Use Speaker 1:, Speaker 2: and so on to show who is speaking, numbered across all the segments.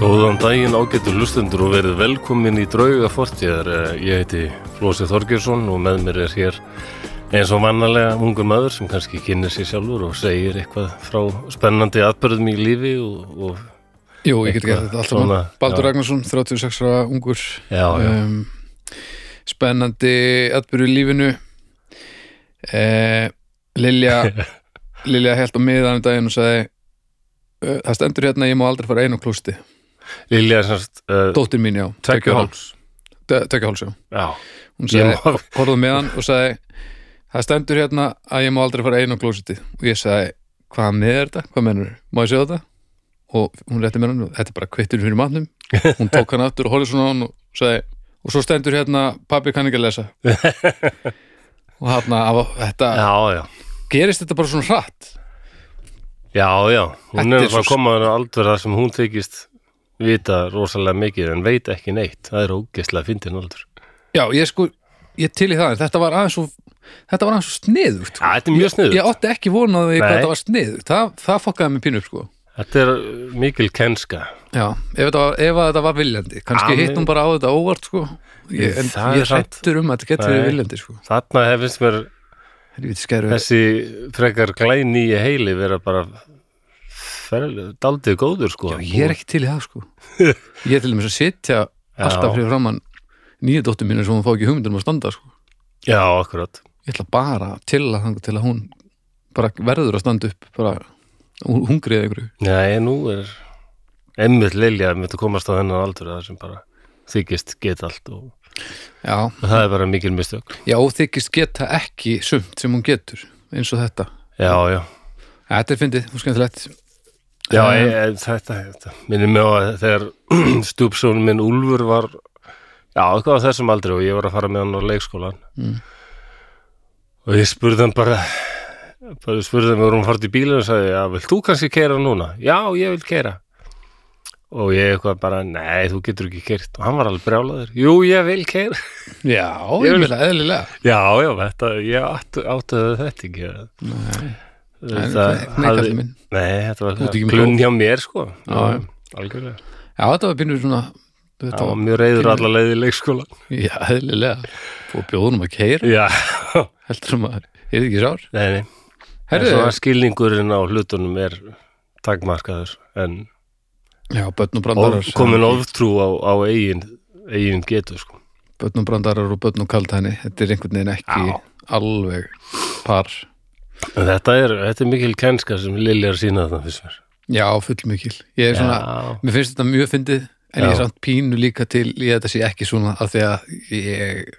Speaker 1: Góðan daginn ágættu hlustendur og verið velkomin í drauga fortíðar. Eh, Ég heiti Flósi Þorgjörsson og með mér er hér eins og mannalega ungur maður sem kannski kynir sér sjálfur og segir eitthvað frá spennandi atbyrðum í lífi og, og
Speaker 2: Jú, ég get
Speaker 1: Eitthvað
Speaker 2: gert þetta allt
Speaker 1: svona,
Speaker 2: saman. Baldur
Speaker 1: já.
Speaker 2: Ragnarsson, 36 ára ungur
Speaker 1: já, já,
Speaker 2: um, Spennandi atbyrju í lífinu eh, Lilja Lilja held á miðan um daginn og sagði "Ö, Það stendur hérna, ég má aldrei fara einu klústi
Speaker 1: Mm. Lilja er semst uh,
Speaker 2: Dóttir mín, já,
Speaker 1: tveggja hálfs.
Speaker 2: Tökja háls, já
Speaker 1: Já,
Speaker 2: Hún
Speaker 1: ég
Speaker 2: sagði,
Speaker 1: má,
Speaker 2: horfðu meðan og sagði Það stendur hérna að ég má aldrei fara einu klósiti og ég sagði, hvað með er þetta? Hvað mennur? Má ég sjá þetta? Og hún rétti mér hann og þetta er bara kvittur fyrir matnum hún tók hann aftur og horfði svona á hann og sagði, og svo stendur hérna pappi kann ekki að lesa og hann að þetta
Speaker 1: já, já,
Speaker 2: gerist þetta bara svona hratt
Speaker 1: já, já, hún
Speaker 2: Þetta
Speaker 1: er
Speaker 2: er svo
Speaker 1: að koma að aldrei þar sem hún þykist vita rosalega mikið en veit ekki neitt. Það er ógeðslega fyndin aldur.
Speaker 2: Já, ég sko, ég til í það en þetta var aðeins svo, þetta var aðeins svo sniðugt sko.
Speaker 1: Já, þetta er mjög sniður.
Speaker 2: ég átti ekki vonað því hvað
Speaker 1: Nei.
Speaker 2: þetta var sniðugt það, það fokkaði mig pínu upp sko
Speaker 1: Þetta er uh, mikil kenska.
Speaker 2: Já, ef þetta var, ef að þetta var viljandi kannski
Speaker 1: Amen.
Speaker 2: hitt hún bara á þetta óvart sko. ég, en
Speaker 1: Ah, Það er
Speaker 2: ég hrættur um að þetta getur verið
Speaker 1: Nei.
Speaker 2: viljandi sko.
Speaker 1: Þarna hefist mér
Speaker 2: Helvíti skæru.
Speaker 1: þessi frekar glænýja heili vera bara ferlega, daldið góður sko.
Speaker 2: ég er ekki til í það sko. ég er til dæmis að sitja alltaf fyrir framann nýja dóttur mínu sem hún fá ekki hugmyndum að standa sko.
Speaker 1: Já, akkurat.
Speaker 2: ég ætla bara til að þanga til að hún bara verður að standa upp bara hún- hungrið eða einhverju
Speaker 1: Nei, nú er emmitt Lilja myndi komast á þennan aldur það sem bara þykist get allt og
Speaker 2: Já,
Speaker 1: það er bara mikil mistök.
Speaker 2: já og þykist geta ekki sumt sem hún getur eins og þetta
Speaker 1: Já, já.
Speaker 2: Þetta er fyndið, og skemmtilegt
Speaker 1: Já,
Speaker 2: Um,
Speaker 1: um, ég, þetta, þetta minni mig á að þegar stjúpsón minn Úlfur var já, eitthvað á þessum aldri og ég var að fara með hann á leikskólan
Speaker 2: Mm.
Speaker 1: og ég spurði hann bara bara ég spurði hann, við vorum fært í bílinu og sagði, já, vilt þú kannski keira núna? Já, ég vil keira og ég eitthvað bara, nei, þú getur ekki keirt og hann var alveg brjálaður, jú, ég vil keira
Speaker 2: Já,
Speaker 1: Ég
Speaker 2: ég
Speaker 1: vil-
Speaker 2: vil að eðlilega
Speaker 1: já, já, þetta, ég átt, áttaði þetta ekki
Speaker 2: Nei,
Speaker 1: það,
Speaker 2: nei, kallið minn
Speaker 1: nei, þetta
Speaker 2: Þú ert
Speaker 1: var
Speaker 2: ekki með
Speaker 1: glunn hjá mér, sko
Speaker 2: Já, já.
Speaker 1: algjörlega
Speaker 2: Já, þetta var pínur svona
Speaker 1: Það
Speaker 2: þetta
Speaker 1: var
Speaker 2: var,
Speaker 1: mjög reyður
Speaker 2: pínu-
Speaker 1: alla leið í leikskóla.
Speaker 2: Já, eðlilega Fóð bjóðunum að keira,
Speaker 1: Já,
Speaker 2: heldur um að er þið ekki sár?
Speaker 1: nei, nei. En
Speaker 2: Herðu,
Speaker 1: Svona skilningurinn á hlutunum er takmarkaður en
Speaker 2: já, börn og
Speaker 1: of,
Speaker 2: brandarar
Speaker 1: komin oftrú á, á eigin, eigin getu, sko.
Speaker 2: Börn og brandarar og börn og kaldhæni Þetta er einhvern veginn ekki
Speaker 1: Já.
Speaker 2: alveg par
Speaker 1: En þetta er, þetta er mikil kenska sem Lilja er að sína þarna fyrst mér.
Speaker 2: Já, fullmikil Ég er svona,
Speaker 1: Já,
Speaker 2: mér finnst þetta mjög fyndið En ég
Speaker 1: Já.
Speaker 2: er samt pínu líka til í þetta sé ekki svona af því að ég,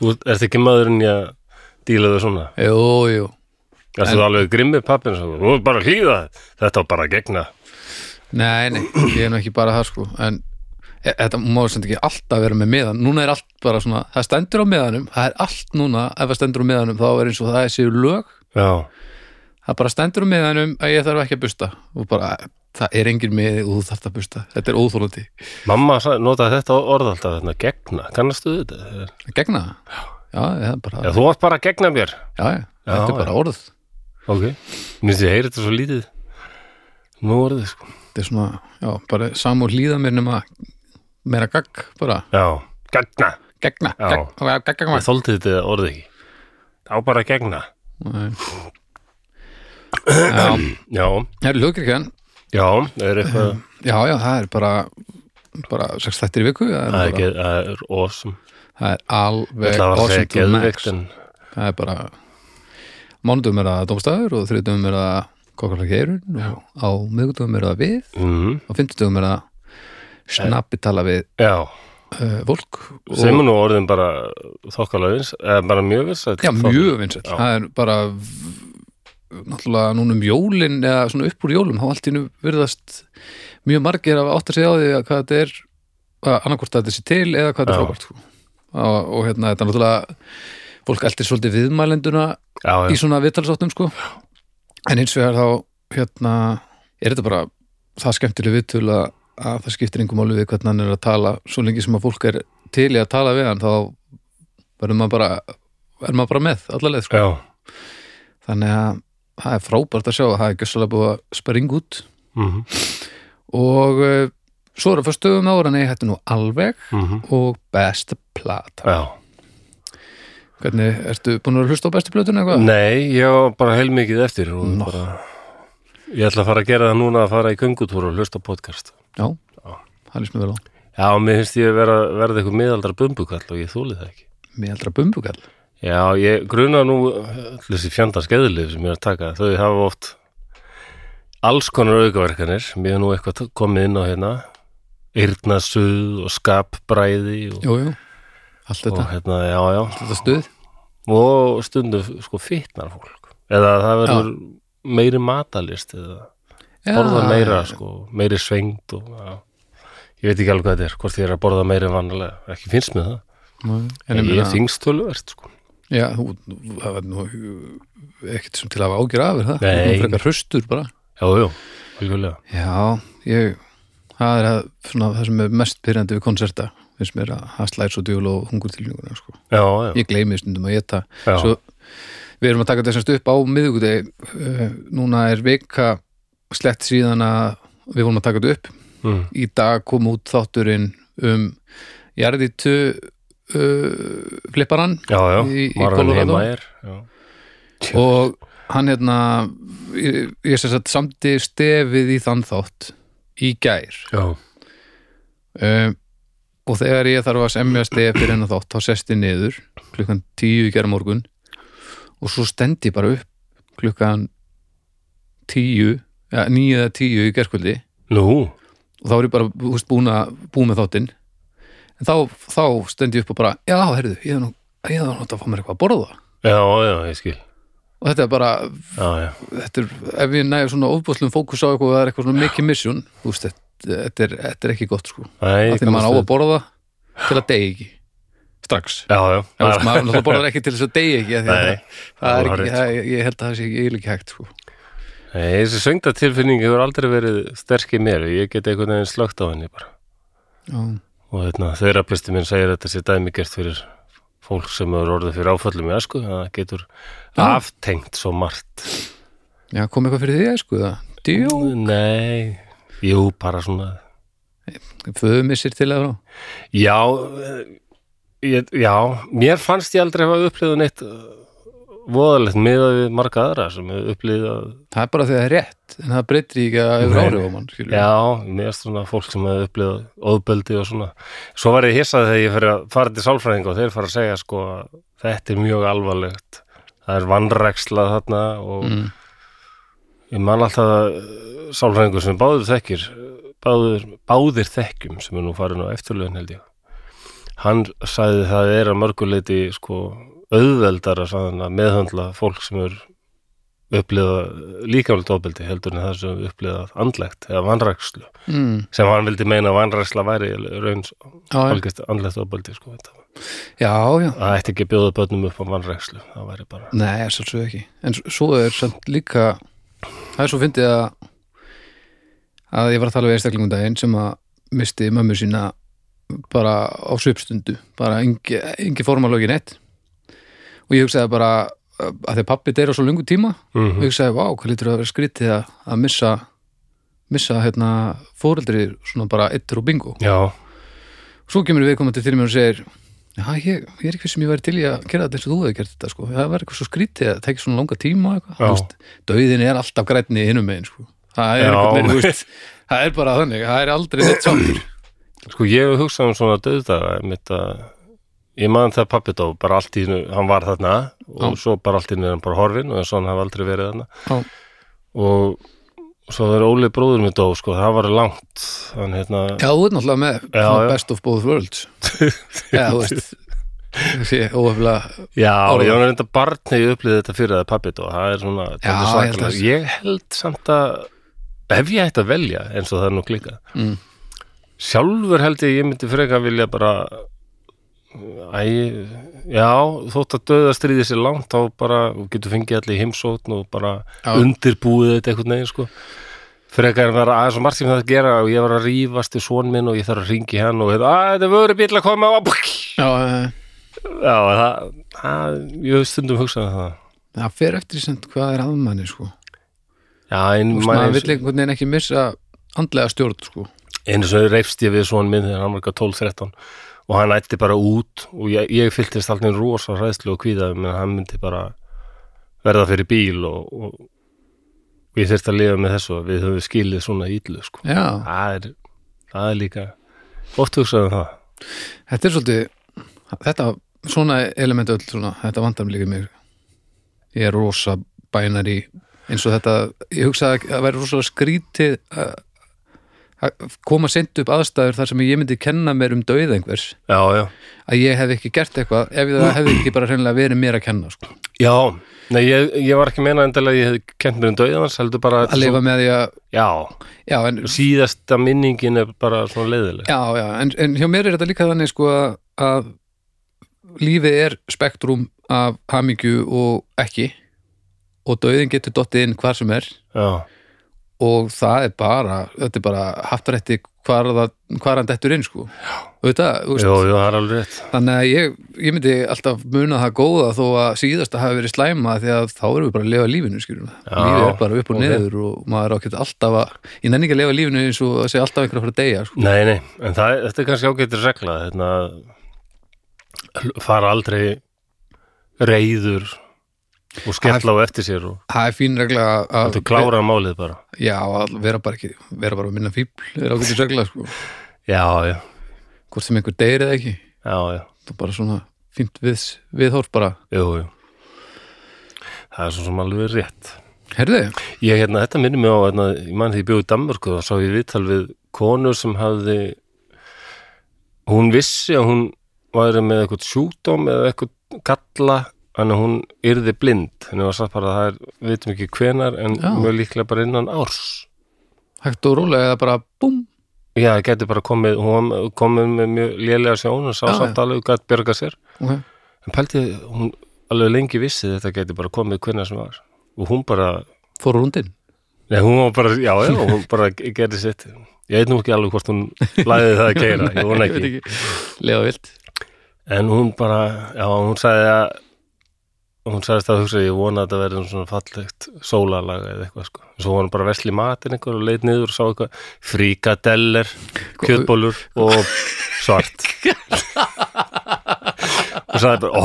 Speaker 1: þú ert ekki maðurinn í að díla þau svona.
Speaker 2: jú, jú
Speaker 1: Það er alveg grimmir pappin og þú er bara að hlýða þetta. Þetta var bara að gegna.
Speaker 2: Nei, nei, ég er nú ekki bara það sko en e- þetta má sem ekki alltaf vera með meðan núna er allt bara svona, það stendur á meðanum það er allt núna, ef það stendur á meðanum þá er eins og það séu lög
Speaker 1: Já,
Speaker 2: það bara stendur á meðanum að ég þarf ekki að busta og bara, e, það er engin meði og þú þarft að busta, þetta er óþólandi
Speaker 1: mamma sa- notaði þetta orð alltaf þarna, gegna. Kannastu þetta?
Speaker 2: gegna það, já, það er bara
Speaker 1: Já,
Speaker 2: já,
Speaker 1: þú varst bara að gegna mér.
Speaker 2: já, þetta
Speaker 1: Já,
Speaker 2: er bara orð
Speaker 1: Ok, minnst ég heyri þetta svo lítið Nú orðið sko
Speaker 2: þetta er svona, já, bara samúl hlýða mér nema meira gagg, bara
Speaker 1: Já, gegna
Speaker 2: gegna,
Speaker 1: Já.
Speaker 2: gegn- gegn- gegn- gegn-
Speaker 1: Ég þóldi þetta orðið ekki Á bara að gegna
Speaker 2: Nei. Já,
Speaker 1: Já,
Speaker 2: það er lögkirkjan
Speaker 1: já, það er eitthvað
Speaker 2: Já, já, það er bara bara sex þættir í viku það
Speaker 1: Það
Speaker 2: er,
Speaker 1: er
Speaker 2: bara,
Speaker 1: ekki, það er awesome
Speaker 2: það er alveg
Speaker 1: Það var að
Speaker 2: awesome
Speaker 1: segja
Speaker 2: to max.
Speaker 1: geðveikt en
Speaker 2: það er bara mánudum er það dómstæður og þriðdum er það kokkarlega geirun og á miðgudum er það við
Speaker 1: mm,
Speaker 2: og fimmtudum er það
Speaker 1: Eh.
Speaker 2: snappi tala við
Speaker 1: Já,
Speaker 2: uh, fólk og,
Speaker 1: sem er nú orðin bara þokkala vins, eða bara mjög vins
Speaker 2: já, mjög vinsett
Speaker 1: Já.
Speaker 2: það er bara v- náttúrulega núna um jólin eða svona upp úr jólum, þá allt í nú virðast mjög margir að átta sig á því að hvað þetta er annarkvort að þetta sé til eða hvað þetta
Speaker 1: Já.
Speaker 2: er frábært sko. og, og hérna þetta er náttúrulega fólk eldir svolítið viðmælenduna
Speaker 1: Já,
Speaker 2: í
Speaker 1: já,
Speaker 2: svona vitalsáttum sko. en hins vegar þá hérna, er þetta bara það skemmtileg viðtöl að, að það skiptir engum máli við hvernig hann er að tala svo lengi sem að fólk er til í að tala við hann þá verður maður bara er maður bara með allaveg sko.
Speaker 1: já,
Speaker 2: þannig að það er frábært að sjá að það er gjössalega búið að springa út
Speaker 1: mhm,
Speaker 2: og uh, Svo er að förstöðum ára, nei, þetta er nú alveg
Speaker 1: mm
Speaker 2: og besta plata.
Speaker 1: Já.
Speaker 2: Hvernig, ertu búin að vera að hlusta á bestu plötuna eitthvað?
Speaker 1: Nei, ég var bara heilmikið eftir og
Speaker 2: Nó.
Speaker 1: bara, ég ætla að fara að gera það núna að fara í göngutúr og hlusta á podcast.
Speaker 2: Já, það líst mér vel á.
Speaker 1: Já, mér finnst ég vera, verða eitthvað miðaldra bumbukall og ég þúli það ekki.
Speaker 2: Mér heldur að bumbugall.
Speaker 1: Já, ég gruna nú öll þessi fjandar skeðulif sem ég er að taka. Þau hafa oft alls konar aukaverkanir. Mér er nú eitthvað t- komið inn á hérna. Yrnasuð og skapbræði og,
Speaker 2: Jú, jú,
Speaker 1: og
Speaker 2: allt þetta,
Speaker 1: hérna, já, já.
Speaker 2: þetta stuð.
Speaker 1: Og stundum sko fitnar fólk. Eða það verður meiri matalist eða
Speaker 2: Já,
Speaker 1: borða meira, sko, meiri svengt og já. Ég veit ekki alveg hvað þetta er, hvort ég er að borða meira en vanlega. Ekki finnst mér það.
Speaker 2: Nei, En
Speaker 1: En
Speaker 2: ég
Speaker 1: ég
Speaker 2: meina,
Speaker 1: er þingstöluvert, sko.
Speaker 2: já, þú, það var nú ekkert sem til að hafa ágjur af er það.
Speaker 1: Nei.
Speaker 2: Þú frekar hraustur bara.
Speaker 1: Já, já, algjörlega.
Speaker 2: Já, ég, það er að, svona, það sem er mest pyrrandi við konserta, finnst mér að það slæðir svo djúl og hungur til hljóðuna, sko.
Speaker 1: Já, já.
Speaker 2: Ég gleymi stundum að geta.
Speaker 1: já.
Speaker 2: Svo, við erum að taka þessast upp á miðvikudegi, uh, núna er vika slett síðan að við vorum að taka þetta upp.
Speaker 1: mm.
Speaker 2: Í dag kom út þátturinn um jarðitu uh, flipparann
Speaker 1: Já, já,
Speaker 2: í- í
Speaker 1: Marvin
Speaker 2: Colorado.
Speaker 1: Heimayer já.
Speaker 2: og hann hérna, ég, ég sem sagt samti stefið í þann þátt í gær.
Speaker 1: Já.
Speaker 2: um, og þegar ég þarf að semja stef fyrir hennar þátt, þá sest ég niður klukkan tíu í gera morgun og svo stend ég bara upp klukkan tíu ja, níu eða tíu í gerskvöldi
Speaker 1: Nú,
Speaker 2: og þá er ég bara þú veist, búin að búið með þáttinn en þá, þá stend ég upp og bara já, herðu, ég þarf nú, ég þarf nú að fá mér eitthvað að borða
Speaker 1: já, já, ég skil
Speaker 2: og þetta er bara,
Speaker 1: Já, já,
Speaker 2: þetta er, ef ég nægir svona ofbúslum fókus á eitthvað, og það er eitthvað svona mikið misjón þú veist, þetta, þetta, er, þetta er ekki gott sko
Speaker 1: Nei,
Speaker 2: að því maður á að borða til að deyja ekki strax
Speaker 1: Já, já,
Speaker 2: Já, veist, maður náttúrulega borðar ekki til þess að deyja ekki af því að
Speaker 1: Nei,
Speaker 2: það, það er
Speaker 1: það var
Speaker 2: sko. ekki,
Speaker 1: rétt,
Speaker 2: það, ég held að það sé ekki eiginlega ekki hægt sko.
Speaker 1: Nei, þessi söngdatilfinning hefur aldrei verið sterk í mér ég get einhvern veginn slögt á henni bara og hérna, þeirraplisti minn segir að þetta sé dæmigert fyrir fólk sem hefur orðið fyrir áföllum í æsku, það getur
Speaker 2: Já.
Speaker 1: aftengt svo margt
Speaker 2: Já, kom eitthvað fyrir því að sko það Djó,
Speaker 1: Nei, jú, bara svona
Speaker 2: föðumissir til eða frá
Speaker 1: Já, eh, ég, já, mér fannst ég aldrei hafa upplýðað neitt eh, voðalegt miðað við marga aðra sem hefur upplýðað,
Speaker 2: Það er bara því að það er rétt, en það breytir ekki að hefur
Speaker 1: Nei.
Speaker 2: árið á mann skilur.
Speaker 1: já, mér er svona fólk sem hefur upplýðað óðböldi og svona. Svo var ég hissað þegar ég fyrir að fara til sálfræðing og þeir fara að segja sko að þetta er mjög alvarlegt, það er vannræksla þarna og
Speaker 2: Mm.
Speaker 1: ég man alltaf að eh, sálfræðingur sem báðir þekkir, eh, báðir, báðir þekkjum sem er nú farin á eftirlaun held ég. hann sagði það er að mörguleiti sko auðveldara sagði hann, að meðhandla fólk sem er eh, upplifa líkamlega ofbeldi heldur en það sem upplifa andlegt eða vanrækslu
Speaker 2: Mm.
Speaker 1: sem hann vildi meina að vanræksla væri rauns
Speaker 2: Já, já.
Speaker 1: algjast andlegt ofbeldi sko. þetta-
Speaker 2: já, já
Speaker 1: það ætti ekki að bjóða börnum upp á vanrækslu það væri bara
Speaker 2: Nei, svolítið ekki En s- svo er samt líka Það er svo fyndið að að ég var að tala við einstaklingum um daginn sem að misti mömmu sína bara á svipstundu bara engi, engi formalögin eitt og ég hugsaði bara uh, að því að pappi deyra svo lungu tíma
Speaker 1: mm
Speaker 2: og ég hugsaði, vá, hvað lítur það að vera skrítið að, að missa missa hérna fóreldri svona bara eittur og bingo
Speaker 1: já,
Speaker 2: svo kemur viðkomandi til mér og segir Já, ég, ég er ekki sem ég væri til í að gera þetta eins og þú hefði gert þetta, sko. Það var eitthvað svo skrítið að það tekja svona langa tíma og eitthvað.
Speaker 1: Já.
Speaker 2: Þú veist, Dauðin er alltaf grænni innum megin, sko. Það er
Speaker 1: Já.
Speaker 2: eitthvað megin, þú veist. Það er bara þannig, það er aldrei neitt samtur.
Speaker 1: sko ég hef hugsað um svona döðdaga mitt að ég man það pappi dó bara allt í einu, hann var þarna og
Speaker 2: Já.
Speaker 1: svo bara allt í einu er hann bara horfin og eins og hann hafa aldrei verið þarna
Speaker 2: Já,
Speaker 1: og svo þegar Óli bróður minn dó sko, það var langt hann hérna,
Speaker 2: Já, þú ert náttúrulega með
Speaker 1: Já,
Speaker 2: svona
Speaker 1: já.
Speaker 2: best of both worlds. Já, þú veist. Þessi óöfnilega,
Speaker 1: já,
Speaker 2: Árið.
Speaker 1: ég var reynda barni ég upplýði þetta fyrir að pappi dó það er svona,
Speaker 2: Já,
Speaker 1: þetta er
Speaker 2: ég held að-
Speaker 1: svakalega ég held samt að ef ég ætti að velja eins og það er nú klika
Speaker 2: Mm.
Speaker 1: sjálfur held ég, ég myndi frekar vilja bara æ, já, þótt að döða stríði sér langt, þá bara þú getur fengið allir í heimsókn og bara
Speaker 2: Já.
Speaker 1: undirbúið þetta einhvern veginn sko frekar en vera aðeins og margt sem það að gera og ég var að rífast í svon minn og ég þarf að ringi hann og hérna, að þetta vöru bíl að koma og já,
Speaker 2: já, eh,
Speaker 1: það, það ég hef stundum hugsað um það
Speaker 2: það fer eftir í send hvað er að manni, sko.
Speaker 1: já, en
Speaker 2: Þú veist,
Speaker 1: maður-
Speaker 2: maður vill einhvern veginn ekki missa andlega stjórn, sko.
Speaker 1: einu sem reyfst ég við svon minn þegar hann var ekki 12-13 og hann ætti bara út og ég, ég fylltist alltaf rosa hræðslu og kvíðaði menn hann myndi bara verða fyrir bíl og, og, og ég þyrst að lifa með þessu að við höfum skilið svona ídlu sko.
Speaker 2: Já,
Speaker 1: það, er, það er líka oft hugsaðum það
Speaker 2: þetta er svolítið þetta, svona element öll svona, þetta vandar mig líka mér ég er rosa bænari eins og þetta, ég hugsa að það væri rosa skrítið að að koma sent upp aðstæður þar sem ég myndi kenna mér um dauð einhvers
Speaker 1: já, já,
Speaker 2: að ég hef ekki gert eitthvað ef það hefði ekki bara hreinlega verið mér að kenna sko.
Speaker 1: já Nei, ég, ég var ekki að meina endilega að ég hef kent mér um dauðans heldur bara
Speaker 2: að lifa með því að
Speaker 1: já,
Speaker 2: já, en
Speaker 1: síðasta minningin er bara svona leiðileg
Speaker 2: Já, já, en, en hjá mér er þetta líka þannig sko að- að lífið er spektrum af hamingju og ekki og dauðin getur dottið inn hvar sem er
Speaker 1: já,
Speaker 2: og það er bara, þetta er bara haftrætti hvar, það, hvar hann dettur inn sko Þetta,
Speaker 1: jú, jú, það er alveg rétt
Speaker 2: þannig að ég, ég myndi alltaf muna það góða þó að síðasta hafi verið slæma því að þá erum við bara að lifa lífinu skýrum
Speaker 1: Já,
Speaker 2: lífið er bara upp og
Speaker 1: ok.
Speaker 2: neður og maður er ákveð alltaf að, ég nenni ekki að lifa lífinu eins og að segja alltaf einhverja frá degja sko.
Speaker 1: Nei, nei, en það, þetta er kannski ágættir regla hérna, hl- fara aldrei reyður og skella á eftir sér og
Speaker 2: það er fín regla að- að
Speaker 1: þú klára málið bara
Speaker 2: Já, að vera bara ekki, vera bara að minna fíbl er ágætið sögulega, sko
Speaker 1: Já, já,
Speaker 2: hvort sem einhver deyr eða ekki
Speaker 1: já, já,
Speaker 2: það er bara svona fínt við, viðhorf bara
Speaker 1: jú, jú Það er svo sem alveg rétt
Speaker 2: Herðu,
Speaker 1: Ég, hérna, þetta minnir mig á, hérna, ég man því ég bjóði í Danmörku þá sá ég viðtal við konu sem hafði hún vissi að hún væri með eitthvað sjúkdóm eða eitthvað galla en hún yrði blind henni var sagt bara að það er, við vitum ekki hvenar en
Speaker 2: Já.
Speaker 1: mjög líklega bara innan árs
Speaker 2: hægt og rólega eða bara búm,
Speaker 1: Já, það gæti bara komið, hún var komið með mjög lélega sjón og sá
Speaker 2: Já,
Speaker 1: samt
Speaker 2: já.
Speaker 1: alveg gæti björga sér
Speaker 2: okay.
Speaker 1: en pælti, hún alveg lengi vissi að þetta gæti bara komið hvenar sem var og hún bara
Speaker 2: fór á rúndin
Speaker 1: Nei, hún var bara, já, já, hún bara gerði sitt. Ég veit nú ekki alveg hvort hún læði það að keira, ég vona
Speaker 2: veit
Speaker 1: ekki.
Speaker 2: Lega vilt
Speaker 1: En hún bara, já, hún sagði að, hún sagðist að hugsa, ég vona að þetta verði svona fallegt sólalag eða eitthvað, sko. Svo var hún bara að versla í matinn einhver og leit niður og sá eitthvað fríkadeller, kjötbólur og svart. Hún sagði bara, ó,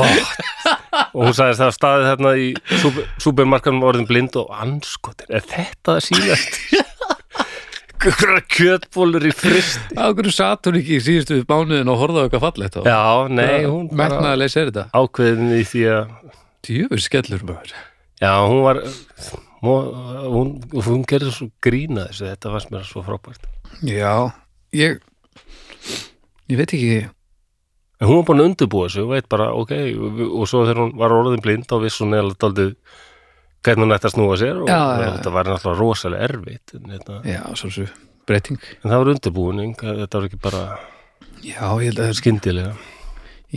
Speaker 1: og hún sagðist það að staðið þarna í super, supermarkanum orðin blind og anskotir, er þetta að síðast? Hverja kjötbólur í frist?
Speaker 2: Á hverju satt hún ekki í síðustu mánuðin og horfði á eitthvað fallegt á
Speaker 1: Já, nei, hún bara
Speaker 2: Metnaðarlega segir þetta
Speaker 1: ákveðin í því að
Speaker 2: Djöfur skellur maður
Speaker 1: já, hún var hún, hún, hún gerði svo grína þessu, þetta fannst mér svo frábært
Speaker 2: Já, ég Ég veit ekki
Speaker 1: en hún var búin að undirbúa þessu, hún veit bara ok, og svo þegar hún var orðin blind þá vissi hún eða daldið hvernig hún ætti að snúa sér og
Speaker 2: Já, já, já.
Speaker 1: þetta var náttúrulega rosalega erfitt en, þetta,
Speaker 2: Já, svo svo breyting
Speaker 1: en það var undirbúning, þetta var ekki bara
Speaker 2: Já, ég held að
Speaker 1: skyndilega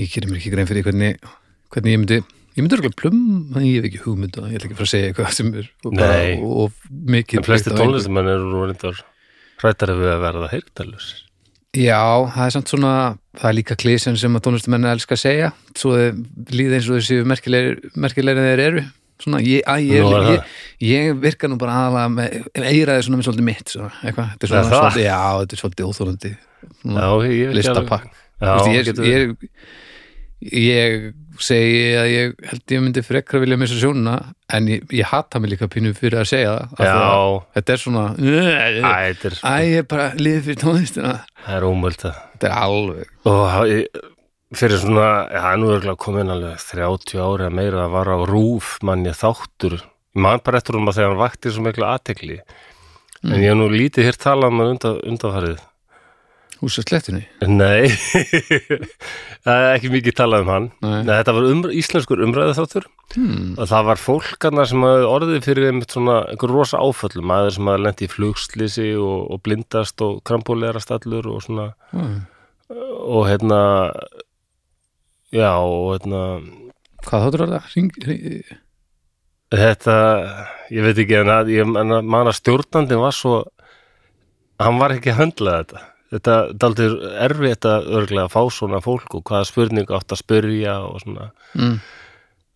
Speaker 2: ég gerir mér ekki grein fyrir hvernig, hvernig ég myndi ég myndi örgulega plum, en ég hef ekki hugmynd og ég ætla ekki að fara að segja eitthvað sem er og, bara,
Speaker 1: Nei.
Speaker 2: og, og mikið
Speaker 1: en flesti
Speaker 2: byggt á einhverju.
Speaker 1: tónlistumenn eru reyndar hrættar ef við að verða heyrtalus
Speaker 2: Já, það er samt svona það er líka klísan sem að tónlistamenn elska að segja svo þau líða eins og þau séu merkilegri merkilegri en þeir eru svona, ég, að, ég,
Speaker 1: Nú er
Speaker 2: ég, ég, virka nú bara aðalega með eiraði svona með svolítið mitt svona, eitthvað, þetta
Speaker 1: Er
Speaker 2: er svona,
Speaker 1: það?
Speaker 2: svolítið, já, þetta er svolítið óþólandi
Speaker 1: já, ég veit ekki alveg-
Speaker 2: Mm. listapakk
Speaker 1: já,
Speaker 2: Vist, ég,
Speaker 1: getur-
Speaker 2: ég, ég segi að ég held ég myndi frekra vilja missa sjónuna en ég, ég hata mig líka pínu fyrir að segja það af því að
Speaker 1: já,
Speaker 2: þetta er svona Æ,
Speaker 1: Æ, þetta er-
Speaker 2: ég er bara liðið fyrir tónlistina
Speaker 1: það er ómöld að
Speaker 2: Þetta er alveg
Speaker 1: og það- ég- fyrir svona, já, nú er komin alveg 30 ári að meira að vara á rúf manni þáttur mann bara eftir um að þegar hann vakti svo mikla aðtekli en ég hef nú lítið hér talað um hann undan, undanfarið
Speaker 2: húsa slettunni
Speaker 1: nei það er ekki mikið talað um hann
Speaker 2: Nei.
Speaker 1: Nei, þetta var umr íslenskur umræðu þáttur
Speaker 2: hmm.
Speaker 1: og það var fólkarna sem hafði orðið fyrir einmitt svona einhver rosa áföllum maður sem hafði lent í flugslýsi og, og blindast og krampulegarast allur og svona
Speaker 2: mm.
Speaker 1: og hérna já og hérna
Speaker 2: Hvað þáttur var það? Ring, ring,
Speaker 1: þetta, ég veit ekki en að, ég en að man að stjórnandin var svo hann var ekki að höndla þetta þetta daldir erfitt að örglega fá svona fólk og hvaða spurningu átt að spyrja og svona
Speaker 2: mm.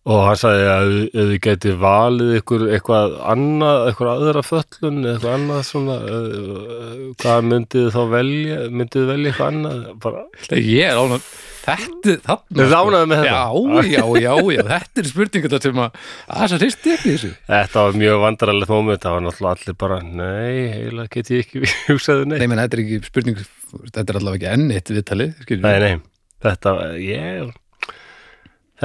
Speaker 1: Og hann sagði að ef- ef þið gæti valið ykkur eitthvað annað, eitthvað aðra föllun, eitthvað annað svona, eh, hvað myndið þið þá velja, myndið þið velja eitthvað annað? Bara,
Speaker 2: Ég er ánað Þetta, þarna sko.
Speaker 1: Þið ránaði með þetta?
Speaker 2: Já, já, já, já, þetta er spurninga þetta sem að að það hristi ekki þessu
Speaker 1: Þetta var mjög vandrarlegt moment, það var náttúrulega allir bara, nei, eiginlega get ég ekki hugsaði
Speaker 2: Nei,
Speaker 1: neitt.
Speaker 2: menn, þetta er ekki spurning Þetta er allavega ekki enn eitt viðtalið skilur
Speaker 1: Nei,
Speaker 2: við.
Speaker 1: nei, þetta, ég,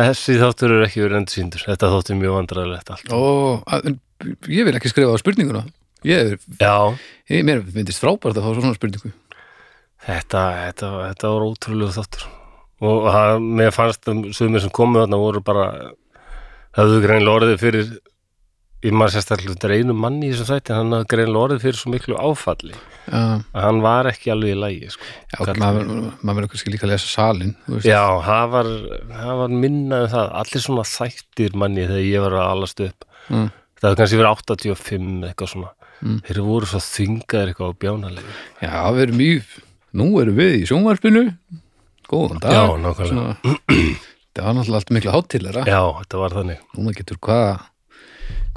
Speaker 1: þessi þáttur er ekki verið endursýndur, þetta þótti mjög vandrarlegt allt.
Speaker 2: Ó, að- en ég vil ekki skrifa á spurninguna Ég er,
Speaker 1: Já,
Speaker 2: ég, mér myndist frábært að fá svona spurningu
Speaker 1: Þetta, þetta, þetta var ótrúlega þáttur og það, mér fannst að sumir sem komu þarna voru bara höfðu greinlega orðið fyrir ég maður sérstaklega þetta er einu manni í þessum þætti hann hafði greinlega orðið fyrir svo miklu áfalli
Speaker 2: Já,
Speaker 1: að hann var ekki alveg í lægi sko.
Speaker 2: já,
Speaker 1: Kall-
Speaker 2: maður maður verður kannski líka að lesa salin þú veist.
Speaker 1: Já, það var, það var minna um það allir svona þættir manni þegar ég var að alast upp
Speaker 2: Mm.
Speaker 1: það var kannski verið 85 eitthvað svona
Speaker 2: Mm.
Speaker 1: þeir voru svo þyngaðir eitthvað á bjánalegu
Speaker 2: Já, við erum í, nú erum við í sjónvarpinu, góðan dag.
Speaker 1: Já, nákvæmlega.
Speaker 2: það var náttúrulega allt miklu hátilara.
Speaker 1: Já, þetta var þannig
Speaker 2: Núna getur hvað,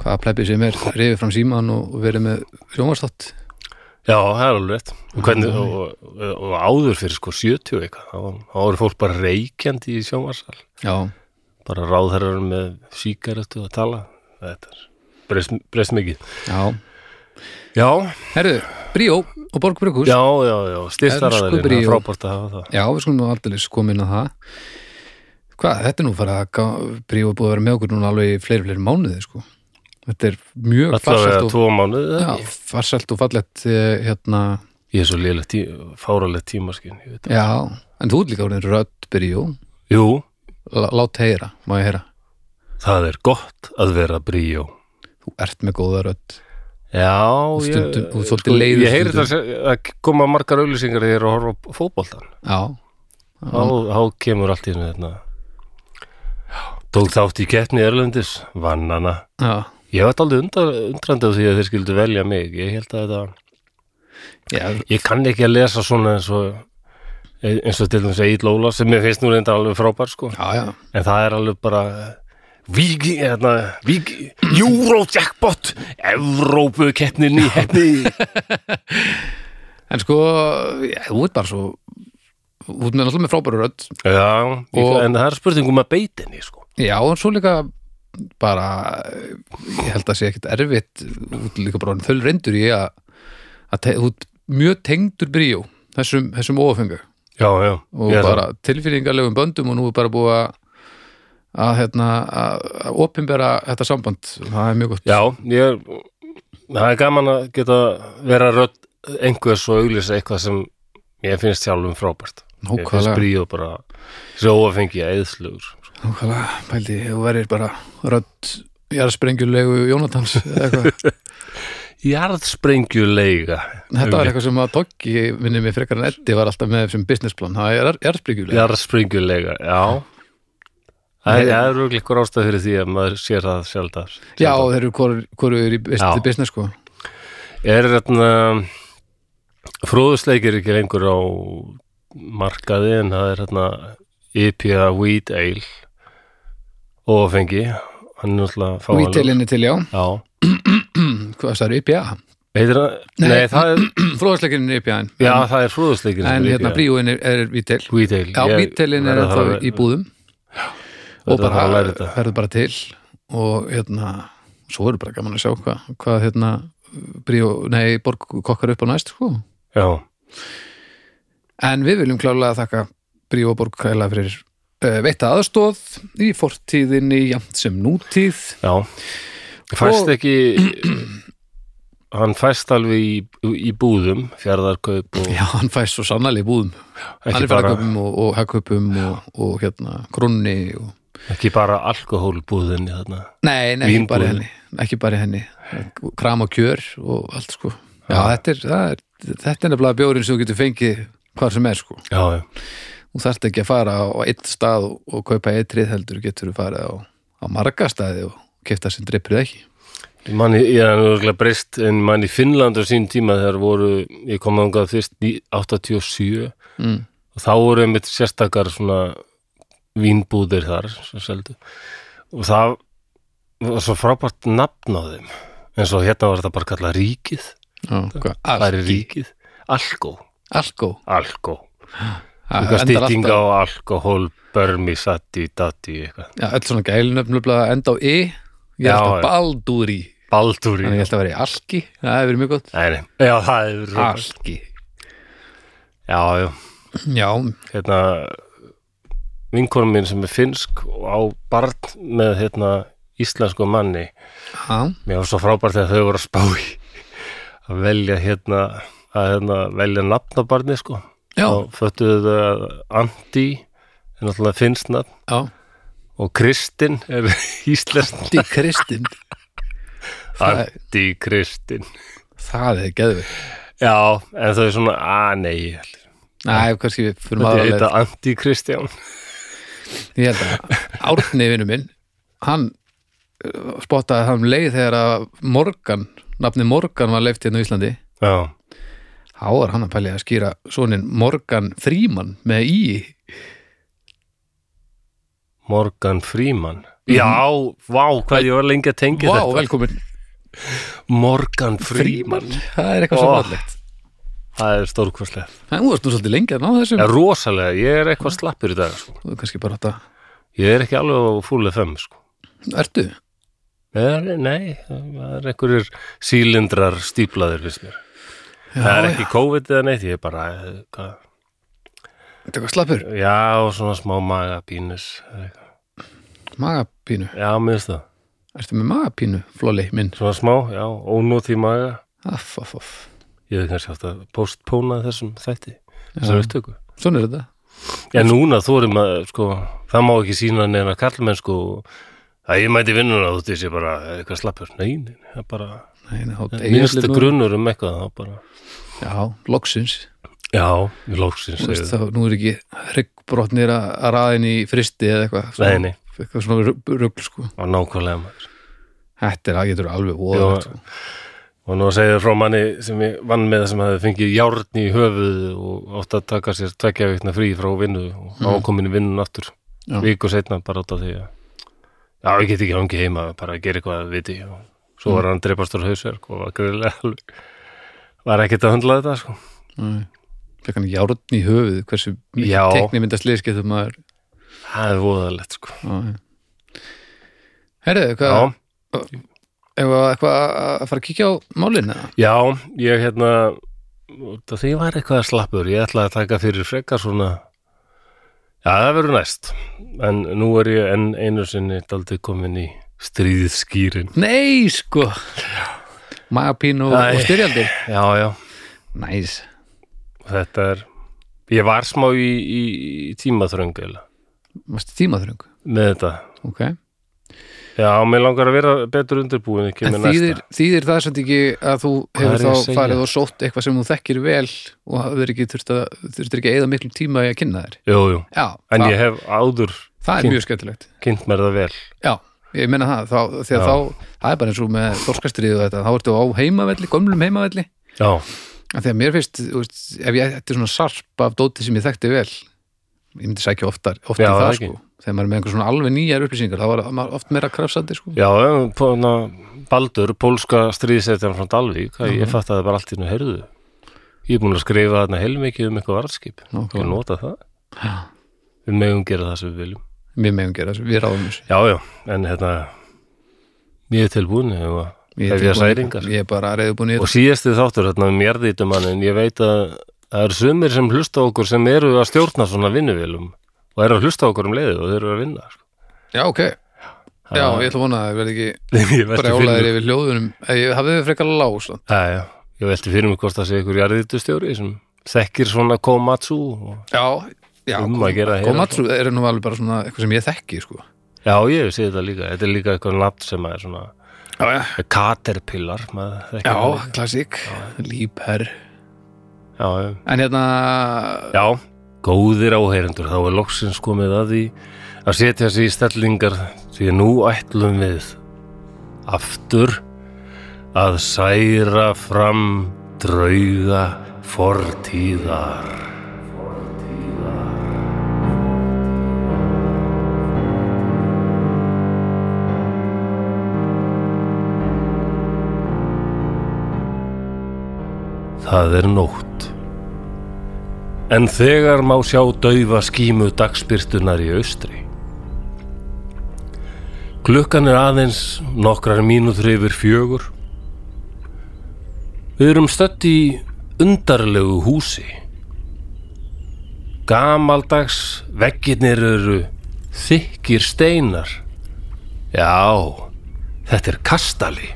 Speaker 2: hvað pleppið sem er reyfið fram síman og verið með sjónvarstátt.
Speaker 1: Já, það er alveg rétt og, hvernig,
Speaker 2: Mm.
Speaker 1: og, og, og áður fyrir sko 70 eitthvað, þá var- þá voru fólk bara reykjandi í sjónvarsal
Speaker 2: Já,
Speaker 1: bara ráðherrar með síkaretu að tala þetta er breyst, breyst mikið
Speaker 2: já.
Speaker 1: Já,
Speaker 2: Herðu, Bríó og Borg Brukus.
Speaker 1: já, já, já styrstaraðarinn,
Speaker 2: Elsku
Speaker 1: það er
Speaker 2: Bríó.
Speaker 1: frábært að hafa það
Speaker 2: já, við skulum nú aldrei komin að það. Hvað, þetta er nú farið að gá- Bríó er búið að vera með okkur núna alveg í fleiri, fleiri mánuði, sko. Þetta er mjög
Speaker 1: Allavega
Speaker 2: farsælt og,
Speaker 1: tvo mánuði
Speaker 2: já, farsælt og fallegt eh, hérna,
Speaker 1: Ég er svo lélegt tí, fáralegt tímaskinn ég veit það.
Speaker 2: Já, en þú ert líka orðin rödd Bríó,
Speaker 1: Jú,
Speaker 2: Lá- lát heyra, má ég heyra
Speaker 1: það er gott að vera bríó
Speaker 2: Þú ert með góða rödd
Speaker 1: Já,
Speaker 2: Stundum- þú
Speaker 1: ég,
Speaker 2: ert svolítið leiður
Speaker 1: sko, ég heyri
Speaker 2: stundum.
Speaker 1: það að koma margar auðlýsingar þegar ég er að horfa á fótboltan
Speaker 2: Já,
Speaker 1: þá, þá kemur allt í hennu þarna tók þátt í keppni Erlendis vann hana
Speaker 2: já,
Speaker 1: ég var aldrei undra, undrandi á því að þeir skildu velja mig ég held að þetta
Speaker 2: já,
Speaker 1: ég kann ekki að lesa svona eins og eins og til dæmis Egil Óla sem mér finnst nú reynda alveg frábær sko
Speaker 2: já, já.
Speaker 1: en það er alveg bara Vigi, hérna, Vigi Eurojackpot Evrópu keppnin í hefni
Speaker 2: En sko, já, þú ert bara svo Þú ert með náttúrulega með frábæru rödd
Speaker 1: Já, ég,
Speaker 2: Og-
Speaker 1: en það er spurningum að beitinni sko
Speaker 2: Já, en svo líka bara Ég held að sé ekkit erfitt Þú ert líka bara þöl reyndur í að, að te, Þú ert mjög tengdur Bríó Þessum, þessum óafengu
Speaker 1: Já, já,
Speaker 2: og
Speaker 1: ég er
Speaker 2: bara tilfinningarlegum böndum og nú er bara búið að að hérna að, að opinbera þetta samband það er mjög gott
Speaker 1: Já, ég er, það er gaman að geta vera rödd einhvers og auglýsa eitthvað sem ég finnst sjálfum frábært. Ég finnst
Speaker 2: nákvæmlega,
Speaker 1: bríð bara svo óafengi eðslugur.
Speaker 2: nákvæmlega pældi, þú verir bara rödd jarðsprengjulegu Jónatans eða eitthvað.
Speaker 1: Jarðsprengjuleiga.
Speaker 2: þetta var eitthvað sem að Toggi minni mig frekar en Eddi var alltaf með sem businessplan, það er jarðsprengjulegu
Speaker 1: Jarðsprengjuleiga, já. Það er- það er auðvitað ykkur ástæð fyrir því að maður sér það sjálfdar.
Speaker 2: já, þeir eru hvoru hvor er í best,
Speaker 1: Já.
Speaker 2: business sko
Speaker 1: Er þarna fróðusleikir ekki lengur á markaði en það er þarna IPA Wheat Ale og fengi hann er náttúrulega fáanlegur.
Speaker 2: Vítelinni til, já,
Speaker 1: Já,
Speaker 2: hvað það eru IPA
Speaker 1: heitir það? Nei, það er,
Speaker 2: fróðasleikinni er IPA en,
Speaker 1: já, það er fróðusleikir
Speaker 2: en hérna bríóin er, er Vítel
Speaker 1: Wheat Ale
Speaker 2: Já,
Speaker 1: Ég-
Speaker 2: bítelinn er
Speaker 1: verð að
Speaker 2: ennþá
Speaker 1: fara-
Speaker 2: í búðum
Speaker 1: verð að
Speaker 2: og
Speaker 1: fara
Speaker 2: bara
Speaker 1: að læra þetta.
Speaker 2: verður bara til og hérna svo eru bara gaman að sjá hvað hvað hérna bríó, nei, borg kokkar upp á næst sko.
Speaker 1: Já,
Speaker 2: en við viljum klálega þakka bríó og borg kæla fyrir uh, veitta aðstóð í fortíðinni jafnt sem nútíð
Speaker 1: já Fæst ekki hann fæst alveg í, í búðum fjárðarkaup og
Speaker 2: já, hann fæst svo sannlega í búðum
Speaker 1: ekki
Speaker 2: hann er fyrir
Speaker 1: bara,
Speaker 2: aðköpum og, og hagköpum og, og hérna grunni og...
Speaker 1: ekki bara alkohólbúðinni þarna
Speaker 2: nei, nei, ekki bara í
Speaker 1: Vínbúðum.
Speaker 2: henni ekki bara í henni, kram og kjör og allt sko Já, þetta er, það er, þetta er nefnilega bjórin sem þú getur fengið hvar sem er sko.
Speaker 1: Já, já
Speaker 2: Þú þarft ekki að fara á eitt stað og, og kaupa eitrið heldur getur þú farið á, á marga staði og kefta sem dreipir ekki.
Speaker 1: Man, ég er náttúrulega breyst en mann í Finnland á sín tíma þegar voru, ég kom þangað fyrst í 87
Speaker 2: Mm.
Speaker 1: og þá voru einmitt sérstakar svona vínbúðir þar sem seldu og það var svo frábært nafn á þeim eins og hérna var þetta bara kallað ríkið
Speaker 2: Já, hvað?
Speaker 1: það er
Speaker 2: Alki,
Speaker 1: ríkið, algó
Speaker 2: alko
Speaker 1: algó,
Speaker 2: Það
Speaker 1: eitthvað
Speaker 2: Ah, endar
Speaker 1: stýting á
Speaker 2: alltaf-
Speaker 1: alkohól, börmi, satti, datti eitthvað,
Speaker 2: Já, öll svona gælunöfn nefnilega enda á e Ég
Speaker 1: Já,
Speaker 2: er alltaf
Speaker 1: já.
Speaker 2: baldúri
Speaker 1: baldúri
Speaker 2: Þannig ég held að vera í alki, það hefur verið mjög gott
Speaker 1: Nei, nei, já, það er
Speaker 2: Ah.
Speaker 1: frábært.
Speaker 2: Alki
Speaker 1: Já, já,
Speaker 2: Já,
Speaker 1: hérna vinkonum mín sem er finnsk og á barn með hérna íslensku manni
Speaker 2: já,
Speaker 1: mér var svo frábært þegar þau voru að spá í að velja hérna að hérna velja nafn á barni sko
Speaker 2: já,
Speaker 1: og föttuðu þau að Andi er náttúrulega finnst nafn
Speaker 2: já.
Speaker 1: og Kristinn er íslenskt
Speaker 2: Andi Kristinn það,
Speaker 1: Andi Kristinn
Speaker 2: það er geðvig
Speaker 1: Já, en þau er svona, að nei ég held-
Speaker 2: Næ, kannski við fyrir
Speaker 1: Þetta
Speaker 2: maður
Speaker 1: heita Andi Kristján
Speaker 2: Ég held að Árni vinnu minn hann uh, spottaði hann um leið þegar að Morgan, nafni Morgan var leift hérna á Íslandi
Speaker 1: Já,
Speaker 2: þá var hann að pælja að skýra sonin Morgan Fríman með í
Speaker 1: Morgan Freeman Já, vá, hvað ég var lengi að tengja
Speaker 2: Mhm. Vá,
Speaker 1: þetta
Speaker 2: velkomin
Speaker 1: Morgan Freeman
Speaker 2: Það er eitthvað svo
Speaker 1: Ó.
Speaker 2: fallegt
Speaker 1: Það er stórkvæslega
Speaker 2: Það varst nú svolítið lengi að ná þessum
Speaker 1: ja, Rosalega, ég er eitthvað slappur í dag sko.
Speaker 2: Þú er kannski bara átt að
Speaker 1: Ég er ekki alveg á full FM sko.
Speaker 2: Ertu?
Speaker 1: nei, nei, það er einhverjir sílindrar stíplaðir fyrst mér Það er
Speaker 2: já.
Speaker 1: ekki COVID eða neitt, ég er bara eh, hvað?
Speaker 2: Þetta er eitthvað slappur
Speaker 1: Já, og svona smá maga pínus
Speaker 2: Magapínu
Speaker 1: Já, minnst það,
Speaker 2: Ertu með magapínu, Flóli minn
Speaker 1: svona smá, já, ónótt í maga
Speaker 2: Aff, aff, aff
Speaker 1: Ég hef kannski haft að postpóna þessum þætti
Speaker 2: Já.
Speaker 1: Þessar upptöku
Speaker 2: Svona er þetta
Speaker 1: Já, núna þórum að, sko, það má ekki sína neina kallmenn, sko, að ég mæti vinnuna þú þessi bara eitthvað slappur. Nei, nei, það er bara,
Speaker 2: Nei, nei, þá deyja
Speaker 1: minnstu
Speaker 2: allir nú.
Speaker 1: grunnur um eitthvað, þá bara,
Speaker 2: Já, loksins
Speaker 1: já, við lóksins,
Speaker 2: Þú veist,
Speaker 1: segðu.
Speaker 2: þá, nú er ekki hryggbrotnir að að raðin í fristi eða eitthvað
Speaker 1: Nei, nei,
Speaker 2: eitthvað svona rugg- rugl sko.
Speaker 1: og nákvæmlega maður. þetta
Speaker 2: þetta er að getur alveg
Speaker 1: Já.
Speaker 2: óðvægt sko.
Speaker 1: Og nú segir frá manni sem ég vann með sem hafði fengið járn í höfuð og átt að taka sér tvekja veitna frí frá vinnu og mm. ákomin í vinnun aftur.
Speaker 2: Já.
Speaker 1: Víku setna bara átt að því að, já, ég get ekki hangi heima, bara að gera eitthvað að viti og svo
Speaker 2: Mm.
Speaker 1: var hann dreipast úr hausverk og var greiðlega alveg, var ekkert að höndla þetta, sko.
Speaker 2: fekk hann járn í höfuð hversu
Speaker 1: Já.
Speaker 2: mikið tekni mynda sliðskiptum maður
Speaker 1: Það er voðalegt sko
Speaker 2: herriðu, hvað
Speaker 1: Já,
Speaker 2: ef að eitthvað að fara að kíkja á málin eða?
Speaker 1: já ég hérna út af því ég var eitthvað slappur ég ætlaði að taka fyrir frekar svona Já, það verður næst en nú er ég enn einu sinni daldið komin í stríðið skýrin
Speaker 2: nei sko magapín og,
Speaker 1: Æ.
Speaker 2: og styrjaldi
Speaker 1: Já, já,
Speaker 2: næs,
Speaker 1: þetta er Ég var smá í, í, í tímaþröng eiginlega,
Speaker 2: varstu tímaþröng
Speaker 1: með þetta
Speaker 2: ok,
Speaker 1: Já, mér langar að vera betur undirbúin ekki
Speaker 2: en
Speaker 1: með
Speaker 2: þýðir,
Speaker 1: næsta
Speaker 2: þýðir það samt ekki að þú
Speaker 1: er
Speaker 2: hefur
Speaker 1: ég að
Speaker 2: þá
Speaker 1: segja?
Speaker 2: farið og sótt eitthvað sem þú þekkir vel og hafður ekki þurft að þurftir ekki að eða miklu tíma í að kynna þér
Speaker 1: Jú, jú,
Speaker 2: já,
Speaker 1: en
Speaker 2: það,
Speaker 1: ég hef áður
Speaker 2: það er
Speaker 1: kynnt.
Speaker 2: mjög skemmtilegt
Speaker 1: kynnt mér það vel
Speaker 2: já, ég menna það, þá, því að
Speaker 1: Já.
Speaker 2: þá það er bara eins og með þorskastrið og þetta þá ertu á heimavelli, gömlum heimavelli
Speaker 1: Já,
Speaker 2: af því að mér finnst, þú veist, ef ég ætti svona sarp af dóti sem ég þekkti vel ég myndi sækja oftar, oftar
Speaker 1: Já,
Speaker 2: það,
Speaker 1: það ekki.
Speaker 2: sko þegar maður er með einhver svona alveg nýjar upplýsingar þá var maður oft meira krafsandi sko
Speaker 1: Já, pona, Baldur, pólska stríðsetjan frá Dalvík, mm ég fatt að það bara allt í nú heyrðu. Ég er búin að skrifa þarna heilmikið um eitthvað varðskip.
Speaker 2: Nákvæmlega.
Speaker 1: Ég nota það.
Speaker 2: Já.
Speaker 1: Við megum gera það sem við viljum.
Speaker 2: við megum gera þessu, við ráðum þessu
Speaker 1: Já, já, en hérna, ég er tilbúin ef, að- ef ég er
Speaker 2: tilbúin-
Speaker 1: særingar.
Speaker 2: ég er bara reyðbúin í
Speaker 1: Og síðasti þáttur, hérna, um jarðítumannin, ég veit að það eru sumir sem hlusta á okkur sem eru að stjórna svona vinnuvélum og eru að hlusta á okkur um leiðu og þeir eru að vinna. Sko.
Speaker 2: Já, ok. Já,
Speaker 1: Það-
Speaker 2: ég ætla að vona að það verði ekki
Speaker 1: ég velti fyrir
Speaker 2: brjálaðir
Speaker 1: mér-
Speaker 2: yfir hljóðunum. Eh, Ég hafði þau frekar lás. sko? samt.
Speaker 1: Já, já, ég velti fyrir mig hvort það sé ykkur jarðítustjóri sem þekkir svona komatsu og
Speaker 2: Já, já.
Speaker 1: um að gera að heyra
Speaker 2: Komatsu er nú alveg bara svona eitthvað sem ég þekki, sko.
Speaker 1: Já, ég sé þetta líka, þetta er líka eitthvað nafn sem er svona
Speaker 2: Já, já.
Speaker 1: Caterpillar maður þekkir
Speaker 2: Já,
Speaker 1: það.
Speaker 2: klassík. Líper.
Speaker 1: já, já,
Speaker 2: En hérna,
Speaker 1: já, góðir áheyrendur þá er loksins komið að því að setja sig í stellingar því að nú ætlum við aftur að særa fram drauga fortíðar það er nótt. En þegar má sjá daufa skímu dagspyrtunar í austri. Klukkan er aðeins nokkrar mínútur yfir fjögur. Við erum stödd í undarlegu húsi. Gamaldags veggirnir eru þykkir steinar. Já, þetta er kastali.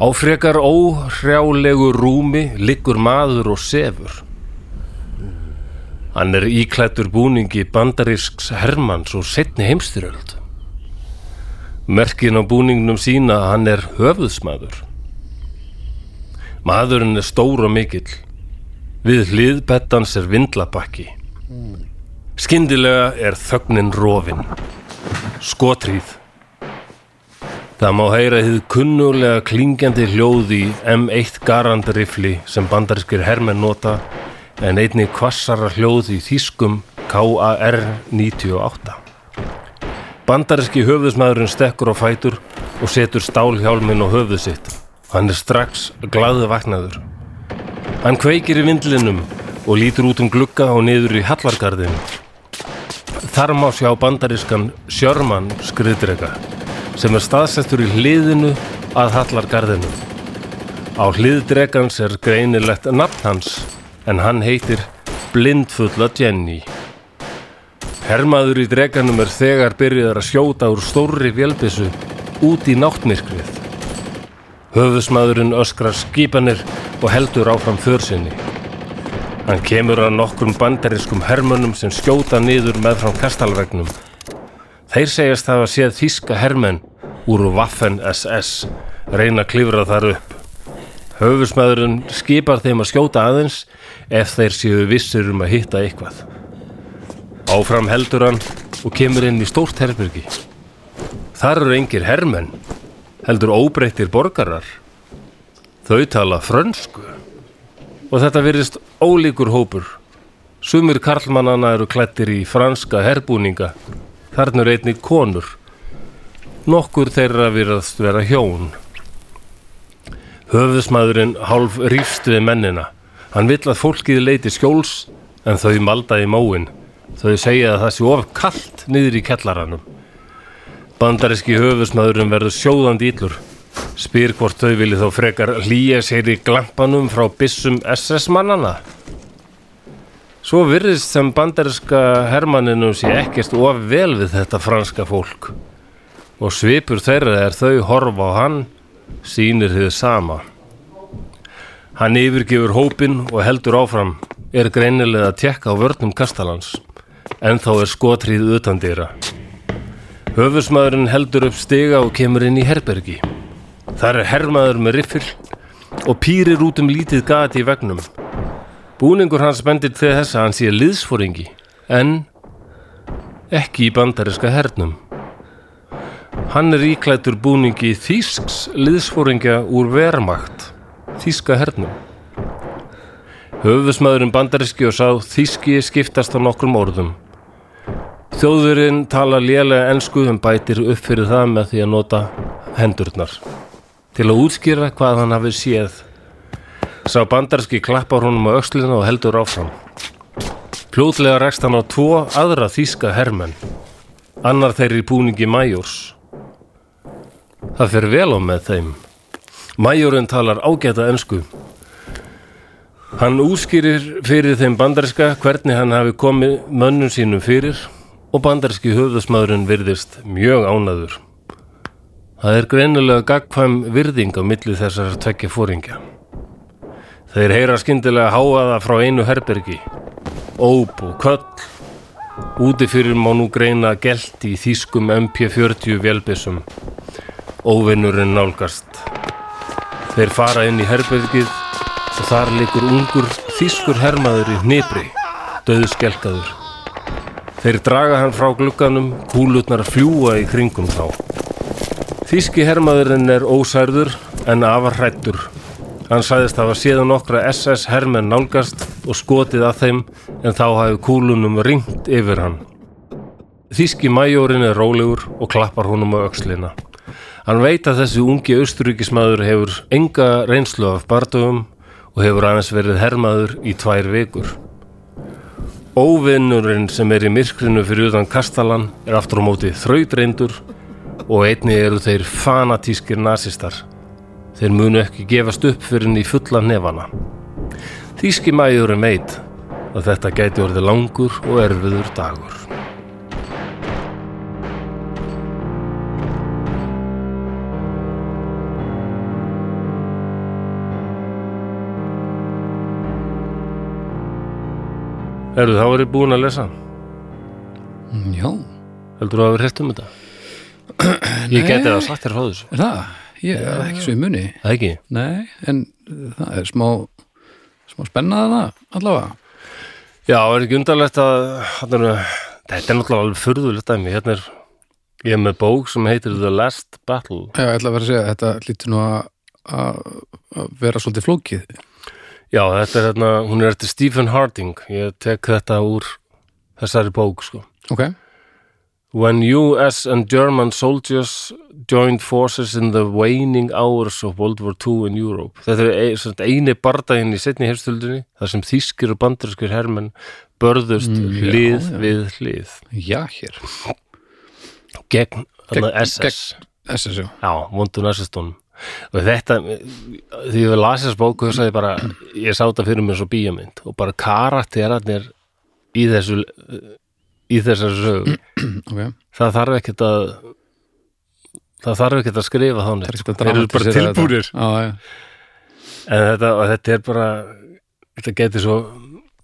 Speaker 1: Á frekar óhrjálegu rúmi liggur maður og sefur. Hann er íklættur búningi bandarísks Hermanns og setni heimstyröld. Merkin á búningnum sína að hann er höfuðsmaður. Maðurinn er stór og mikill. Við hliðbettans er vindlabakki. Skyndilega er þögnin rofin. Skotrýð. Það má heyra þið kunnulega klingjandi hljóð í M1 Garand rifli sem bandarískir hermenn nota en einni kvassara hljóð í þýskum KAR 98. Bandaríski höfðusmaðurinn stekkur á fætur og setur stálhjálminn á höfuð sitt. Hann er strax glaðu vaknaður. Hann kveikir í vindlinum og lítur út um glugga og niður í hallargarðinu. Þar má sjá bandarískan Sjörmann skriðdrega sem er staðsettur í hliðinu að Hallargarðinu. Á hliðdregans er greinilegt nafn hans en hann heitir Blindfulla Jenny. Hermaður í dreganum er þegar byrjuðar að skjóta úr stórri vélbissu út í náttmyrkrið. Höfusmaðurinn öskrar skipanir og heldur áfram försinni. Hann kemur að nokkrum bandarískum hermönnum sem skjóta niður með frá kastalvegnum Þeir segjast hafa séð þíska hermenn úr Waffen SS reyna að klifra þar upp. Höfusmaðurinn skipar þeim að skjóta aðeins ef þeir séu vissir um að hitta eitthvað. Áfram heldur hann og kemur inn í stórt herbyrgi. Þar eru engir hermenn, heldur óbreyttir borgarar. Þau tala frönsku og þetta virðist ólíkur hópur. Sumir karlmannana eru klættir í franska herbúninga Þarna eru einnig konur. Nokkur þeirra virðast vera hjón. Höfðusmaðurinn hálf rýfst við mennina. Hann vill að fólkið leiti skjóls en þau malda í móin. Þau segja að það sé of kallt niður í kellaranum. Bandaríski höfðusmaðurinn verður sjóðandi íllur. Spyr hvort þau vilji þá frekar hlýja sér í glampanum frá bissum SS-mannana. Svo virðist sem bandarinska hermanninum sé ekkert of vel við þetta franska fólk og svipur þeirra er þau horfa á hann, sýnir þið sama. Hann yfirgefur hópin og heldur áfram, er greinilega að tekka á vörnum kastalans, en þá er skotrið utan dýra. Höfusmaðurinn heldur upp stiga og kemur inn í herbergi. Þar er hermaður með riffil og pýrir út um lítið gati í vegnum. Búningur hans bendir til þess að hann sé liðsfóringi, en ekki í bandaríska hernum. Hann er íklættur búningi þýsks liðsfóringja úr vermakt, þýska hernum. Höfusmaðurinn bandaríski og sá þýski skiptast á nokkrum orðum. Þjóðurinn tala lélega ensku en bætir upp fyrir það með því að nota hendurnar. Til að útskýra hvað hann hafi séð Sá bandarski klappar honum á öxlina og heldur áfram. Plótlega rekst hann á tvo aðra þýska hermenn. Annar þeirri búningi Majors. Það fer vel á með þeim. Majorinn talar ágæta ensku. Hann útskýrir fyrir þeim bandarska hvernig hann hafi komið mönnum sínum fyrir og bandarski höfðusmaðurinn virðist mjög ánaður. Það er greinilega gagkvæm virðing á milli þessar tvekja fóringja. Þeir heyra skyndilega háaða frá einu herbergi. Óp og köll. Úti fyrir má nú greina gelt í þýskum MP40 vélbissum. Óvinnurinn nálgast. Þeir fara inn í herbergið og þar likur ungur þýskur hermaður í hnibri, döðskelkaður. Þeir draga hann frá glugganum, kúlutnar fljúa í kringum þá. Þýski hermaðurinn er ósærður en afarrættur Hann sæðist að hafa síðan okkra SS hermenn nálgast og skotið að þeim en þá hafi kúlunum ringt yfir hann. Þíski mæjórin er rólegur og klappar honum á aukslina. Hann veit að þessi ungi austuríkismæður hefur enga reynslu af bardögum og hefur aðeins verið hermaður í tvær vikur. Óvinnurinn sem er í myrkrinu fyrir utan Kastalan er aftur á móti þrautreindur og einni eru þeir fanatískir nasistar. Þeir munu ekki gefast upp fyrir henni í fulla nefana. Þíski mæðurinn veit að þetta gæti orðið langur og erfiður dagur. Erðu þá verið búin að lesa?
Speaker 2: Mm, Já,
Speaker 1: Heldur þú að hafa heyrt um þetta? Ég geti það sagt þér frá þessu.
Speaker 2: er það? Ég er ekki svo í muni
Speaker 1: Það ekki?
Speaker 2: Nei, en uh, það er smá smá spennaða það allavega
Speaker 1: Já, er ekki undarlegt að hann er, þetta er náttúrulega alveg furðulegt dæmi. Hérna er ég er með bók sem heitir The Last Battle.
Speaker 2: Já, ég ætla að vera að segja að þetta lítur nú að- að að vera svolítið flókið
Speaker 1: Já, þetta er hérna, hún er eftir Stephen Harding. Ég tek þetta úr þessari bók, sko.
Speaker 2: Ok,
Speaker 1: When US and German soldiers joined forces in the waning hours of World War II in Europe. Þetta er ein- sem sagt eini bardaginn í setni herstöldinni, þar sem þýskir og bandarískir hermenn börðust
Speaker 2: Mm, já,
Speaker 1: hlið
Speaker 2: já.
Speaker 1: við hlið.
Speaker 2: já hér
Speaker 1: Gegn, gegn
Speaker 2: Gegn-
Speaker 1: SS.
Speaker 2: SSU
Speaker 1: Já, vondun SS-tónum. Og þetta, því ég las þess bóku, hugsaði ég bara, ég sá þetta fyrir mér svo bíjamynd og bara karakterarnir í þessu, í þessar sögu.
Speaker 2: Ok,
Speaker 1: það þarf ekkert að það þarf ekkert að skrifa þá
Speaker 2: það er
Speaker 1: neitt
Speaker 2: ekki að
Speaker 1: Þeir eru bara
Speaker 2: dramatisera þetta.
Speaker 1: tilbúnir.
Speaker 2: Já, já,
Speaker 1: en þetta, og þetta er bara þetta geti svo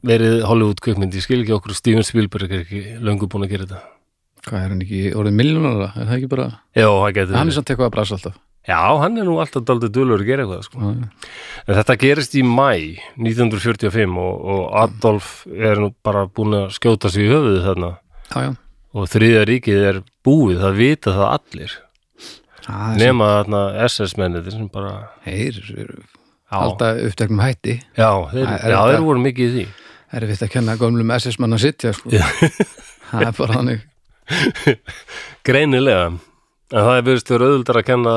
Speaker 1: verið Hollywood kvikmynd, ég skil ekki okkur Steven Spielberg er ekki löngu búin að gera þetta
Speaker 2: hvað er hann ekki orðið miljónara? Er það ekki bara
Speaker 1: já, það geti
Speaker 2: Hann er
Speaker 1: verið
Speaker 2: samt eitthvað að brasa alltaf
Speaker 1: já, hann er nú alltaf daldið dölur að gera eitthvað sko.
Speaker 2: Já, já.
Speaker 1: en þetta gerist í mæ 1945 og, og Adolf er nú bara búin að skjóta sig í höfuðu þarna
Speaker 2: Já, já
Speaker 1: og þriðja ríkið er búið, það vita það allir
Speaker 2: Það er
Speaker 1: nema þarna SS-mennið sem bara
Speaker 2: Þeir eru
Speaker 1: Já.
Speaker 2: alltaf uppteknum hætti
Speaker 1: Já, þeir,
Speaker 2: Það er
Speaker 1: já,
Speaker 2: þetta-
Speaker 1: þeir voru mikið í því
Speaker 2: Það er vitt að kenna gömlum SS-mann að sitja sko. Það er bara þannig
Speaker 1: Greinilega En það er verðist verið auðvildar að kenna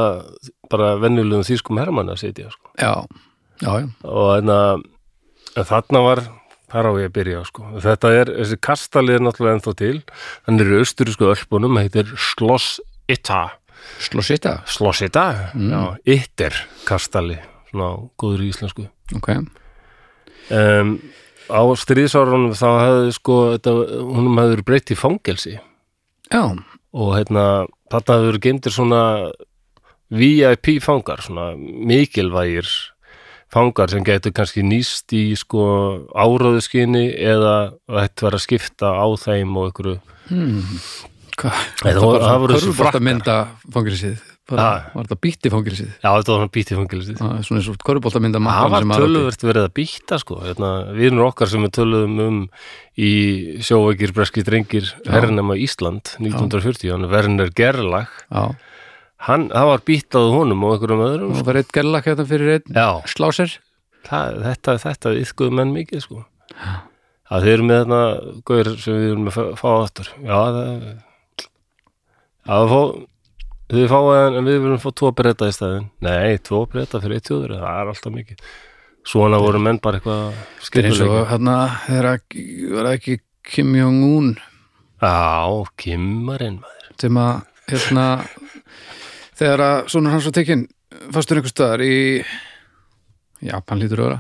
Speaker 1: bara venjulegum þýskum hermann að sitja sko.
Speaker 2: Já, já, já
Speaker 1: og en að en þarna var þar á ég að byrja sko. þetta er, þessi kastali er náttúrulega ennþá til hann er í austurísku ölpunum heitir Sloss Itta
Speaker 2: Sló sita
Speaker 1: Sloss Itta? Mm. Já, Itter kastali svona á góður íslensku
Speaker 2: Ok,
Speaker 1: um, á stríðsárunum þá hefði sko þetta, húnum hefði verið breytt í fangelsi
Speaker 2: já,
Speaker 1: og hérna, þarna hafði verið geimdir svona VIP fangar, svona mikilvægir fangar sem getur kannski nýst í sko áróðuskinni eða þetta var að skipta á þeim og einhverju
Speaker 2: hvað
Speaker 1: Þetta voru- það voru þessi
Speaker 2: Körfubolta mynda fangilisíð Bara,
Speaker 1: Ha.
Speaker 2: Var þetta býtti fangilisíð
Speaker 1: Já, þetta var svona bítið fangilist
Speaker 2: Svona eins og körfubolta mynda
Speaker 1: Það var töluvert verið að býta sko hérna, viðnur okkar sem við töluðum um í sjóveikir breski drengir Vernema Ísland 1940, hann Werner Gerlach
Speaker 2: Já,
Speaker 1: hann, það var býtað á honum og einhverjum öðrum
Speaker 2: og
Speaker 1: sko.
Speaker 2: það var eitt gerlak hérna fyrir einn
Speaker 1: Já,
Speaker 2: Sláser
Speaker 1: það, þetta, þetta yfkuðu menn mikið sko að þeir eru með þarna gauður sem við erum að fá- fá aftur já það að fá þið fáið hann en við viljum fá tvo breyta í staðin nei, tvo breyta fyrir eitt tjóður það er alltaf mikið svona voru menn bara eitthvað
Speaker 2: Þetta er eins og
Speaker 1: skipuleika
Speaker 2: hérna þegar að- var það ekki Kim Jong-un
Speaker 1: já, kimmarinn maður
Speaker 2: sem að hérna, þegar að sonur hans var tekinn fastur einhver staðar í Japan lítur öra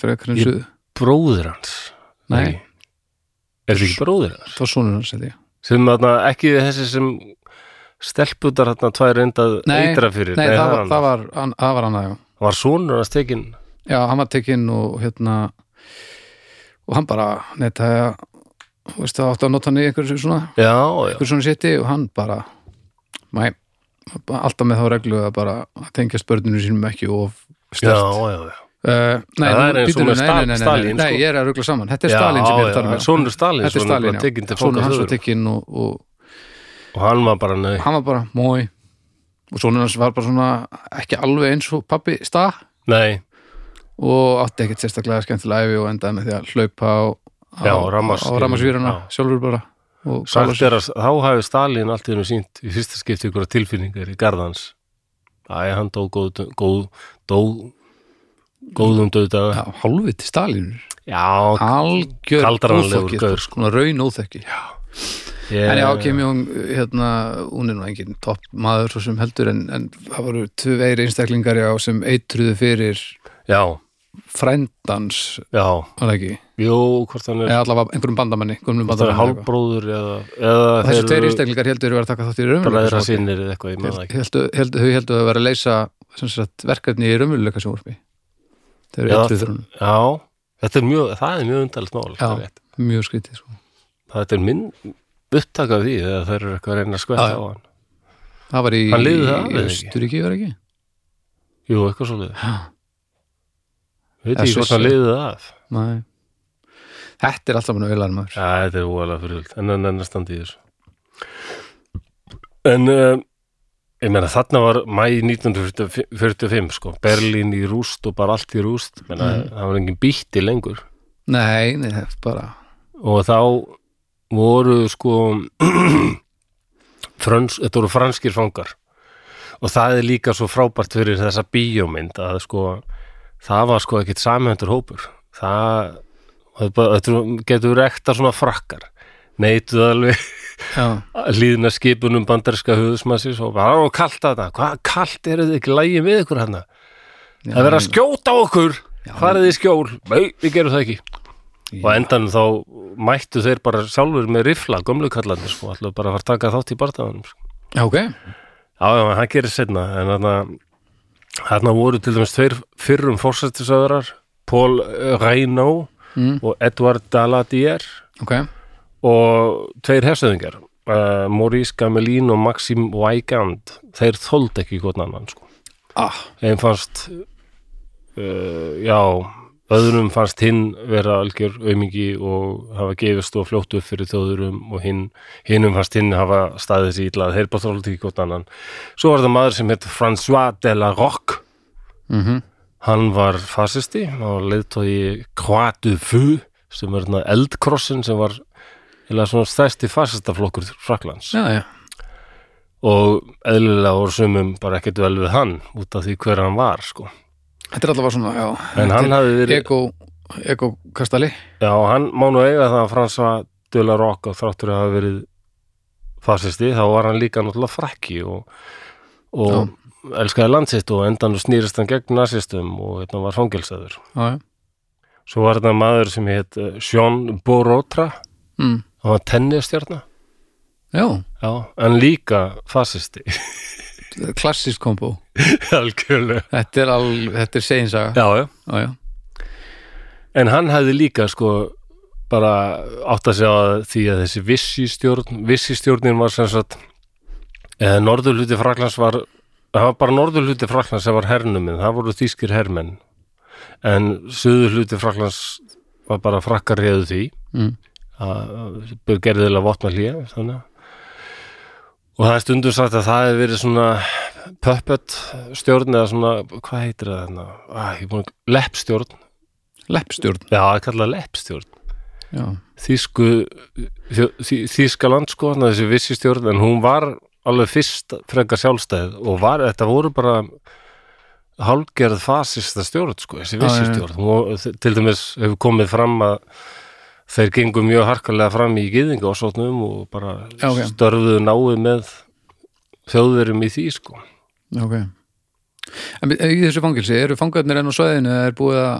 Speaker 2: frekar en
Speaker 1: Ég-
Speaker 2: suð
Speaker 1: bróðir hans
Speaker 2: Nei.
Speaker 1: er þetta ekki bróðir hans
Speaker 2: það var sonur hans held ég
Speaker 1: sem þarna, ekki þessi sem stelputar þarna tvær reyndað
Speaker 2: Nei,
Speaker 1: eitra fyrir
Speaker 2: nei, það, var,
Speaker 1: hann.
Speaker 2: það var, hann, það var hann að já.
Speaker 1: var sonur hans tekinn
Speaker 2: já, hann var tekinn og hérna og hann bara neitaði að þú veist það átti að nota hann í einhverju svona
Speaker 1: Já, já,
Speaker 2: einhverju svona seti og hann bara mæ, alltaf með þá reglu að bara að tengja spörninu sínum ekki of
Speaker 1: já,
Speaker 2: stert
Speaker 1: já, já.
Speaker 2: Uh, nei,
Speaker 1: Það er
Speaker 2: nú-
Speaker 1: eins og
Speaker 2: bíddu nú,
Speaker 1: með
Speaker 2: nei,
Speaker 1: Stal-
Speaker 2: nei, nei, nei,
Speaker 1: Stalín,
Speaker 2: Nei,
Speaker 1: sko.
Speaker 2: ég er að ruggla saman Þetta er Stalin sem ég er að tala um hérna.
Speaker 1: Sónur Stalin,
Speaker 2: Þetta er Stalin,
Speaker 1: tekinn
Speaker 2: já
Speaker 1: til
Speaker 2: Sónur hans var
Speaker 1: fangaflöður
Speaker 2: tekinn og, og
Speaker 1: og hann var bara nei,
Speaker 2: hann var bara mói og sónur hans var bara svona ekki alveg eins og pappi stað
Speaker 1: nei,
Speaker 2: og átti ekkert sérstaklega skemmtilega æfi og endaði með því að hlaupa á, á,
Speaker 1: Já, á rammas-
Speaker 2: á rammasvírana
Speaker 1: já.
Speaker 2: sjálfur bara og
Speaker 1: Sagt er að þá hafi Stalin allt í hennu sínt í fyrsta skipti ykkur tilfinningar í garðans. Æ, hann dó góð, góð, dó góðum döðdaga.
Speaker 2: Já, hálfviti Stalinur
Speaker 1: Já,
Speaker 2: algjör
Speaker 1: Kaldrannlegur
Speaker 2: óþekkið,
Speaker 1: gaur,
Speaker 2: sko. svona raun óþekki
Speaker 1: ég,
Speaker 2: en já, Kim Jong, hérna hún er nú engin topp maður svo sem heldur en, en það voru tvö veiri einstaklingar já, sem eitruðu fyrir
Speaker 1: já,
Speaker 2: frændans,
Speaker 1: já,
Speaker 2: var það ekki
Speaker 1: jú, hvort hann er,
Speaker 2: eða allavega einhverjum bandamanni, gömlum
Speaker 1: hvort hann er
Speaker 2: bandamanni eða eitthvað.
Speaker 1: hálbróður eða, eða
Speaker 2: Og þessi tveir
Speaker 1: eru
Speaker 2: einstaklingar heldur verið að taka þátt í
Speaker 1: bræðra
Speaker 2: raunveruleika
Speaker 1: sinni eða eitthvað, ég maður
Speaker 2: Held-
Speaker 1: ekki.
Speaker 2: heldu, heldu, þau heldur að vera að leysa sem sagt, verkefni í raunveruleika sjónvarpi þau eru
Speaker 1: Já.
Speaker 2: eitruð þrjónum
Speaker 1: Já, þetta er mjög, það er mjög undarlegt mál. þetta er
Speaker 2: Já.
Speaker 1: rétt.
Speaker 2: mjög skrítið sko.
Speaker 1: Þetta er minn upptaka því eða þær eru eitthvað að reyna að skvetta á
Speaker 2: Já, já.
Speaker 1: hann.
Speaker 2: það var í,
Speaker 1: Hann lifði það af,
Speaker 2: í
Speaker 1: eða ekki?
Speaker 2: Östuríki var ekki
Speaker 1: Jú, eitthvað svolítið.
Speaker 2: já
Speaker 1: Veit
Speaker 2: Eða
Speaker 1: ekki hvort
Speaker 2: Svissi.
Speaker 1: hann liðið af.
Speaker 2: Nei. Þetta er alltaf búin að vilaðar maður.
Speaker 1: Já, þetta er óalega fyrirvöld, en hann er standi í þessu. En uh, ég meina, þarna var mæ 1945, sko, Berlín í rúst og bara allt í rúst, menna,
Speaker 2: Mhm.
Speaker 1: það var engin býtti lengur.
Speaker 2: Nei, nei, það er bara
Speaker 1: Og þá voru, sko, frans, þetta voru franskir fangar. Og það er líka svo frábært fyrir þessa bíómynd að, sko, það var, sko, ekkit samhendur hópur. Það, þetta getur ekta svona frakkar. Neituð alveg
Speaker 2: já,
Speaker 1: hlýðna skipunum bandarska höfðsmassis og bara, og kalt þetta, hvað kalt er þetta ekki lægi við ykkur hann
Speaker 2: já,
Speaker 1: það verður að skjóta á okkur, farið í skjól nei, við gerum það ekki og
Speaker 2: Já.
Speaker 1: endan þá mættu þeir bara sjálfur með rifla, gömlu kallandir sko, allir bara að fara að taka þátt í barðaðanum sko.
Speaker 2: Já, ok,
Speaker 1: já, já, en það gerir setna en þarna, þarna voru til dæmis tveir fyrrum fórsættisöðurar Paul Reynaud
Speaker 2: Mm.
Speaker 1: og Edward Daladier
Speaker 2: ok
Speaker 1: og tveir hersöðingar uh, Maurice Gamelin og Maxim Weigand þeir þóldi ekki gott annan sko.
Speaker 2: ah,
Speaker 1: þeim fannst uh, já öðrum fannst hinn vera algjör aumingi og hafa gefist og fljótt upp fyrir þjóðurum og hinn hinnum fannst hinn hafa staðið sér illa þeir bara þóldi ekki gott annan svo var það maður sem heit François de la Roque
Speaker 2: mm
Speaker 1: Hann var fasisti og leiðtói Kvatu Fu sem er þarna eldkrossin sem var eða svona stærsti fasistaflokkur Fraklands
Speaker 2: Já, já,
Speaker 1: og eðlilega voru sumum bara ekkert vel við hann út af því hver hann var sko.
Speaker 2: þetta er allavega svona já,
Speaker 1: en hann hafði verið,
Speaker 2: Ego, ego kastali
Speaker 1: já hann má nú eiga það að Fransa Dula Rock og þráttur að hafa verið fasisti þá var hann líka náttúrulega frakki og, og elskaði landsitt og endan snýrist hann gegn nasistum og hérna var fangilsaður
Speaker 2: Já, já,
Speaker 1: Svo var þetta maður sem hétt eh, Sean Borotra
Speaker 2: mm.
Speaker 1: hann var tennistjarna
Speaker 2: já
Speaker 1: já, en líka fasisti
Speaker 2: klassísk kombo
Speaker 1: algjörlega
Speaker 2: Þetta er, al, þetta er seinsaga
Speaker 1: já, já.
Speaker 2: já, já.
Speaker 1: en hann hafði líka sko bara átt að segja því að þessi vissistjórn vissistjórnin var sem sagt eða norðurluti Fraklands var það var bara norðurluti Fraklands sem var hernumin það voru þýskir hermenn en suðurluti Fraklands var bara frakkar reyðu því
Speaker 2: Mm.
Speaker 1: að gerðilega vopna hlýja þannig og það er stundum sagt að það hefur verið svona puppet stjórn eða svona, hvað heitir það þarna ah, ég er búinn að- leppstjórn
Speaker 2: Leppstjórn
Speaker 1: já, það er kallað leppstjórn
Speaker 2: já.
Speaker 1: þýsku þý, þýskaland sko, þannig þessi vissi stjórn en hún var alveg fyrst frekar sjálfstæð og var, þetta voru bara hálgerð fasista stjórn sko, þessi
Speaker 2: Já,
Speaker 1: vissi
Speaker 2: já, já.
Speaker 1: stjórn og til dæmis hefur komið fram að þeir gengu mjög harkalega fram í gyðinga og svoðnum og bara
Speaker 2: Já, ok.
Speaker 1: störfuðu náið með þjóðverum í því sko
Speaker 2: já, ok En í þessu fangilsi, eru fangarnir enn á svæðinu eða er búið að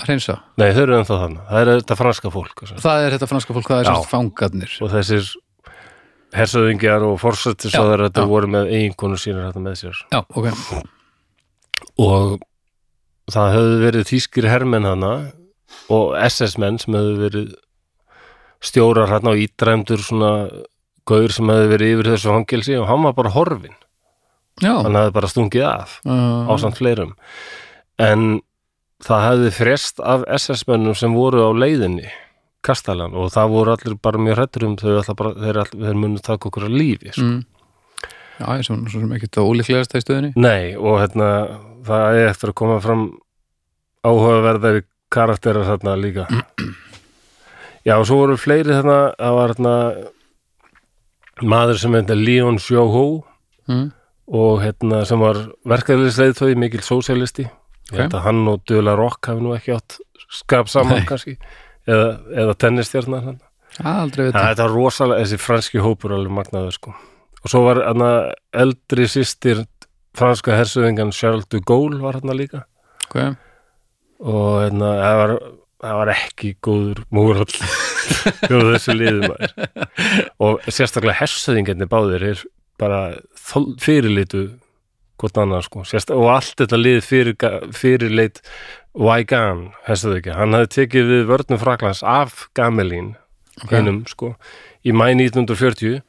Speaker 2: að hreinsa?
Speaker 1: nei, þau eru ennþá þannig, það er þetta franska fólk og,
Speaker 2: Það er þetta franska fólk, það er
Speaker 1: Já.
Speaker 2: sérst fangarnir
Speaker 1: og þessir hersöðingjar og forsættisáðar þetta
Speaker 2: já.
Speaker 1: voru með eiginkonu sínur þetta með sér
Speaker 2: Já, ok,
Speaker 1: og það höfðu verið þýskir hermenn hana og SS-menn sem höfðu verið stjórar hann á ídræmdur svona gaur sem höfðu verið yfir þessu fangelsi og hann var bara horfin,
Speaker 2: já
Speaker 1: hann hafði bara stungið af
Speaker 2: uh,
Speaker 1: ásamt fleirum en það hefði frest af SS-mönnum sem voru á leiðinni kastalan og það voru allir bara mjög hrættur um þau ætla bara, þeir, all- þeir munu taka okkur að lífi sko.
Speaker 2: mm. Já, ég sem, svo sem ekkert það ólíklegasta í stöðinni
Speaker 1: Nei, og hérna það er eftir að koma fram áhugaverðari karakterar þarna líka Já, og svo voru fleiri þarna, það var þarna maður sem hefði Leon Sjóhó
Speaker 2: Mm.
Speaker 1: og hérna sem var verkaðlisleið þau, mikil sósialisti
Speaker 2: Ok.
Speaker 1: okay. hérna, hann og Dula Rock hafi nú ekki átt skap saman
Speaker 2: Nei.
Speaker 1: kannski eða, eða tennistjarnar hann
Speaker 2: Aldrei veit
Speaker 1: Já, þetta var rosalega, þessi franski hópur er alveg magnaður sko. Og svo var hana, eldri sýstir franska hersöðingan Charles de Gaulle var hann líka
Speaker 2: okay.
Speaker 1: og hana, það, var, það var ekki góður múrall hjá þessu liðum maður. Og sérstaklega hersöðingarnir báðir er bara þol, fyrirlitu hvort annað sko. Sérst, og allt þetta lið fyrir, fyrirleit Weigan, hersöðingja. Hann hafði tekið við vörnum Fraklands af Gamelín
Speaker 2: Ok.
Speaker 1: hinum sko í mæ 1940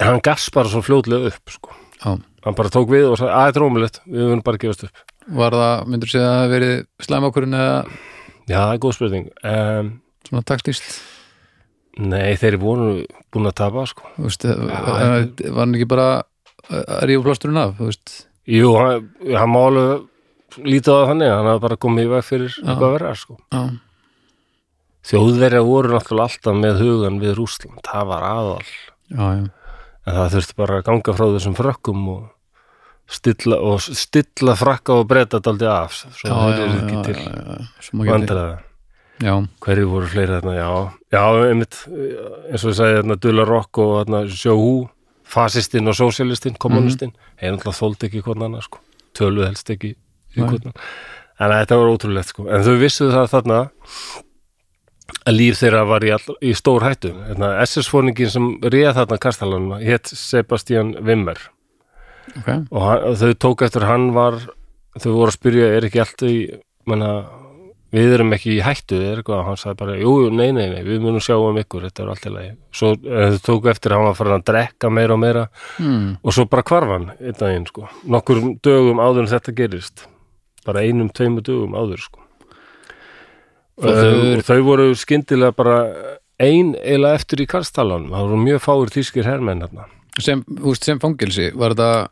Speaker 1: en hann gafst bara svo fljótlega upp sko.
Speaker 2: Já.
Speaker 1: hann bara tók við og sagði að þetta er ómulegt, við höfum bara að gefast upp
Speaker 2: Var það, myndur segja að það hafi verið slæmakurinn eða
Speaker 1: já, það er góð spurning um,
Speaker 2: svona taktíst
Speaker 1: nei, þeir voru búin að tapa sko.
Speaker 2: Þú veist, eh, var hann ekki bara eh, að rífa plásturinn af, þú veist
Speaker 1: jú, hann, hann má alveg lítið á það þannig, hann hafði bara komið í veg fyrir eitthvað verra sko.
Speaker 2: Já,
Speaker 1: þjóðverja voru náttúrulega alltaf með hugan við Rússland, það var aðal
Speaker 2: já, já,
Speaker 1: en það þurfti bara að ganga frá þessum frökkum og stilla, og stilla frakka og breyta daldi af svo
Speaker 2: já,
Speaker 1: það
Speaker 2: já,
Speaker 1: er
Speaker 2: já,
Speaker 1: ekki til
Speaker 2: já, já, Svo maður geti-
Speaker 1: vandræða
Speaker 2: já,
Speaker 1: hverju voru fleiri þarna, já já, einmitt, eins og ég sagði þarna Dula Rock og þarna Sjóhú fasistinn og sósialistinn, kommunistinn mm -hmm. einhverjum þóldi ekki hvort annað sko töluð helst ekki í
Speaker 2: Nei.
Speaker 1: hvort annað en þetta var ótrúlegt sko, en þau vissu það þarna að líf þeirra var í, all, í stór hættu SS-fóningin sem réð þarna kastalanum hétt Sebastian Wimmer
Speaker 2: ok
Speaker 1: og hann, og þau tók eftir að hann var þau voru að spyrja er ekki allt í menna, við erum ekki í hættu er eitthvað, hann sagði bara, jú, jú, nei, nei, nei við munum sjá um ykkur, þetta er allt í lagi svo eh, þau tók eftir að hann var farin að drekka meira og meira
Speaker 2: hmm.
Speaker 1: og svo bara hvarf hann einn daginn, sko, nokkur dögum áður en þetta gerist, bara einum tveimur dögum áður, sko og
Speaker 2: Það
Speaker 1: þau,
Speaker 2: er-
Speaker 1: og þau voru skyndilega bara ein eila eftir í karstalanum, það voru mjög fáir þýskir hermenn hérna
Speaker 2: sem, þú veist, sem fangilsi var þetta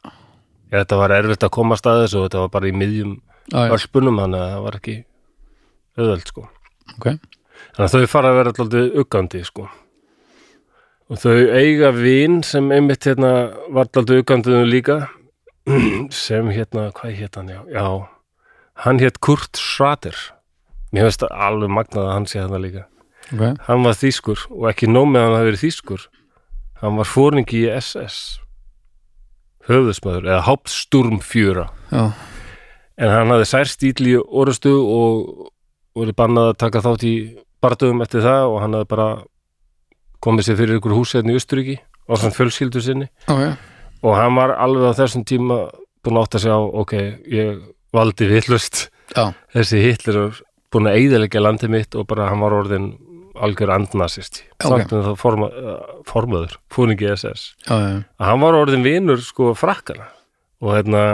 Speaker 1: Já, þetta var erfitt að komast að þessu og þetta var bara í miðjum
Speaker 2: Já, já.
Speaker 1: öllpunum þannig að það var ekki auðveld sko.
Speaker 2: ok,
Speaker 1: Þannig að þau fara að vera alltaf uggandi sko. Og þau eiga vin sem einmitt hérna var alltaf uggandiðum líka sem hérna, hvað hétt hann já? Já, hann hétt Kurt Schrader. Mér finnst það alveg magnað að hann sé þetta líka.
Speaker 2: ok
Speaker 1: Hann var þýskur og ekki nóg með að hann hafi verið þýskur. Hann var fóringi í SS. Höfðusmaður eða Hauptsturmfjöra.
Speaker 2: Já,
Speaker 1: En hann hafði særst íll í orustu og verið bannað að taka þátt í bardöfum eftir það og hann hafði bara komið sér fyrir ykkur húsæðin í Östuríki og þann fjölskyldu sinni
Speaker 2: ok,
Speaker 1: og hann var alveg á þessum tíma búin að átta sig á, ok, ég valdi villust
Speaker 2: já,
Speaker 1: þessi hitlir er búin að eigðalega landið mitt og bara hann var orðin algjör andnasist
Speaker 2: Já, ok.
Speaker 1: samt en það forma, eh, formaður, fóningi SS
Speaker 2: já, já,
Speaker 1: að hann var orðin vinur sko frakkana og hérna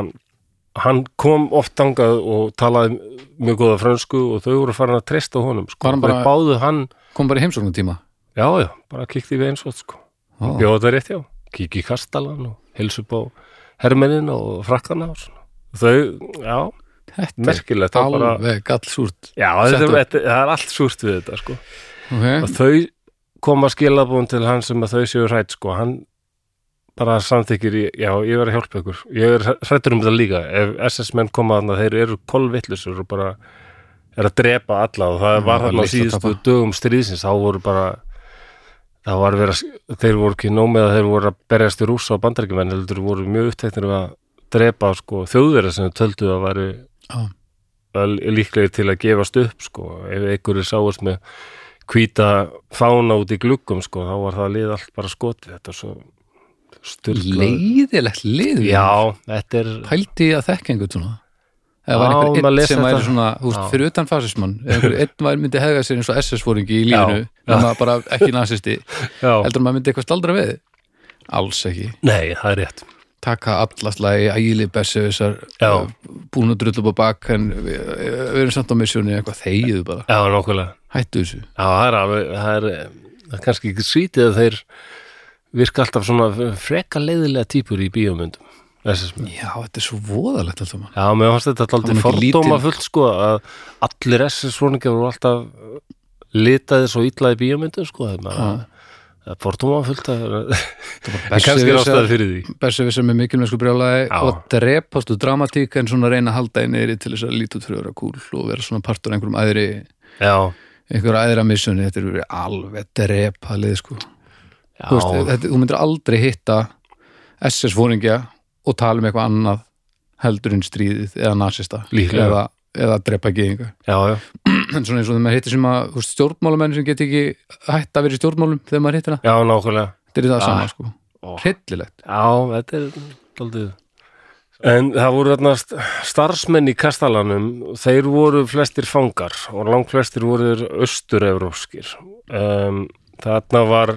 Speaker 1: hann kom oft angað og talaði mjög góða frönsku og þau voru farin að treysta honum sko.
Speaker 2: Var hann bara-
Speaker 1: þau báðu hann,
Speaker 2: kom bara í heimsóknum tíma
Speaker 1: já já, bara kíkti við eins og sko,
Speaker 2: Ó,
Speaker 1: bjóða það rétt hjá kíkja í kastalan og hilsu upp á hermennina og frakkana og svona þau, já,
Speaker 2: Þetta er
Speaker 1: merkilegt það bara,
Speaker 2: alveg gallsúrt
Speaker 1: já, þetta,
Speaker 2: Settu.
Speaker 1: þetta, það er allt súrt við þetta sko
Speaker 2: Ok,
Speaker 1: og þau koma skilabúin til hann sem að þau séu hrætt sko, hann bara samþykir, í- já, ég verð að hjálpa ykkur ég er hrættur um þetta líka ef SS menn koma þarna, þeir eru kolvillusur og bara er að drepa alla og það
Speaker 2: Já,
Speaker 1: var
Speaker 2: það
Speaker 1: þarna á
Speaker 2: líkt að
Speaker 1: síðustu
Speaker 2: Mm, tapa.
Speaker 1: dögum stríðsins, þá voru bara það var verið að þeir voru ekki nómið að þeir voru að berjast í rúsa og bandarækjumenn heldur voru mjög uppteknir um að drepa sko þjóðverða sem þau töldu að væri
Speaker 2: Já.
Speaker 1: vel líklegir til að gefast upp sko, ef einhverju sáast með hvíta fána út í gluggum sko, þá var það lið allt bara skotið þetta er svo styrklað
Speaker 2: leiðilegt lið
Speaker 1: sko- Já, þetta er
Speaker 2: Pældi ég að þekka einhvern svona Eða
Speaker 1: Já,
Speaker 2: var einhver
Speaker 1: maður
Speaker 2: einn
Speaker 1: les
Speaker 2: sem
Speaker 1: þetta.
Speaker 2: væri svona þú veist,
Speaker 1: Já.
Speaker 2: fyrir utan fasismann ef einhver einn væri myndi hega sér eins og SS-fóringi í lífinu
Speaker 1: Já.
Speaker 2: en maður bara ekki nasisti
Speaker 1: já.
Speaker 2: heldur maður myndi eitthvað staldra við Alls ekki
Speaker 1: Nei, það er rétt
Speaker 2: taka allaslægi, ægili bessu þessar
Speaker 1: Já.
Speaker 2: eh, búin að drullu upp á bak en við, við erum samt á misjónu eitthvað þegiðu bara,
Speaker 1: Já, nokkulega
Speaker 2: hættu þessu
Speaker 1: Já, það er alveg það er, það er kannski ekki svítið að þeir virka alltaf svona freka leiðilega típur í bíómyndum SS menn.
Speaker 2: Já, þetta er svo voðalegt alltaf mann
Speaker 1: Já, mér fannst þetta
Speaker 2: Það
Speaker 1: alltaf
Speaker 2: var ekki
Speaker 1: fordóma fullt sko að allir SS svoningar voru alltaf litaði svo illa í bíómyndum sko, að maður
Speaker 2: Já.
Speaker 1: það er fordóma fullt að en
Speaker 2: Berserkir
Speaker 1: kannski er ástæði
Speaker 2: sem-
Speaker 1: fyrir því
Speaker 2: Berserkir sem er mikilvægsku brjálæði
Speaker 1: Já.
Speaker 2: og drepastu dramatík en svona reyna að halda einn eiri til þess að líta út fyrir að vera kúl og vera svona partur af einhverjum æðri
Speaker 1: já,
Speaker 2: einhverja æðra missunni, þetta eru verið alveg drepalið sko
Speaker 1: já,
Speaker 2: þú, veist, þetta, þú myndir aldrei hitta SS-fóringja og tala um eitthvað annað heldur en stríðið eða nasista
Speaker 1: Líklega.
Speaker 2: eða, eða drepa geðinga
Speaker 1: já, já,
Speaker 2: en svona eins og þegar maður hittir sem að þú veist, stjórnmálamenn sem get ekki hætt að vera í stjórnmálum þegar maður hittir það,
Speaker 1: já, nákvæmlega
Speaker 2: þetta er það
Speaker 1: Ah.
Speaker 2: sama sko
Speaker 1: Ó.
Speaker 2: hryllilegt,
Speaker 1: Já, þetta er daldið En það voru þarna st- starfsmenn í Kastalanum, þeir voru flestir fangar og langflestir voru þeir austur-evrópskir. Um, þarna var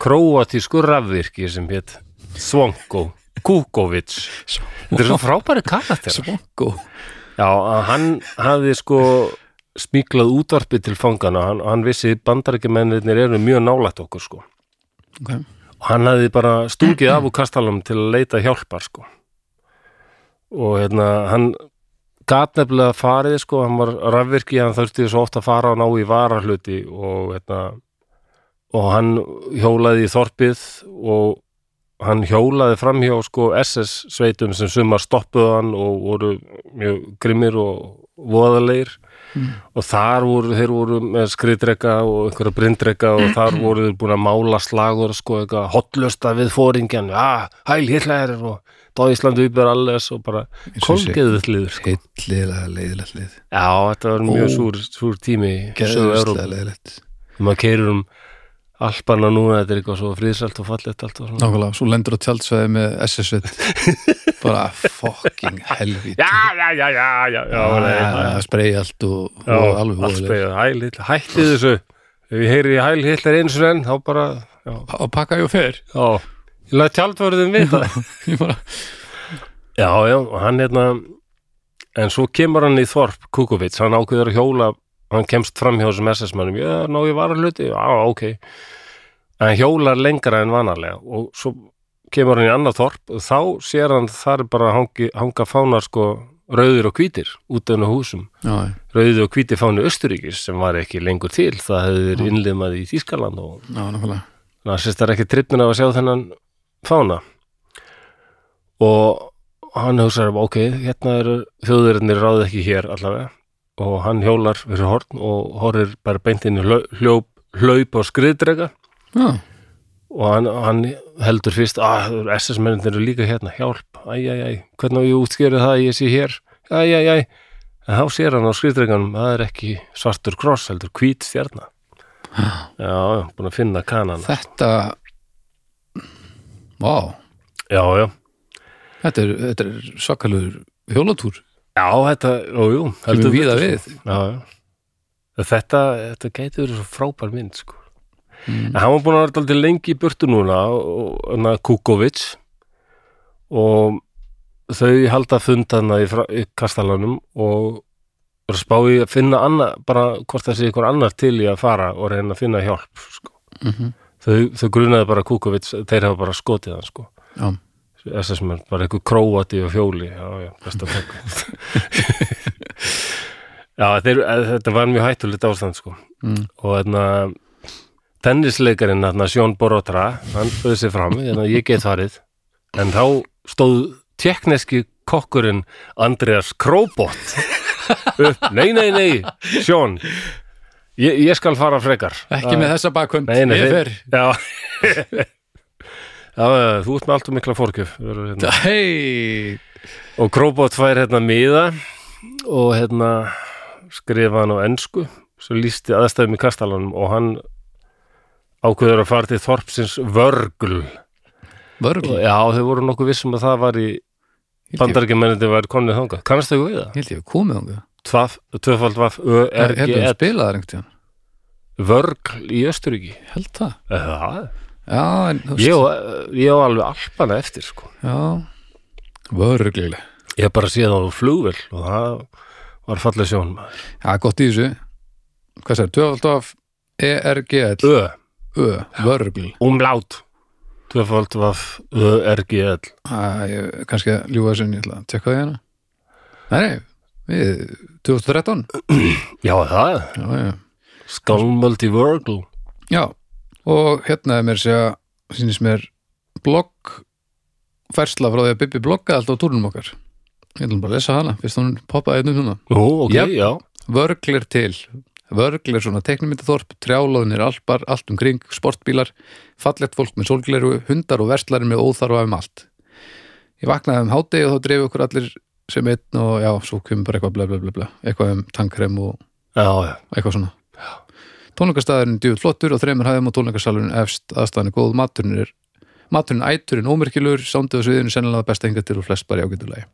Speaker 1: króatísku rafvirki sem hétt Svonko Kukovic. Þetta er svo frábæri karakter.
Speaker 2: svongo
Speaker 1: Já, að hann hafði sko smíklað útvarpi til fangana, hann, hann vissi bandarækjumennir eru mjög nálætt okkur sko
Speaker 2: okay.
Speaker 1: og hann hafði bara stungið af úr kastalum til að leita hjálpar sko og hérna hann gat nefnilega farið sko, hann var rafvirki hann þurfti svo oft að fara og ná í varahluti og hérna og hann hjólaði í þorpið og hann hjólaði framhjá sko SS sveitum sem sumar stoppuðu hann og voru mjög grimmir og voðalegir og þar voru, þeir voru með skriðdreka og einhverja brindreka og þar voru þeir búin að mála slagur sko eitthvað hotlusta við fóringjan ah, hæl hitlæðir og Dóíslandi uppeir alles og bara
Speaker 2: Eins og ég segi.
Speaker 1: kólgeðuð liður sko.
Speaker 2: hyllilega leiðilegt lið
Speaker 1: Já, þetta var mjög
Speaker 2: Ó.
Speaker 1: súr, súr tími í Söður-Evrópu.
Speaker 2: gerðislega leiðilegt
Speaker 1: maður keirir um Alpana núna, þetta er eitthvað svo friðsalt og fallegt allt og svona
Speaker 2: Nákvæmlega, svo lendur á tjaldsvæði með SS-sveit bara fucking helvít
Speaker 1: Já, já, já, já, já, já, nei,
Speaker 2: að spreja allt og,
Speaker 1: já,
Speaker 2: og Ah, alveg
Speaker 1: allt
Speaker 2: voðalega
Speaker 1: spegðið, hæl, hitlar, hættið þessu ef ég heyri í hæl, hitlar eins og enn þá bara, já,
Speaker 2: og pakka ég og fer
Speaker 1: já ég laði tjaldvörðum við það
Speaker 2: Ég bara,
Speaker 1: Já, já, og hann hérna en svo kemur hann í Þorp Kukovits, hann ákveður að hjóla hann kemst fram hjá þessum SS-mannum já, ná ég var að hluti, já, ok en hjólar lengra en vanalega og svo kemur hann í annað Þorp og þá sér hann þar er bara hangi, hanga fánar sko rauðir og hvítir út enn á húsum
Speaker 2: já,
Speaker 1: rauðir og hvítir fánu Östuríkis sem var ekki lengur til, það hefði verið innlimað í Þískaland og
Speaker 2: já, nákvæmlega
Speaker 1: nasistar ekki trippin af að sjá þennan fána og hann hugsaði ok, hérna eru þjóðurinnir ráð ekki hér allavega og hann hjólar fyrir horn og horfir bara beint inn í hlau- hljóp, hlaup og skriðdrega
Speaker 2: Já,
Speaker 1: og hann, hann heldur fyrst að SS-mennin eru líka hérna, hjálp æj, æj, æj, hvernig á ég útskýrið það að ég sé hér æj, æj, æj en þá sér hann á skriðdreganum, það er ekki svartur kross, heldur hvít stjarna já, já, búin að finna kanana
Speaker 2: þetta Vá,
Speaker 1: já, já
Speaker 2: þetta er, þetta er svakalur hjólatúr
Speaker 1: Já, þetta, jú, jú,
Speaker 2: Kemur víða
Speaker 1: betur,
Speaker 2: við.
Speaker 1: sko. Já, já. Þetta, þetta gæti verið svo frábær mynd, sko. En hann var búin að vera daldið lengi í burtu núna, og- hann Kukovic, og þau halda fund hana í, Fra- í Kastalanum og eru að spá í að finna annað, bara hvort það sé ykkur annar til í að fara og reyna að finna hjálp, sko.
Speaker 2: mm -hmm.
Speaker 1: Þau, þau grunaði bara Kukovic, þeir hafa bara skotið hann, sko.
Speaker 2: Já,
Speaker 1: SS menn, bara einhver króati og fjóli já, já, best að taka Já, þeir, eh, þetta var mjög hættulegt ástand sko
Speaker 2: mm.
Speaker 1: og þarna tennisleikarinn, þarna Sjón Borotra hann bauði sig fram, þarna ég get farið en þá stóð tekneski kokkurinn Andreas Króbot upp, nei, nei, nei, Sjón ég, ég skal fara frekar
Speaker 2: ekki með þessa bakhund
Speaker 1: Nei, nei,
Speaker 2: ég
Speaker 1: þeir-
Speaker 2: fer
Speaker 1: Já, já eh, þú ert með allt og mikla fórgjöf verður hérna.
Speaker 2: Hei,
Speaker 1: Og Króbót fær hérna miða og hérna skrifa hann á ennsku svo lísti aðstæðum í kastalanum og hann ákveður að fara til Þorpsins vörgl
Speaker 2: vörgl
Speaker 1: Já, þau voru nokkuð vissum að það var í
Speaker 2: Ég
Speaker 1: bandarækjumennandi var konnið þangað Kannast þau við það?
Speaker 2: held ég að komið þangað
Speaker 1: Tvaf, tvöfald vaf
Speaker 2: Heldur við
Speaker 1: ÖRGL
Speaker 2: spilaðar einhvern tíðan
Speaker 1: Vörgl í Östuríki
Speaker 2: Held það
Speaker 1: Það,
Speaker 2: Já, en, þú veist-
Speaker 1: ég á- ég á alveg alpana eftir sko
Speaker 2: Já, vöruglega
Speaker 1: Ég hef bara séð það á flugvel og það var falleg sjón maður.
Speaker 2: Já, gott í þessu Hvað E sér, tvöfald af ERGL
Speaker 1: Ö,
Speaker 2: Ö, vörugl
Speaker 1: umlát Tvöfald vaf ÖRGL
Speaker 2: Æ, ég- Kannski að ljúga þessu en ég ætla að tekka það hérna Nei, nei, við 2013
Speaker 1: Já, það,
Speaker 2: Já, já
Speaker 1: Skálmöld í Vörgl
Speaker 2: Já, og hérna er mér segja, sýnist mér blogg, færsla frá því að Bibi bloggaði alltaf á túrunum okkar Ég ætlum bara að lesa hana, fyrst hún poppaði einu núna
Speaker 1: Ú, ok,
Speaker 2: Jep.
Speaker 1: já
Speaker 2: Vörgl er til Vörgl er svona teknimyndaþorp, trjálaðinir alpar, allt um kring, sportbílar fallegt fólk með sólgleru, hundar og verslari með óþarfa um allt Ég vaknaði um hádegi og þá dreif okkur allir sem einn og já, svo kemur bara eitthvað bla bla bla bla, eitthvað um tankrem og
Speaker 1: Já, já,
Speaker 2: eitthvað svona tónleikastæðurinn djúið flottur og þreymur hæðum og tónleikasalurinn efst aðstæðan er góð maturinn er maturinn æturinn ómerkilur sándið á sviðinu sennilega það besta enga til og flest bara í ágætulegi já,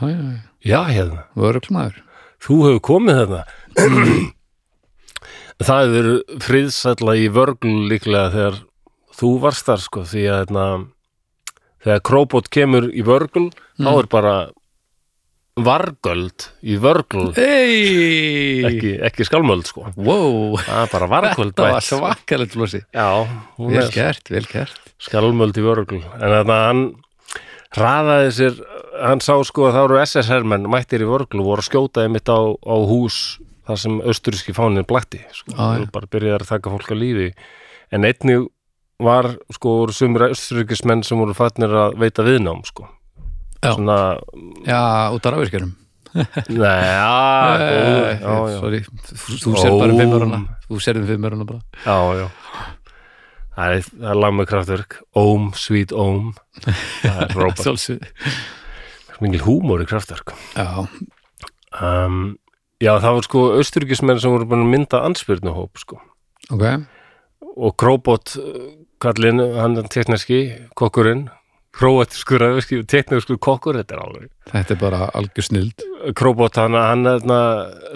Speaker 2: já, já,
Speaker 1: já, hérna
Speaker 2: vöruglmaður
Speaker 1: Þú hefur komið þarna Það hefur verið friðsætla í vörgl líklega þegar þú varst þar sko því að hérna, þegar króbót kemur í vörgl þá er bara vargöld í vörgl
Speaker 2: hei,
Speaker 1: ekki, ekki skálmöld sko
Speaker 2: wow
Speaker 1: það er bara vargöld
Speaker 2: þetta var
Speaker 1: bætt
Speaker 2: svakalegt flosi
Speaker 1: Já, hún
Speaker 2: vel
Speaker 1: er
Speaker 2: gert, vel gert
Speaker 1: skálmöld í vörgl en þannig að hann raðaði sér hann sá sko að það voru SSR menn mættir í vörgl og voru að skjóta einmitt á, á hús þar sem austuríski fánin blatti sko,
Speaker 2: Já, já.
Speaker 1: og bara byrjaði að taka fólk á lífi en einnig var sko voru sumir austuríkismenn sem voru fætnir að veita viðnám sko
Speaker 2: Já.
Speaker 1: svona,
Speaker 2: já, út af rafvirkjörum
Speaker 1: neða Ah, já, já,
Speaker 2: eh, sorry, þú þú sér
Speaker 1: Ó.
Speaker 2: bara um fimmurana þú sér um fimmurana bara
Speaker 1: Já, já Það er, það er lag með kraftverk Óm, sweet óm Það er frábært,
Speaker 2: Sjálfsög.
Speaker 1: mingil húmór í kraftverk
Speaker 2: já,
Speaker 1: um, Já, það var sko austuríkismenn sem voru búin að mynda anspyrnuhóp sko.
Speaker 2: ok
Speaker 1: og Króbot uh, kallinn, hann er tekneski kokkurinn, króatiskur tekneskur kokkur, þetta er alveg
Speaker 2: þetta er bara algjör snild
Speaker 1: Króbot hann, hann hérna,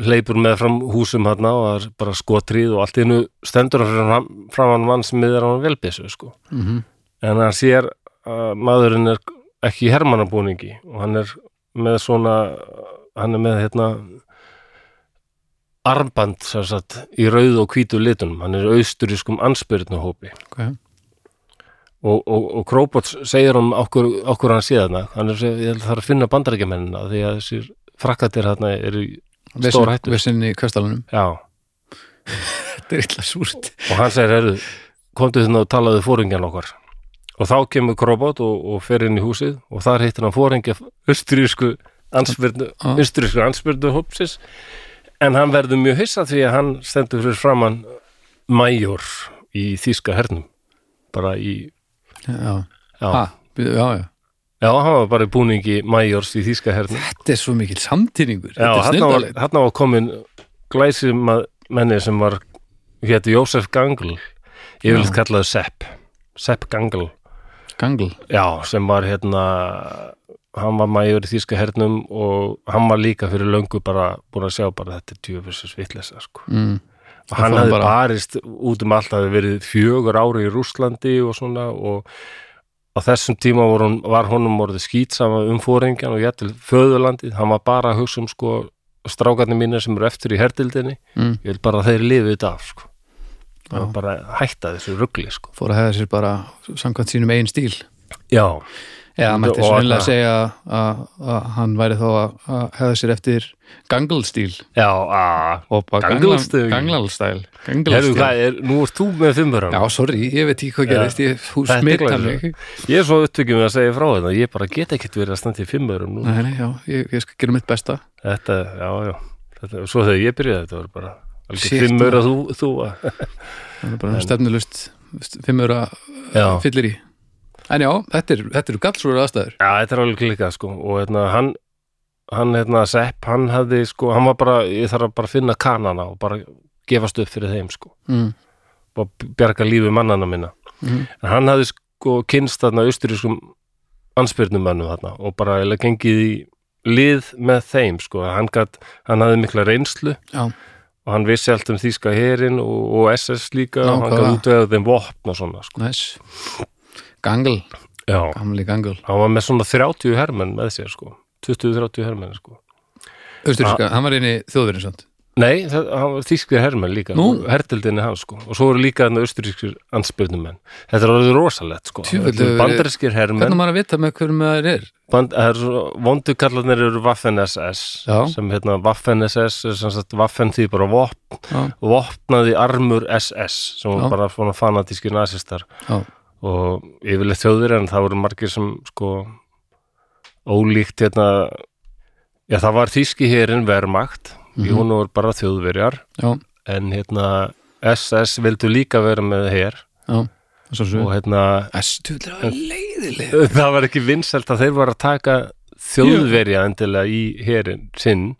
Speaker 1: hleypur með fram húsum hann og það er bara skotrið og allt innu stendur hann fram hann mann sem miðar á hann velbissu sko.
Speaker 2: mm -hmm.
Speaker 1: en hann sér að maðurinn er ekki í hermannabúningi og hann er með svona hann er með hérna armband sem sagt, í rauð og hvítu litunum hann er í austurískum anspyrnuhópi
Speaker 2: okay.
Speaker 1: og, og, og Króbots segir um okkur, okkur hann sé þarna hann er segir, ég þarf að finna bandarækjamennina því að þessir frakkatir þarna eru í- Stór hættur.
Speaker 2: Vesinn í kastalanum
Speaker 1: já,
Speaker 2: Þetta er illa súrt
Speaker 1: og hann segir, herru komdu þarna og talaðu fóringjan okkar og þá kemur Króbot og, og fer inn í húsið og þar hittir hann fóringja austurísku anspyrnu
Speaker 2: Ah.
Speaker 1: austurísku anspyrnu hópsins en hann verður mjög hissa því að hann stendur fyrir framann major í þýska hernum bara í
Speaker 2: Já,
Speaker 1: já,
Speaker 2: ha, býðu, já, já
Speaker 1: já hann var bara í búningi majors í þýska hernum
Speaker 2: Þetta er svo mikil samtíningur
Speaker 1: já,
Speaker 2: Þetta er
Speaker 1: hann var,
Speaker 2: snildalegt
Speaker 1: hann var komin glæsum menni sem var héti Jósef Gangl ég vil kallaðu Sepp Sepp Gangl
Speaker 2: Gangl
Speaker 1: Já, sem var hérna hann var maður í þýska hernum og hann var líka fyrir löngu bara búin að sjá bara þetta er tjöfisins vitleysa sko.
Speaker 2: mm.
Speaker 1: og hann
Speaker 2: fór hann
Speaker 1: hafði
Speaker 2: bara-
Speaker 1: barist út um allt hafði verið fjögur ári í Rússlandi og svona og á þessum tíma var, hún, var honum orðið skýtsama um fóringjan og jættil föðurlandið, hann var bara að hugsa um sko strákarnir mínir sem eru eftir í herdildinni
Speaker 2: Mm.
Speaker 1: ég vil bara að þeir lifið þetta af sko.
Speaker 2: Já.
Speaker 1: hann var bara að hætta þessu ruggli sko.
Speaker 2: Fór að hefða sér bara samkvæmt sínum eigin stíl
Speaker 1: Já,
Speaker 2: Já,
Speaker 1: Og-
Speaker 2: mætti
Speaker 1: og-
Speaker 2: svo einlega að segja að að hann væri þá að að hefða sér eftir ganglstíl
Speaker 1: já, að Ganglstíl.
Speaker 2: Ganglstíl
Speaker 1: Herru,
Speaker 2: Ganglstíl
Speaker 1: hvað er, nú ert þú með fimmurann
Speaker 2: Já, sorry, ég veit ekki hvað gerist Ég
Speaker 1: Þetta er
Speaker 2: smita
Speaker 1: glæsilegt.
Speaker 2: mig
Speaker 1: Ég er svo upptökjum að segja frá þetta Ég bara get ekkert verið að standa í fimmurum nú
Speaker 2: Nei, nei, já, ég, ég skal gera mitt besta
Speaker 1: Þetta, já, já þetta, Svo þegar ég byrjaði þetta var bara
Speaker 2: Shit,
Speaker 1: Alveg fimmur að þú, þú að
Speaker 2: Það er bara stefnulust Fimmur að
Speaker 1: Já,
Speaker 2: fyllir í En já, þetta er- þetta eru gallsúra aðstæður
Speaker 1: já þetta er alveg klikað sko Og hérna, hann Hann, hérna, Sepp, hann hafði sko Hann var bara, ég þarf að bara finna kanana Og bara gefast upp fyrir þeim sko
Speaker 2: mm.
Speaker 1: Bara bjarga lífi mannana minna
Speaker 2: Mhm.
Speaker 1: En hann hafði sko kynst þarna austurískum anspyrnum mönnum þarna og bara eiginlega gengið í lið með þeim sko, hann, gat, hann hafði mikla reynslu
Speaker 2: Já,
Speaker 1: og hann vissi allt um þýska herin og, og SS líka og hann
Speaker 2: Nákvæmlega.
Speaker 1: gaf út eða þeim vopn og svona sko.
Speaker 2: næs Gangl,
Speaker 1: Já,
Speaker 2: gamli gangl
Speaker 1: hann var með svona 30 hermenn með sér sko, 20-30 hermenn sko.
Speaker 2: Östuríska, hann var inn í þjóðverðinsand
Speaker 1: Nei, það, hann var þýskir hermenn líka
Speaker 2: Nú.
Speaker 1: hertildinni hans sko og svo eru líka þannig austurískir anspyrnumenn Þetta er orðið rosalegt sko
Speaker 2: Djöfull,
Speaker 1: Þetta eru
Speaker 2: hefur verið-
Speaker 1: Bandarískir
Speaker 2: Hvernig á
Speaker 1: hermenn
Speaker 2: maður að vita með hverjum það er?
Speaker 1: band, það eru svo- Vondu kallarnir eru Waffen SS
Speaker 2: Já.
Speaker 1: sem hérna Waffen SS er sem sagt, Waffen því bara vopn,
Speaker 2: Já,
Speaker 1: vopnaði armur SS sem
Speaker 2: Já.
Speaker 1: var bara svona fanatíski nasistar
Speaker 2: já,
Speaker 1: og yfirleitt þjóðir en það voru margir sem sko ólíkt hérna já það var þýski herin vermakt mm
Speaker 2: Mhm.
Speaker 1: -hmm. í hún voru bara þjóðverjar
Speaker 2: já,
Speaker 1: en hérna SS vildu líka vera með her
Speaker 2: já. Svo
Speaker 1: og
Speaker 2: svo.
Speaker 1: hérna
Speaker 2: Æstuðlega var leiðileg.
Speaker 1: það var ekki vinsælt að þeir var að taka þjóðverja endilega í herin sinn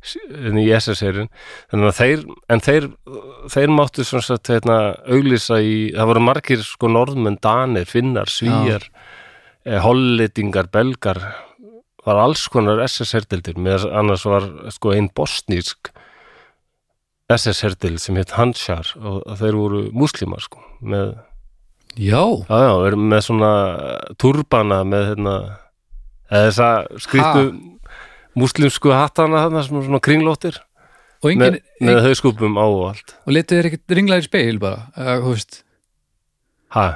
Speaker 1: s- en í SS-herin þannig að þeir, en þeir þeir máttu svona sagt hérna, auglýsa í, það voru margir sko norðmenn, danir, finnar, svíjar eh, hollendingar, belgar var alls konar SS-hertildir meðan annars var sko einn bosnísk SS-hertil sem hétt Hansjar og þeir voru múslimar sko með
Speaker 2: Já,
Speaker 1: Já, já, við erum með svona turbana með hérna eða þess að skrýttu múslimsku hattana þarna sem eru svona kringlóttir
Speaker 2: og engin,
Speaker 1: með, með hauskúpum á og allt
Speaker 2: og letið er ekkert ringlaðir speil bara, eða, þú veist,
Speaker 1: ha,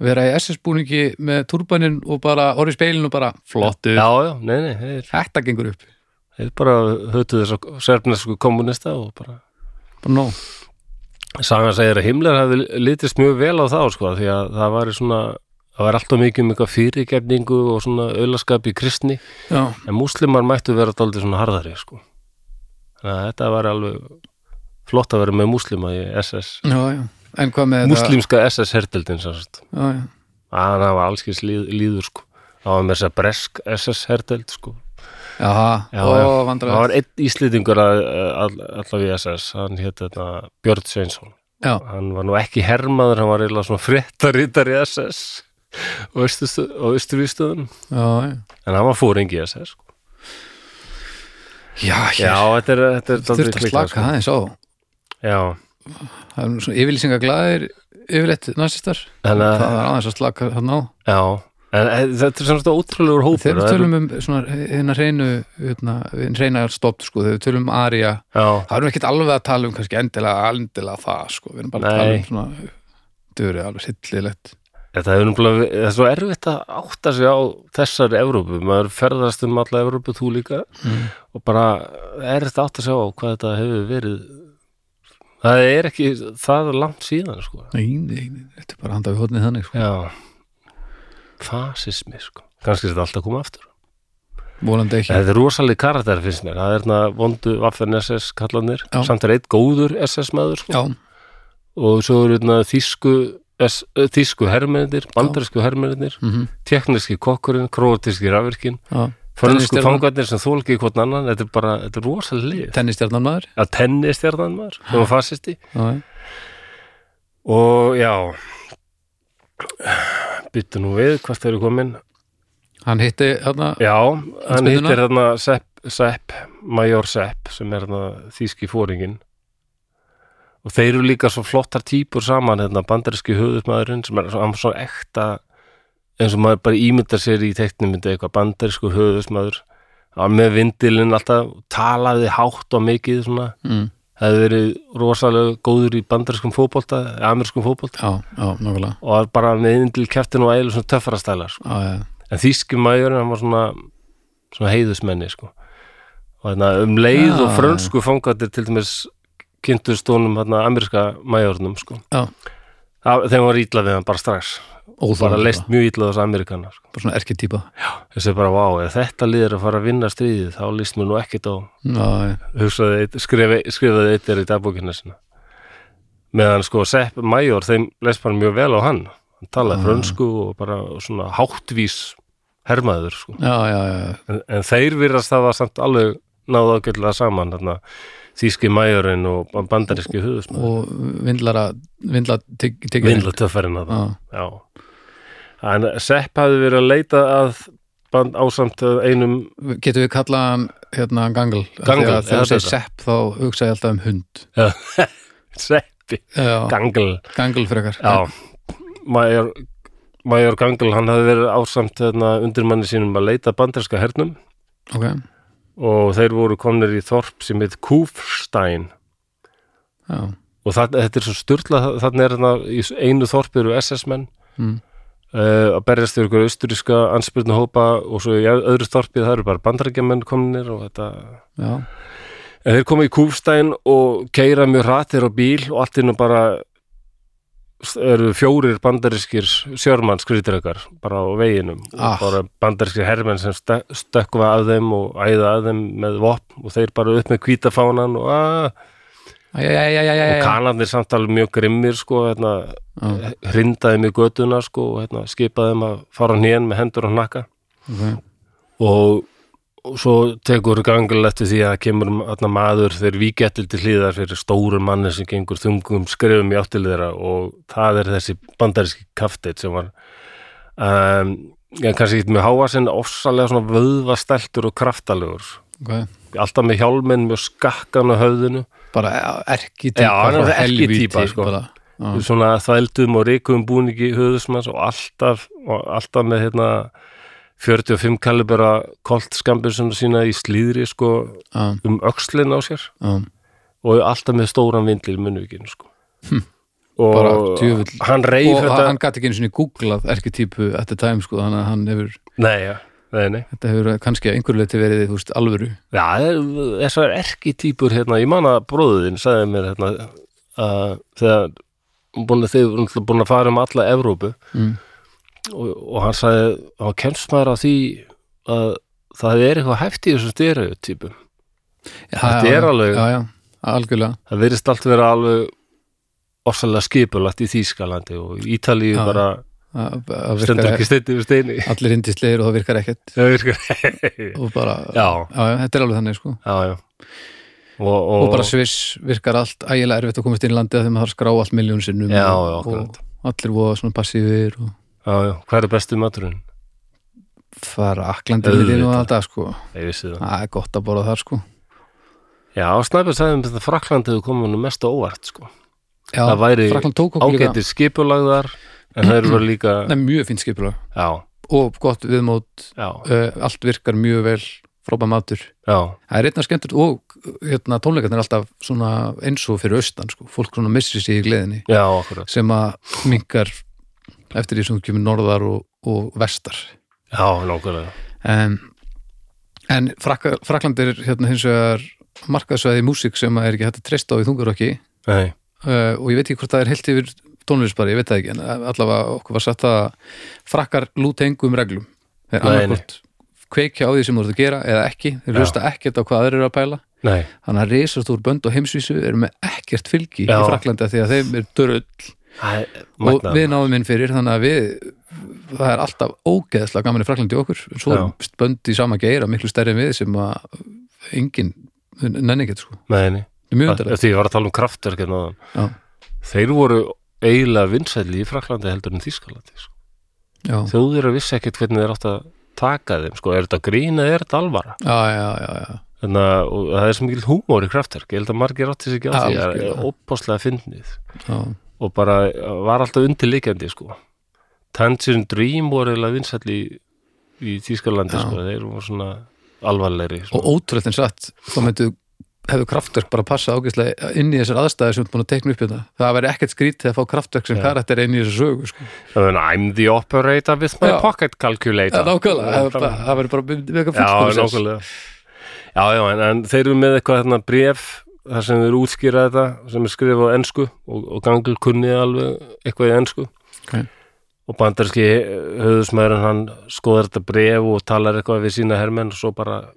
Speaker 2: vera í SS-búningi með turbaninn og bara orðið speilin og bara flottu,
Speaker 1: Já, já, nei, nei, þeir,
Speaker 2: þetta gengur upp
Speaker 1: þeir bara höfðu þess að serfnesku kommunista og bara
Speaker 2: bara nóg,
Speaker 1: Sagan segir að himlar hefði litist mjög vel á þá sko, því að það var svona það var alltaf mikið um eitthvað fyrirgefningu og svona öllaskap í kristni
Speaker 2: já,
Speaker 1: en múslimar mættu vera daldið svona harðari sko. þannig að þetta var alveg flott að vera með múslima í SS
Speaker 2: já, já en hvað með
Speaker 1: múslimska SS hertildin sannst.
Speaker 2: þetta já, já.
Speaker 1: að það var allskins líð, líður sko. það var með þess að bresk SS hertild sko.
Speaker 2: Jaha,
Speaker 1: Já,
Speaker 2: ó,
Speaker 1: já. það
Speaker 2: vandræðast
Speaker 1: var einn íslendingur að, að, allaf í SS hann hétt þetta Björn Sveinsson
Speaker 2: já,
Speaker 1: hann var nú ekki hermaður, hann var eiginlega svona fréttarítar í SS og austurvístöðun
Speaker 2: já, já
Speaker 1: en hann var fóringi í SS sko.
Speaker 2: já,
Speaker 1: já, þetta er, þetta er dálítið
Speaker 2: þurft að
Speaker 1: klikkað,
Speaker 2: slaka aðeins á
Speaker 1: sko. já
Speaker 2: það er nú svona yfirlýsinga glæðir yfirleitt nazistar,
Speaker 1: Þannig að-
Speaker 2: það er aðeins að slaka hann á
Speaker 1: Já, en e, þetta er semst ótrúlegur hópur
Speaker 2: þegar við
Speaker 1: það eru-
Speaker 2: tölum um svona hérna hreinu hérna, hreina stopp sko, þegar við tölum um Arja
Speaker 1: Já,
Speaker 2: það erum ekkert alveg að tala um kannski endilega endilega það sko, við erum bara að tala
Speaker 1: Nei.
Speaker 2: um svona döru alveg sillilegt
Speaker 1: þetta er umlega, það er svo erfitt að átta sig á þessari Evrópu, maður ferðast um alla Evrópu þú líka
Speaker 2: Mm.
Speaker 1: og bara er þetta átta sig á hvað þetta hefur verið það er ekki, það er langt síðan sko.
Speaker 2: nei, nei, nei, þetta er bara handa við hóðnið þannig sko.
Speaker 1: Já fasismi sko kannski er þetta alltaf að koma aftur
Speaker 2: volandi ekki,
Speaker 1: Þetta er rosaleg karakter finnst mér, það er þarna vondu Waffen SS kallanir,
Speaker 2: Já.
Speaker 1: samt er eitt góður SS maður sko
Speaker 2: já,
Speaker 1: og svo eru þarna þýsku S- ö, þýsku hermennir, bandarísku hermennir
Speaker 2: mm
Speaker 1: tekniski kokkurinn, króatíski rafvirkinn
Speaker 2: já.
Speaker 1: fransku
Speaker 2: Tennisstjarnan.
Speaker 1: fangarnir sem þólki í hvort annan þetta er bara, þetta er rosalega lið
Speaker 2: tennistjarnan maður
Speaker 1: að tennistjarnan maður, sem var fasisti
Speaker 2: já, já.
Speaker 1: og já byttu nú við hvort þeir eru komin
Speaker 2: hann hitti þarna
Speaker 1: já, hann
Speaker 2: Spyrnuna.
Speaker 1: hittir þarna Sepp, Sepp, Major Sepp sem er þarna þýski fóringin og þeir eru líka svo flottar típur saman, hérna bandaríski höfðusmaðurinn sem er svo, hann er svo ekta eins og maður bara ímyndar sér í teiknumyndu eitthvað bandarískur höfðusmaður hann með vindilinn alltaf talaði hátt og mikið svona
Speaker 2: mm,
Speaker 1: það hefði verið rosalega góður í bandarískum fótbolta, amerískum fótbolta
Speaker 2: já, já, nákvæmlega
Speaker 1: og var bara með vindil keftin og eilu svona töffara stælar sko
Speaker 2: já, já,
Speaker 1: en þýski maðurinn hann var svona, svona heiðusmenni sko. og þarna, um leið
Speaker 2: Já.
Speaker 1: og frönsku fangatir til dæmis kynntust honum þarna, ameríska majornum sko.
Speaker 2: Já.
Speaker 1: Það- þeim var ítla við hann bara strax bara
Speaker 2: óþóðan
Speaker 1: leist mjög ítla þess amerikana sko.
Speaker 2: bara svona erketýpa
Speaker 1: þessi bara, vá, ef þetta lið er að fara að vinna stríðið þá líst mér nú ekkit á
Speaker 2: já, já,
Speaker 1: hugsaði, eitt- skrifaði, skrifaði eitt er í dagbókina sinna meðan sko Sepp Major, þeim leist bara mjög vel á hann hann talaði frönsku og bara svona háttvís hermaður sko
Speaker 2: já, já, já.
Speaker 1: en, en þeir virðast hafa samt alveg náðu ágætlega saman þarna, þýski majorinn og bandaríski höfusmann
Speaker 2: og vindlara vindla tekið
Speaker 1: vindla töfferinn að
Speaker 2: já,
Speaker 1: það já. en Sepp hafði verið að leita að band, ásamt eh, einum
Speaker 2: getum við kallað hann hérna gangal
Speaker 1: Gangal,
Speaker 2: þegar
Speaker 1: eða
Speaker 2: þú segir
Speaker 1: betra.
Speaker 2: sepp þá hugsa ég alltaf um hund
Speaker 1: Seppi
Speaker 2: já,
Speaker 1: Gangl
Speaker 2: gangal frekar
Speaker 1: já. Major, major hérna, Gangl, hann hafði verið ásamt þarna, undirmanni sínum að leita bandaríska hernum
Speaker 2: ok,
Speaker 1: og þeir voru komnir í þorp sem heit Kúfstein
Speaker 2: já,
Speaker 1: og það, þetta er svo styrla þannig er þarna í einu þorp eru SS-menn
Speaker 2: Mm.
Speaker 1: eh, að berjast fyrir ykkur austuríska anspyrna hópa og svo í öðru þorpið það eru bara bandarækjamenn komnir og þetta
Speaker 2: já,
Speaker 1: en þeir koma í Kúfstein og keira mjög ratir á bíl og allt innan bara eru fjórir bandarískir sjörmann skrýtirakar bara á veginum
Speaker 2: Ah.
Speaker 1: og bara bandarískir hermenn sem stö- stökkva að þeim og æða að þeim með vopn og þeir bara upp með hvítafánan og aaa
Speaker 2: já, já, já, já, já,
Speaker 1: og
Speaker 2: já.
Speaker 1: kanarnir samt alveg mjög grimmir sko, hérna,
Speaker 2: já.
Speaker 1: hrindaði mig götuna sko, og hérna, skipaði þeim að fara á hnén með hendur og hnakka
Speaker 2: ok.
Speaker 1: og, og svo tekur gangulegt eftir því að það kemur hérna, maður þeir víkettil til hlýðar fyrir stóru manni sem gengur þungum skrifum í áttil þeirra og það er þessi bandaríski kaftið sem var um, ég kannski ekki með háa sinna ofsalega svona vöðvasteltur og kraftalegur
Speaker 2: ok.
Speaker 1: alltaf með hjálminn mjög skakkan á höfðinu
Speaker 2: bara já, erki
Speaker 1: Já, hann er
Speaker 2: frá
Speaker 1: erki
Speaker 2: helvíti,
Speaker 1: týpa, sko.
Speaker 2: bara, já,
Speaker 1: svona þvældum og reykum búningi höfðusmanns og alltaf, og alltaf með hérna 45 kalibera kolt skambisuna sína í slíðri sko
Speaker 2: já,
Speaker 1: um öxlin á sér
Speaker 2: já,
Speaker 1: og alltaf með stóran vindli í munvikinu sko og
Speaker 2: Hm. Bara djöfull.
Speaker 1: hann reyf
Speaker 2: og
Speaker 1: þetta
Speaker 2: hann gæti ekki einu sinni googlað erki týpu at the time sko, þannig að hann hefur
Speaker 1: nei, ja, nei, nei
Speaker 2: þetta hefur kannski að einhverju leiti verið þú veist, alvöru
Speaker 1: Já, þessar erki típur hérna, ég man að bróðin sagði mér hérna að þegar búin að þið voru búin að fara um alla Evrópu
Speaker 2: Mm.
Speaker 1: og, og hann sagði hann kemst maður að því að það er eitthvað hæft í þessum stereotypum
Speaker 2: Já,
Speaker 1: Þetta
Speaker 2: já,
Speaker 1: er alveg-
Speaker 2: já, já, algjörlega
Speaker 1: það verðist allt vera alveg orsalega skipulagt í Þýskalandi og í Ítalíu
Speaker 2: Já,
Speaker 1: bara
Speaker 2: Það- það
Speaker 1: stendur
Speaker 2: virkar-
Speaker 1: ekki steindi við steini
Speaker 2: allir indislegir og það virkar ekkert
Speaker 1: Það virkar-
Speaker 2: og bara,
Speaker 1: Já,
Speaker 2: já, já, þetta er alveg þannig sko
Speaker 1: já, já og, og,
Speaker 2: og bara Sviss virkar allt ægilega erfitt að komast inn í landið þegar maður þarf að skrá allt miljón sinnum
Speaker 1: Já, já,
Speaker 2: og,
Speaker 1: akkurat.
Speaker 2: og allir voða svona passífir og
Speaker 1: já, já, hvað er bestu maturinn?
Speaker 2: fara aklandir við þínu og
Speaker 1: Auðvitað.
Speaker 2: alltaf sko
Speaker 1: Ég vissi það
Speaker 2: það er gott að borða þar sko
Speaker 1: Já, Snæbjörn sagði um þetta Frakland hefur komið nú mest á óvart sko.
Speaker 2: já,
Speaker 1: það væri
Speaker 2: Frakland tók okkur líka
Speaker 1: ágættir skipulagðar en það eru verið líka
Speaker 2: Nei, mjög fínt skipulag
Speaker 1: já,
Speaker 2: og gott viðmót,
Speaker 1: já,
Speaker 2: uh, allt virkar mjög vel frábæð matur,
Speaker 1: já,
Speaker 2: það er einna skemmtur og hérna, tónleikarnir er alltaf svona eins og fyrir austan, sko. fólk svona missir sig í gleðinni,
Speaker 1: já, akkurat
Speaker 2: sem að minkar eftir því sem þú kemur norðar og, og vestar
Speaker 1: Já, nákvæmlega
Speaker 2: en, en Frakka, Frakland er hérna hins vegar markaðsvæði músík sem að er ekki hægt að treysta á í þungarokki
Speaker 1: Nei,
Speaker 2: uh, og ég veit ekki hvort það er heilt yfir tónlistbari, ég veit það ekki en allavega okkur var satt að frakkar lúta engum reglum þeir
Speaker 1: Nei,
Speaker 2: annarkvort kveikja á því sem þú ert að gera eða ekki, þeir
Speaker 1: Já.
Speaker 2: hlusta ekkert á hvað þeir eru að pæla
Speaker 1: nei,
Speaker 2: þannig að reisast úr bönd og heimsvísu eru með ekkert fylgi
Speaker 1: Já.
Speaker 2: í Fraklandi af því að þeim er dörrull
Speaker 1: það er
Speaker 2: og
Speaker 1: magnað.
Speaker 2: við náðum inn fyrir þannig að við það er alltaf ógeðslega gaman í Fraklandi okkur en svo
Speaker 1: Já.
Speaker 2: eru bönd í sama geira miklu stærri en við sem að enginn nenni ekki sko,
Speaker 1: Nei, nei,
Speaker 2: það er mjög
Speaker 1: það,
Speaker 2: undarlegt
Speaker 1: því ég var að tala um kraftverk en áðan.
Speaker 2: Já.
Speaker 1: Þeir voru eiginlega vinsæli í Fraklandi heldur en Þýskalandi sko.
Speaker 2: já,
Speaker 1: Þjóðir að vissi ekkert hvernig þeir átt að taka þeim sko. Er þetta grín eða er þetta alvara?
Speaker 2: já, já, já, já.
Speaker 1: Þannig að og það er sem mikil húmór í kraftverk Ég held að margir átti sig ekki á því Það er
Speaker 2: Algjörlega.
Speaker 1: ópáslega fyndnið
Speaker 2: já.
Speaker 1: og bara eh, var alltaf undirleikjandi sko. Tangerine Dream voru eiginlega vinsall í, í Þýskalandi
Speaker 2: Já.
Speaker 1: sko. þeir voru svona alvarlegri sko.
Speaker 2: og
Speaker 1: svona.
Speaker 2: ótrúlegt en satt þá myndu hefðu kraftverk bara passa ágæslega inn í þessar aðstæður sem þú ert búin að teikna upp þetta það væri ekkert skrítið að fá kraftverk sem
Speaker 1: Já.
Speaker 2: karakter inn í þessar sögu sko.
Speaker 1: Þannig að I'm the operator with my
Speaker 2: Já.
Speaker 1: pocket calculator
Speaker 2: nákvæmlega, það væri bara-
Speaker 1: Nákvæmlega.
Speaker 2: það væri bara mynd- með eitthvað
Speaker 1: Já,
Speaker 2: fullkomið sens.
Speaker 1: nákvæmlega Já, já, en, en þeir eru með eitthvað hérna bref þar sem þeir útskýra þetta sem er skrifað á ensku og, og gangil kunni alveg eitthvað í ensku
Speaker 2: Ok.
Speaker 1: og bandarski höfðusmæðurinn hann skoðar þetta bref og talar eitthvað við sína hermenn og svo bara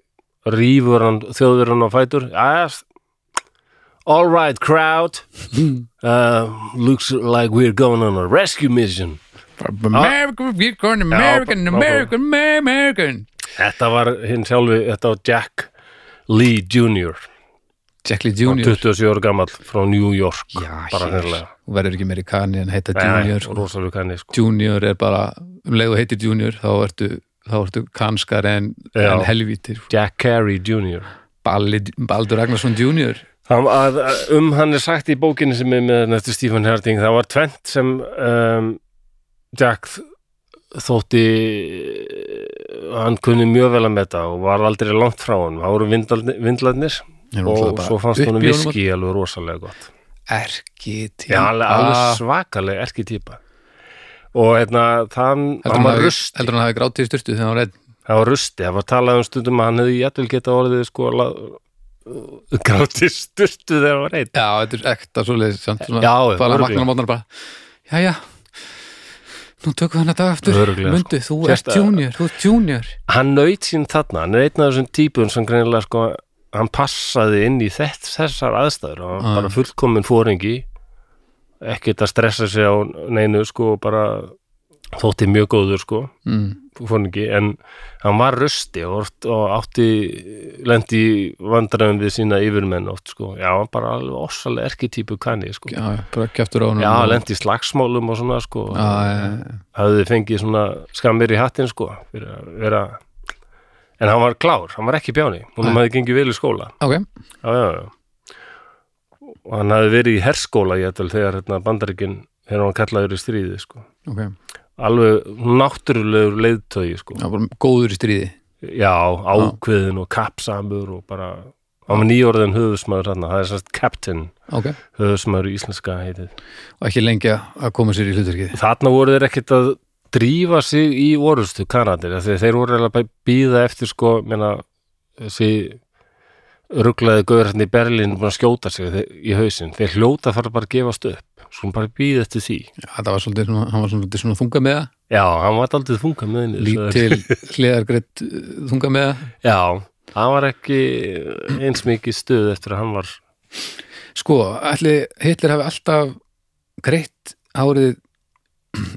Speaker 1: rýfur hann þjóðverðan á fætur yes. All right, crowd uh, Looks like we're going on a rescue mission
Speaker 2: American, we're going American,
Speaker 1: nákvæmlega.
Speaker 2: American, American
Speaker 1: Þetta var hinn sjálfi, þetta var Jack Lee Jr.
Speaker 2: Jack Lee
Speaker 1: Hann
Speaker 2: Junior
Speaker 1: 27 ára gammal frá New York
Speaker 2: Já,
Speaker 1: bara
Speaker 2: hér.
Speaker 1: hérlega
Speaker 2: hún verður ekki meiri kanni en heita Junior sko.
Speaker 1: rosalega kanni sko.
Speaker 2: Junior er bara, um leið og heitir Junior þá ertu, þá ertu kanskar en,
Speaker 1: Já.
Speaker 2: en helvítir
Speaker 1: Jack Carey Jr.
Speaker 2: Balli, Baldur Ragnarsson Junior
Speaker 1: Hann, að, að- um hann er sagt í bókinni sem er með nættu Stephen Herding það var tvent sem um, Jack þótti eh, hann kunni mjög vel að metta og var aldrei langt frá hann, það voru vindlarnir, vindlarnir
Speaker 2: Ég er náttúrulega
Speaker 1: og
Speaker 2: bara
Speaker 1: svo fannst
Speaker 2: upp í
Speaker 1: honum
Speaker 2: honum
Speaker 1: viski alveg rosalega gott
Speaker 2: Erki til
Speaker 1: Já, alveg,
Speaker 2: Ah.
Speaker 1: alveg svakalega erki típa og hérna þann, hann var rusti
Speaker 2: Heldur hann hafi grátið í styrtu þegar hann var einn
Speaker 1: það var rusti, það var talað um stundum að hann hefði jætvel geta orðið sko grátti sturtu þegar hann var einn
Speaker 2: Já, þetta er ekta svoleiðis samt svona,
Speaker 1: Já, já,
Speaker 2: Bara
Speaker 1: örugglega.
Speaker 2: maknar á mótnar bara Jæja, nú tökum við hann að dag aftur
Speaker 1: Örugglega, sko.
Speaker 2: Mundu, þú ert
Speaker 1: Sérsta-
Speaker 2: junior, þú ert junior
Speaker 1: hann naut sín þarna, hann er einn af þessum típun sem greinilega sko, hann passaði inn í þett, þessar aðstæður og
Speaker 2: Já.
Speaker 1: hann bara fullkomin fóringi ekkert að stressa sig á neinu sko, og bara þótti mjög góður sko,
Speaker 2: mm.
Speaker 1: fóringi en hann var rusti og, oft, og átti lendi vandræðum við sína yfirmenn oft sko, já, hann bara alveg ossalega erki típu kanni sko,
Speaker 2: Já, já, bara kjæftur á hann
Speaker 1: já, lendi í slagsmálum og svona sko,
Speaker 2: Já, já, já.
Speaker 1: hafði fengið svona skammir í hattinn sko fyrir að vera en hann var klár, hann var ekki bjáni hún hafði gengið vel í skóla
Speaker 2: ok,
Speaker 1: já, já, já. og hann hafði verið í herskóla ég ætlum þegar hérna, bandarikin þegar hann var kallaður í stríði sko
Speaker 2: ok
Speaker 1: alveg náttúrulegur leiðtögi sko já,
Speaker 2: Já, bara góður í stríði
Speaker 1: ákveðin og kapsamur og bara hann var nýjórðin höfusmaður hann það er sannst captain
Speaker 2: Ok,
Speaker 1: höfusmaður í íslenska heitið
Speaker 2: og ekki lengi að koma sér í hluturkið
Speaker 1: þarna voru þeir ekkert að drífa sig í orustu kanadir af því að þeir voru eiginlega bara að býða eftir sko, meina, þessi rugglaði gauður hérna í Berlín búin að skjóta sig þe- í hausinn þeir hljóta þarf bara að gefast upp skulum bara býða eftir því
Speaker 2: Það var svolítið, svona- hann var svolítið svona þunga með
Speaker 1: já, hann var aldrei þunga með henni þessu-
Speaker 2: Lítil uh, hliðargreitt þunga með
Speaker 1: já, hann var ekki eins mikið stuð eftir að hann var
Speaker 2: Sko, ætli Hitler hafi alltaf greitt hárið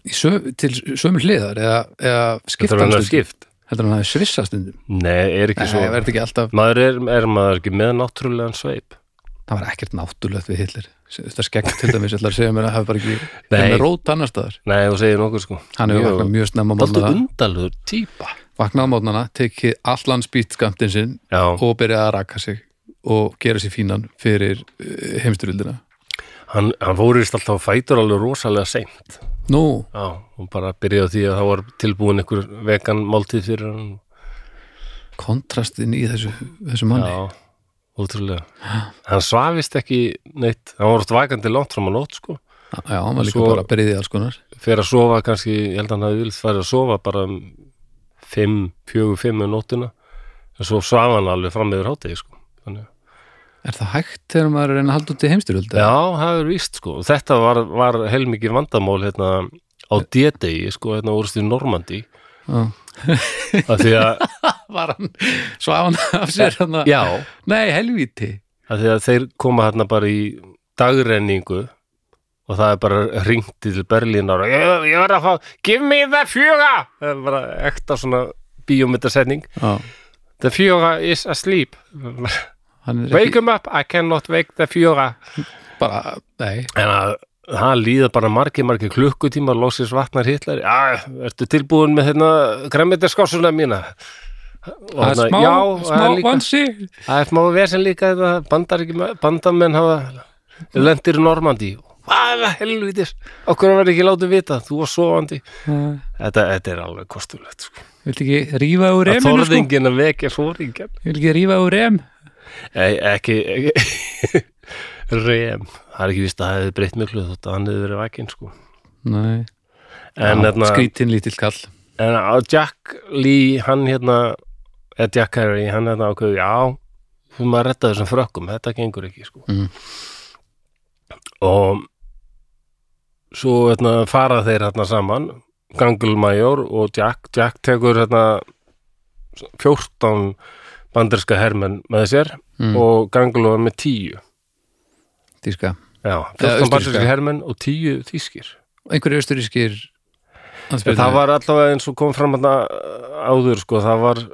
Speaker 2: í söm, til sömu hliðar eða, eða
Speaker 1: þetta var hann að
Speaker 2: skiptastundum
Speaker 1: skipt
Speaker 2: Heldur hann hafi svissastundum
Speaker 1: nei, er ekki
Speaker 2: Nei,
Speaker 1: svo
Speaker 2: það verði ekki alltaf,
Speaker 1: maður er, er maður ekki með náttúrulegan sveip
Speaker 2: það var ekkert náttúrulegt við Hitler Þetta skegg til dæmis, ætlar að segja mér að hafi bara ekki
Speaker 1: Nei.
Speaker 2: verið með rót annar staðar
Speaker 1: nei, þú segir nokkuð sko
Speaker 2: Hann hefur vaknað mjög snemma á
Speaker 1: Dálítið
Speaker 2: mótnana
Speaker 1: undarlegur típa
Speaker 2: Vaknað á mótnana, tekið allan spýtskamtinn sinn
Speaker 1: já,
Speaker 2: og byrjaði að raka sig og gera sér fínan fyrir uh, heimsturöldina
Speaker 1: Hann, hann fórist alltaf á fætur alveg rosalega seint.
Speaker 2: Nú,
Speaker 1: Já, hún bara byrjaði á því að það var tilbúin einhver vegan máltíð fyrir hann.
Speaker 2: kontrastin í þessu, þessu manni
Speaker 1: Já, ótrúlega. Hann svafist ekki neitt, hann var oft vakandi langt fram á nótt, sko.
Speaker 2: Já, hann var líka
Speaker 1: Svo-
Speaker 2: bara að byrjaði alls konar
Speaker 1: Fyrir að sofa kannski, ég held að hann hafi vilt farið að sofa bara um 5, 4, 5 um nóttina. En svo svaf hann alveg fram yfir hátegi, sko. Þannig. að-
Speaker 2: Er það hægt þegar maður er að reyna að halda út í heimsturölda?
Speaker 1: Já, það er víst, sko. Þetta var, var heilmikið vandamál, hérna, á D-degi, sko, hérna, úrst í Normandi. Af því að,
Speaker 2: Var hann, svaf hann af sér hann að
Speaker 1: já,
Speaker 2: Nei, helvíti
Speaker 1: að því að þeir koma hérna bara í dagrenningu og það er bara ringt til Berlínar og ég, ég verð að fá, give me the fjöga það er bara ekta svona bíómyndasetning,
Speaker 2: Já,
Speaker 1: the fjöga is asleep wake
Speaker 2: hann er ekki
Speaker 1: him up, I cannot wake the fjöga
Speaker 2: bara Nei,
Speaker 1: en að það líða bara margir, margir klukkutíma losið svartnar hitlar já, ertu tilbúin með hérna græmmetarskásuna mína og
Speaker 2: það er
Speaker 1: hérna,
Speaker 2: smá,
Speaker 1: já, það er
Speaker 2: smá
Speaker 1: líka-
Speaker 2: vansi
Speaker 1: Það er smá vesen líka þetta bandar bandamenn hafa lendir í Normandi Hvað er það helvitis? Okkur var ekki látið vita, þú var sofandi
Speaker 2: Viltu
Speaker 1: Þetta, þetta er alveg kostulegt sko.
Speaker 2: ekki rífa úr
Speaker 1: Að
Speaker 2: reminu sko?
Speaker 1: þorðingin að vekja svoringin
Speaker 2: Viltu ekki rífa úr rem?
Speaker 1: Nei, ekki, ekki Rem, það er ekki víst að það hefði breytt miklu þótt að hann hefði verið vakinn sko.
Speaker 2: Nei,
Speaker 1: En, hérna,
Speaker 2: skrítin lítill kall
Speaker 1: en á Jack Lee, hann hérna eða Jack Harry, hann hérna ákveðu já, þú maður að retta þessum frökkum þetta gengur ekki sko.
Speaker 2: mm.
Speaker 1: og svo hérna, fara þeir hérna saman Gangulmajor og Jack Jack tekur hérna 14 banderska hermenn með sér
Speaker 2: Mm.
Speaker 1: og Gangul var með 10
Speaker 2: Tíska
Speaker 1: já, 14
Speaker 2: Eða austurríska.
Speaker 1: banderska hermenn og 10 þýskir
Speaker 2: einhverju austurískir
Speaker 1: en það var allavega eins og kom fram hérna áður sko, það var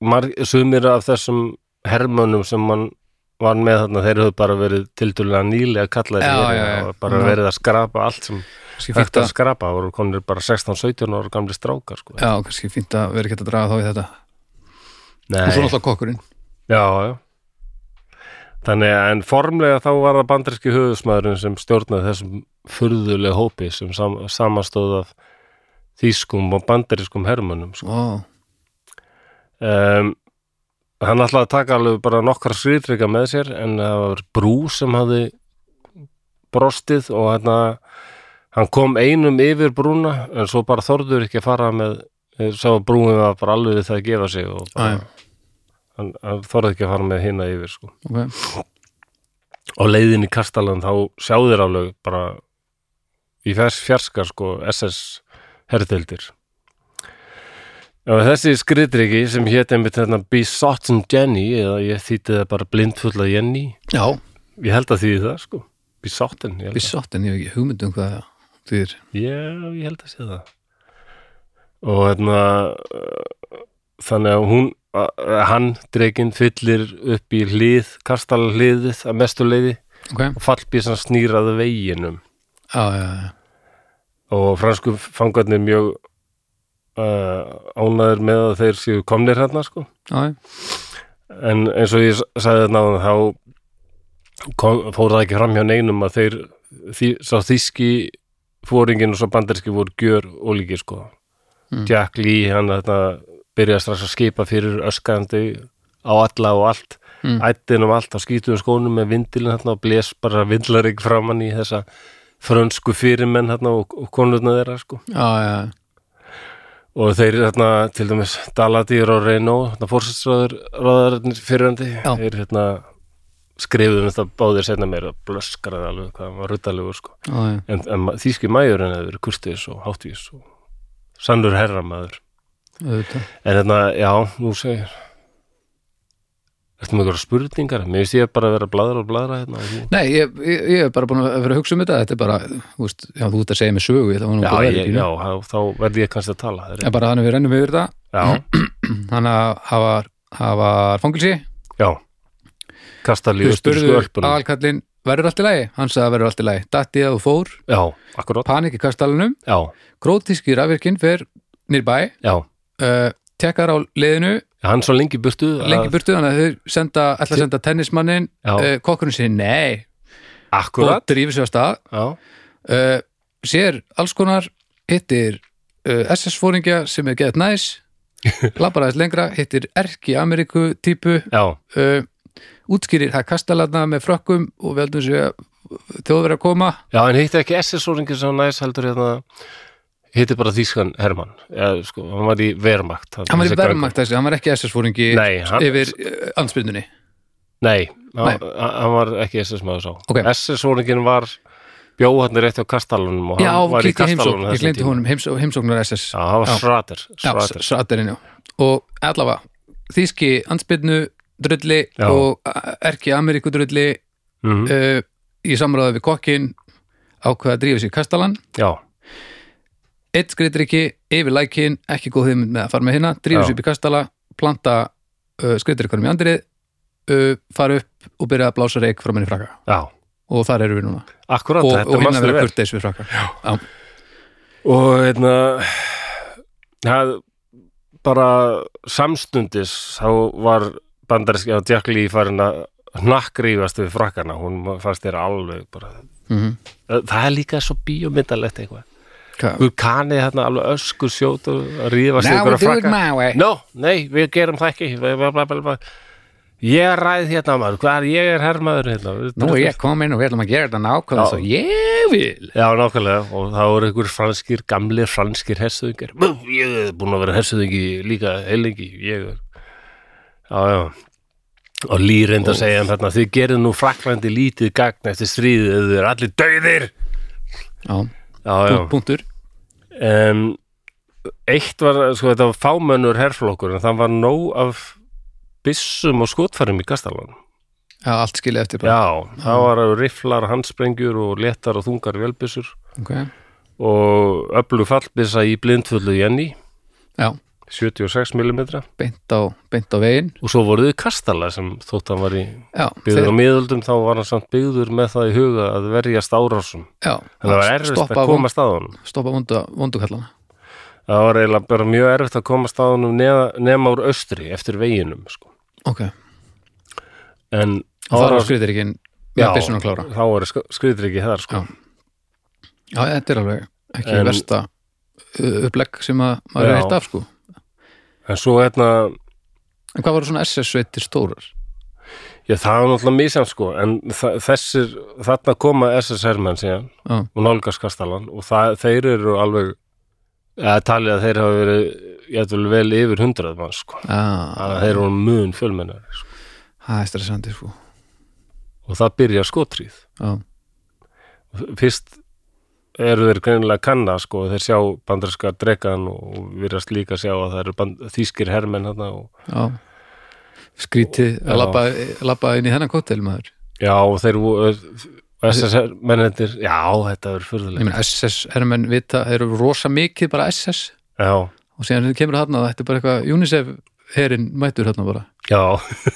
Speaker 1: marg, sumir af þessum hermönnum sem mann var með þarna, þeir höfðu bara verið tildulega nýlega kallar
Speaker 2: Já, já, Mm. já.
Speaker 1: bara
Speaker 2: Já.
Speaker 1: verið að skrapa allt sem
Speaker 2: kannski fínt
Speaker 1: hægt að
Speaker 2: að,
Speaker 1: skrapa, það voru konir bara 16-17 ára gamli strákar sko.
Speaker 2: já, kannski fínt að vera ekkert að draga þá í þetta
Speaker 1: Nei,
Speaker 2: og svo náttúrulega kokkurinn
Speaker 1: já, já. Þannig að en formlega þá var það bandaríski höfusmaðurinn sem stjórnaði þessum furðuleg hópi sem sam, samastóð af þýskum og bandarískum hermönnum sko.
Speaker 2: Vá,
Speaker 1: um, hann ætlaði að taka alveg bara nokkra skriðtrykka með sér en það var brú sem hafði brostið og hérna hann kom einum yfir brúna en svo bara þorður ekki að fara með sá að brúin var bara alveg við það að gefa sig og bara,
Speaker 2: Æ,
Speaker 1: hann, hann þorði ekki að fara með hinna yfir sko.
Speaker 2: ok
Speaker 1: og leiðin í Kastalan þá sjáðir alveg bara í þess fjarska sko SS herðildir og þessi skriðdryggi sem hétt einmitt hérna þarna Bisotten Jenny eða ég þýtti það bara blindfulla Jenny
Speaker 2: Já,
Speaker 1: ég held að þýði það sko Bisotten, ég held að,
Speaker 2: bissátt en ég hef ekki hugmynd um hvað því er
Speaker 1: ég, ég held að sé það og hérna uh, þannig að hún uh, hann dreginn fyllir upp í hlið, Kastala hliðið að mestu leiði
Speaker 2: Ok, já,
Speaker 1: og fallbísan snýraði veginum
Speaker 2: já, já,
Speaker 1: og fransku fangarnir mjög uh, ánæður með að þeir séu komnir hérna sko.
Speaker 2: já, já.
Speaker 1: en eins og ég s- sagði þarna áðan, þá kom, fór það ekki fram hjá neinum að þeir því, sá þíski fóringin og svo banderski voru gjör ólíkir sko.
Speaker 2: Mm.
Speaker 1: Jack Lee hann þetta byrjaði strax að skipa fyrir öskandi á alla og allt
Speaker 2: Mm.
Speaker 1: ættin um allt á skítum skónum með vindilin hérna og bles bara vindlarig framann í þessa frönsku fyrirmenn hérna og, og konurna þeirra sko
Speaker 2: já, já,
Speaker 1: og þeir hérna, til dæmis Daladýr og Reynó, hérna fórsinsráðararnir fyrirandi,
Speaker 2: Já.
Speaker 1: þeir hérna skrifuðum þetta báðir setna mér og blöskraði alveg hvað hann var ruttalegur sko.
Speaker 2: já, já, já.
Speaker 1: en, en ma- þýski majurinn hefur verið kurtis og háttvis og sannur herramaður
Speaker 2: auðvitað.
Speaker 1: en hérna, já, nú segir Ertu með einhverja spurningar? Mér finnst ég bara að vera að bladra og bladra hérna og þú...
Speaker 2: Nei, ég, ég, ég er bara búin að vera að hugsa um þetta Þetta er bara, þú veist, já, þú ert að segja mig sögu Það var nú
Speaker 1: Já,
Speaker 2: bara
Speaker 1: ég, já, þá- þá verði ég kannski að tala það
Speaker 2: En bara þannig að við rennum yfir þetta
Speaker 1: er-
Speaker 2: Þannig að það var- það var fangilsi
Speaker 1: Já, já Kasta
Speaker 2: Þú
Speaker 1: lífustur
Speaker 2: spurðu
Speaker 1: skölpunum
Speaker 2: aðalkallinn verður allt í lagi? Hann sagði að verður allt í lagi Datti að þú fór,
Speaker 1: Já, akkurát
Speaker 2: panik í kastalunum
Speaker 1: Já,
Speaker 2: Grótíski rafvirkinn fer nýrbæ
Speaker 1: já
Speaker 2: uh, Tekkar á leiðinu
Speaker 1: Já, hann er svo lengi í burtu
Speaker 2: lengi burtu Þannig að þau senda, ætla að senda tennismannin
Speaker 1: Já.
Speaker 2: uh, Kokkurinn sér nei
Speaker 1: Akkurat
Speaker 2: Og drífur sér á stað
Speaker 1: Já,
Speaker 2: uh, Sér alls konar Hittir uh, SS-fóringja sem er geðt næs Labbar aðeins lengra Hittir erki Ameríku típu
Speaker 1: já,
Speaker 2: uh, Útskýrir það kastalarna með frökkum Og veldum sér þjóðverið að koma
Speaker 1: já en hitti ekki SS-óringi sem næs heldur hérna hitti bara þýskan Hermann eða, sko, hann var í Vermakt
Speaker 2: hann var í verðmakt þessi, hann var ekki SS-fóringi
Speaker 1: Nei, hann-
Speaker 2: yfir uh, anspyrnunni
Speaker 1: Nei,
Speaker 2: Nei.
Speaker 1: hann, hann var ekki SS-maður sá
Speaker 2: Ok.
Speaker 1: SS-óringin var bjóðarnir rétt á kastalunum og
Speaker 2: já,
Speaker 1: hann var í
Speaker 2: klíkti heimsókn,
Speaker 1: kastalunum
Speaker 2: ég gleymdi honum heims, heimsóknar SS
Speaker 1: Já, hann var
Speaker 2: Já.
Speaker 1: Schrader,
Speaker 2: Já,
Speaker 1: Schrader.
Speaker 2: Sraterinn, já og allavega, þýski anspyrnu drulli
Speaker 1: Já.
Speaker 2: og uh, erki Ameríku drulli
Speaker 1: Mhm.
Speaker 2: uh, í samráði við kokkin ákveða að drífa sér í kastalan
Speaker 1: já,
Speaker 2: eitt skriðdrykki, yfir lækin ekki góð þeim með að fara með hérna, drífa
Speaker 1: Já.
Speaker 2: sér upp í kastala planta uh, skriðdrykkunum í andrið uh, fara upp og byrja að blása reik frá minni frakka
Speaker 1: já
Speaker 2: og þar eru við núna
Speaker 1: Akkurat,
Speaker 2: og,
Speaker 1: þetta
Speaker 2: og hérna
Speaker 1: mannstu
Speaker 2: vera
Speaker 1: vel
Speaker 2: kurteis við frakkar já,
Speaker 1: og hérna það bara samstundis þá var bandaríski að Jack Lee farin að hnakkrífast við frakkana, hún fannst þér alveg bara,
Speaker 2: mm -hmm.
Speaker 1: það er líka svo bíómyndalegt eitthvað, hún kanið hérna alveg öskur sjót og að rífast við einhverja frakka
Speaker 2: my way
Speaker 1: no, nei, við gerum það ekki Bla, bla, bla, bla, bla. ég ræð hérna maður, hvað er ég er herrmaður hérna
Speaker 2: nú er ég komin og við ætlum að gera þetta nákvæmlega
Speaker 1: Já.
Speaker 2: svo ég vil
Speaker 1: Já, nákvæmlega, og það voru einhver franskir, gamlir franskir hersöðingar. Bú, Ég er búin að vera hersöðingi líka heilengi, ég er. Já, já. Og Lý reyndi að segja um þarna, þið gerðu nú fraklandi lítið gagn eftir stríðið, þið eru allir dauðir.
Speaker 2: já,
Speaker 1: Já, já.
Speaker 2: punkt, punktur
Speaker 1: Um, eitt var, sko, þetta var fámönnur herflokkur, en það var nóg af byssum og skotfærum í Kastalanum.
Speaker 2: já, allt skilja eftir bara
Speaker 1: Já, það var riflar, handsprengjur og letar og þungar vélbyssur
Speaker 2: ok,
Speaker 1: og öflug fallbyssa í blindfullu Jenny.
Speaker 2: já,
Speaker 1: 76 mm og
Speaker 2: beint á, beint á veginn
Speaker 1: svo voru þið kastala sem þótt hann var í
Speaker 2: já,
Speaker 1: byggður á miðöldum þá var hann samt byggður með það í huga að verjast árásum
Speaker 2: já,
Speaker 1: þannig að það var erfitt
Speaker 2: stoppa,
Speaker 1: að
Speaker 2: von,
Speaker 1: komast að honum
Speaker 2: stoppa vondu, vondukallana
Speaker 1: það var eiginlega bara mjög erfitt að komast að honum nema- nema úr austri eftir veginum sko.
Speaker 2: ok,
Speaker 1: en
Speaker 2: og það var
Speaker 1: árás-
Speaker 2: skriðir ekki
Speaker 1: Já,
Speaker 2: með byssun að klára
Speaker 1: þá var skriðir ekki þar sko.
Speaker 2: Já. já, þetta er alveg ekki
Speaker 1: En-
Speaker 2: versta uh, upplegg sem að maður er
Speaker 1: Já.
Speaker 2: eitt af sko
Speaker 1: En svo hérna,
Speaker 2: en hvað var svona SS-sveitir stórar?
Speaker 1: já það er náttúrulega mísan sko, en þa- þessir, þarna koma SSR-menn síðan
Speaker 2: Já,
Speaker 1: og nálgast kastalan og það, þeir eru alveg eða talið að þeir hafa verið jætvel vel yfir hundrað mann sko.
Speaker 2: já,
Speaker 1: Þannig að þeir eru mun fjölmennar sko.
Speaker 2: það er stressandi sko
Speaker 1: og það byrja skotrýð
Speaker 2: Já,
Speaker 1: fyrst eru þeir greinilega að kanna sko, þeir sjá bandarska dregan og virðast líka sjá að það eru band, þýskir hermenn hann og
Speaker 2: já skrítið að
Speaker 1: Já.
Speaker 2: labba, labba inn í hennan kóttel maður
Speaker 1: já og þeir voru SSR mennendir, já þetta verður
Speaker 2: Ég
Speaker 1: furðulegt
Speaker 2: meina SS er menn vita, eru rosa mikið bara SS
Speaker 1: já,
Speaker 2: og síðan þegar kemur þarna þetta er bara eitthvað UNICEF herinn mætur þarna bara
Speaker 1: já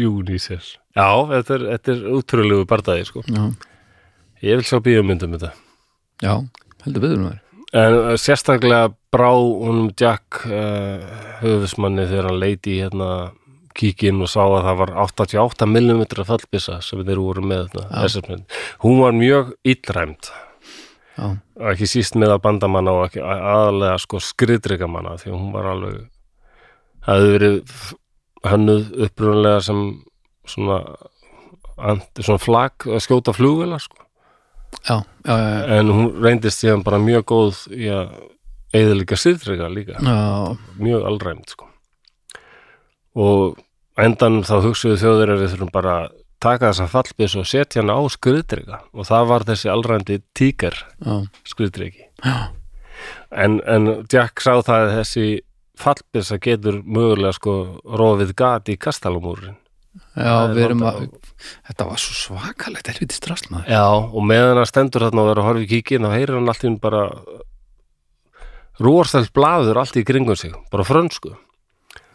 Speaker 1: Júnísir já, þetta er, þetta er útrúlegu bardaði sko,
Speaker 2: Já,
Speaker 1: ég vil sjá bíómyndum þetta,
Speaker 2: já heldur betur maður
Speaker 1: en eh, sérstaklega brá honum Jack uh, höfusmanni þegar hann leiti í hérna kíkinn og sá að það var 88 mm fallbissa sem þeir voru með þarna, SS-menn. hún var mjög illræmd
Speaker 2: Já,
Speaker 1: ekki síst með að bandamanna og ekki, aðalega sko skriðdryggamanna því hún var alveg það hefði verið hönnuð upprunalega sem svona, anti, svona flak að skjóta flugvela sko.
Speaker 2: já, já, já, já.
Speaker 1: en hún reyndist síðan bara mjög góð í að eðalika skriðdrygga líka
Speaker 2: já.
Speaker 1: mjög alræmt sko. og á endanum þá hugsuðu þjóður að við þurfum bara að taka þessa fallbys og setja hana á skriðdrygga og það var þessi alræmdi tíkar
Speaker 2: Já,
Speaker 1: skriðdryggi
Speaker 2: já,
Speaker 1: en, en Jack sá það að þessi fallbissa getur mögulega sko rofið gat í kastalumúrin
Speaker 2: já
Speaker 1: er
Speaker 2: við erum að
Speaker 1: vandamál.
Speaker 2: Þetta var svo svakalegt helviti strassl maður
Speaker 1: já, og meðan hann stendur þarna og verður að horfa í kíkin þá heyrir hann allt í hún bara rúarstælt blaður allt í kringum sig, bara frönsku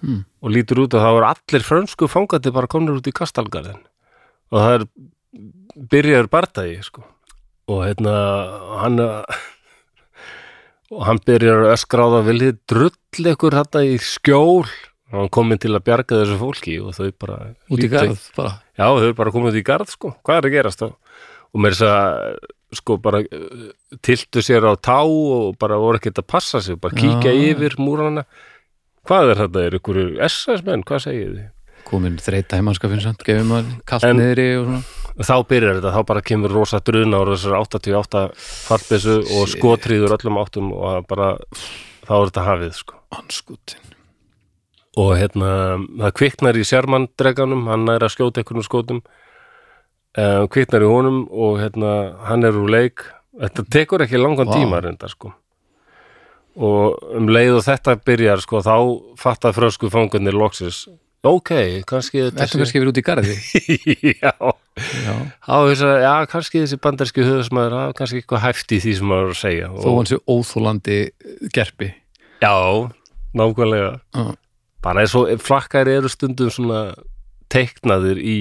Speaker 2: Hmm.
Speaker 1: og lítur út og það voru allir frönsku fangandi bara komnir út í kastalgarðin og það er byrjaður bardagi sko og hérna hann og hann byrjar að öskra á það viljið drull ykkur þetta í skjól og hann komin til að bjarga þessu fólki og þau bara
Speaker 2: Út í
Speaker 1: líta-
Speaker 2: garð bara
Speaker 1: Já, þau eru bara komið út í garð, sko. Hvað er að gerast þá? Og mér þess að, sko, bara uh, tiltu sér á tá og bara voru ekkert að passa sig, bara kíkja
Speaker 2: Já.
Speaker 1: yfir múrana. Hvað er þetta? Er ykkur SS-menn? Hvað segið þið?
Speaker 2: komin þreita í mannska finnsamt, gefið maður kallt
Speaker 1: En-
Speaker 2: niðri og svona
Speaker 1: Þá byrjar þetta, þá bara kemur rosa druna og þessar 88 fallbissu og
Speaker 2: Shit.
Speaker 1: skotriður öllum áttum og það bara, þá er þetta hafið, sko.
Speaker 2: Anskutin
Speaker 1: og hérna það kviknar í sérmanndreganum hann er að skjóta einhvernum skotum um, kviknar í honum og hérna hann er úr leik þetta tekur ekki langan
Speaker 2: Vá.
Speaker 1: tíma reynda sko og um leið og þetta byrjar sko þá fattar frösku fangunir loksis ok, kannski þetta
Speaker 2: Þetta kannski verið út í garði
Speaker 1: já,
Speaker 2: Já,
Speaker 1: þá þess að já, kannski þessi bandarski höfðsmaður, það er kannski eitthvað hæft í því sem maður er að segja
Speaker 2: Þó hann sé óþólandi gerpi
Speaker 1: já, nákvæmlega
Speaker 2: Já,
Speaker 1: bara eins og flakkar eru stundum svona teiknaðir í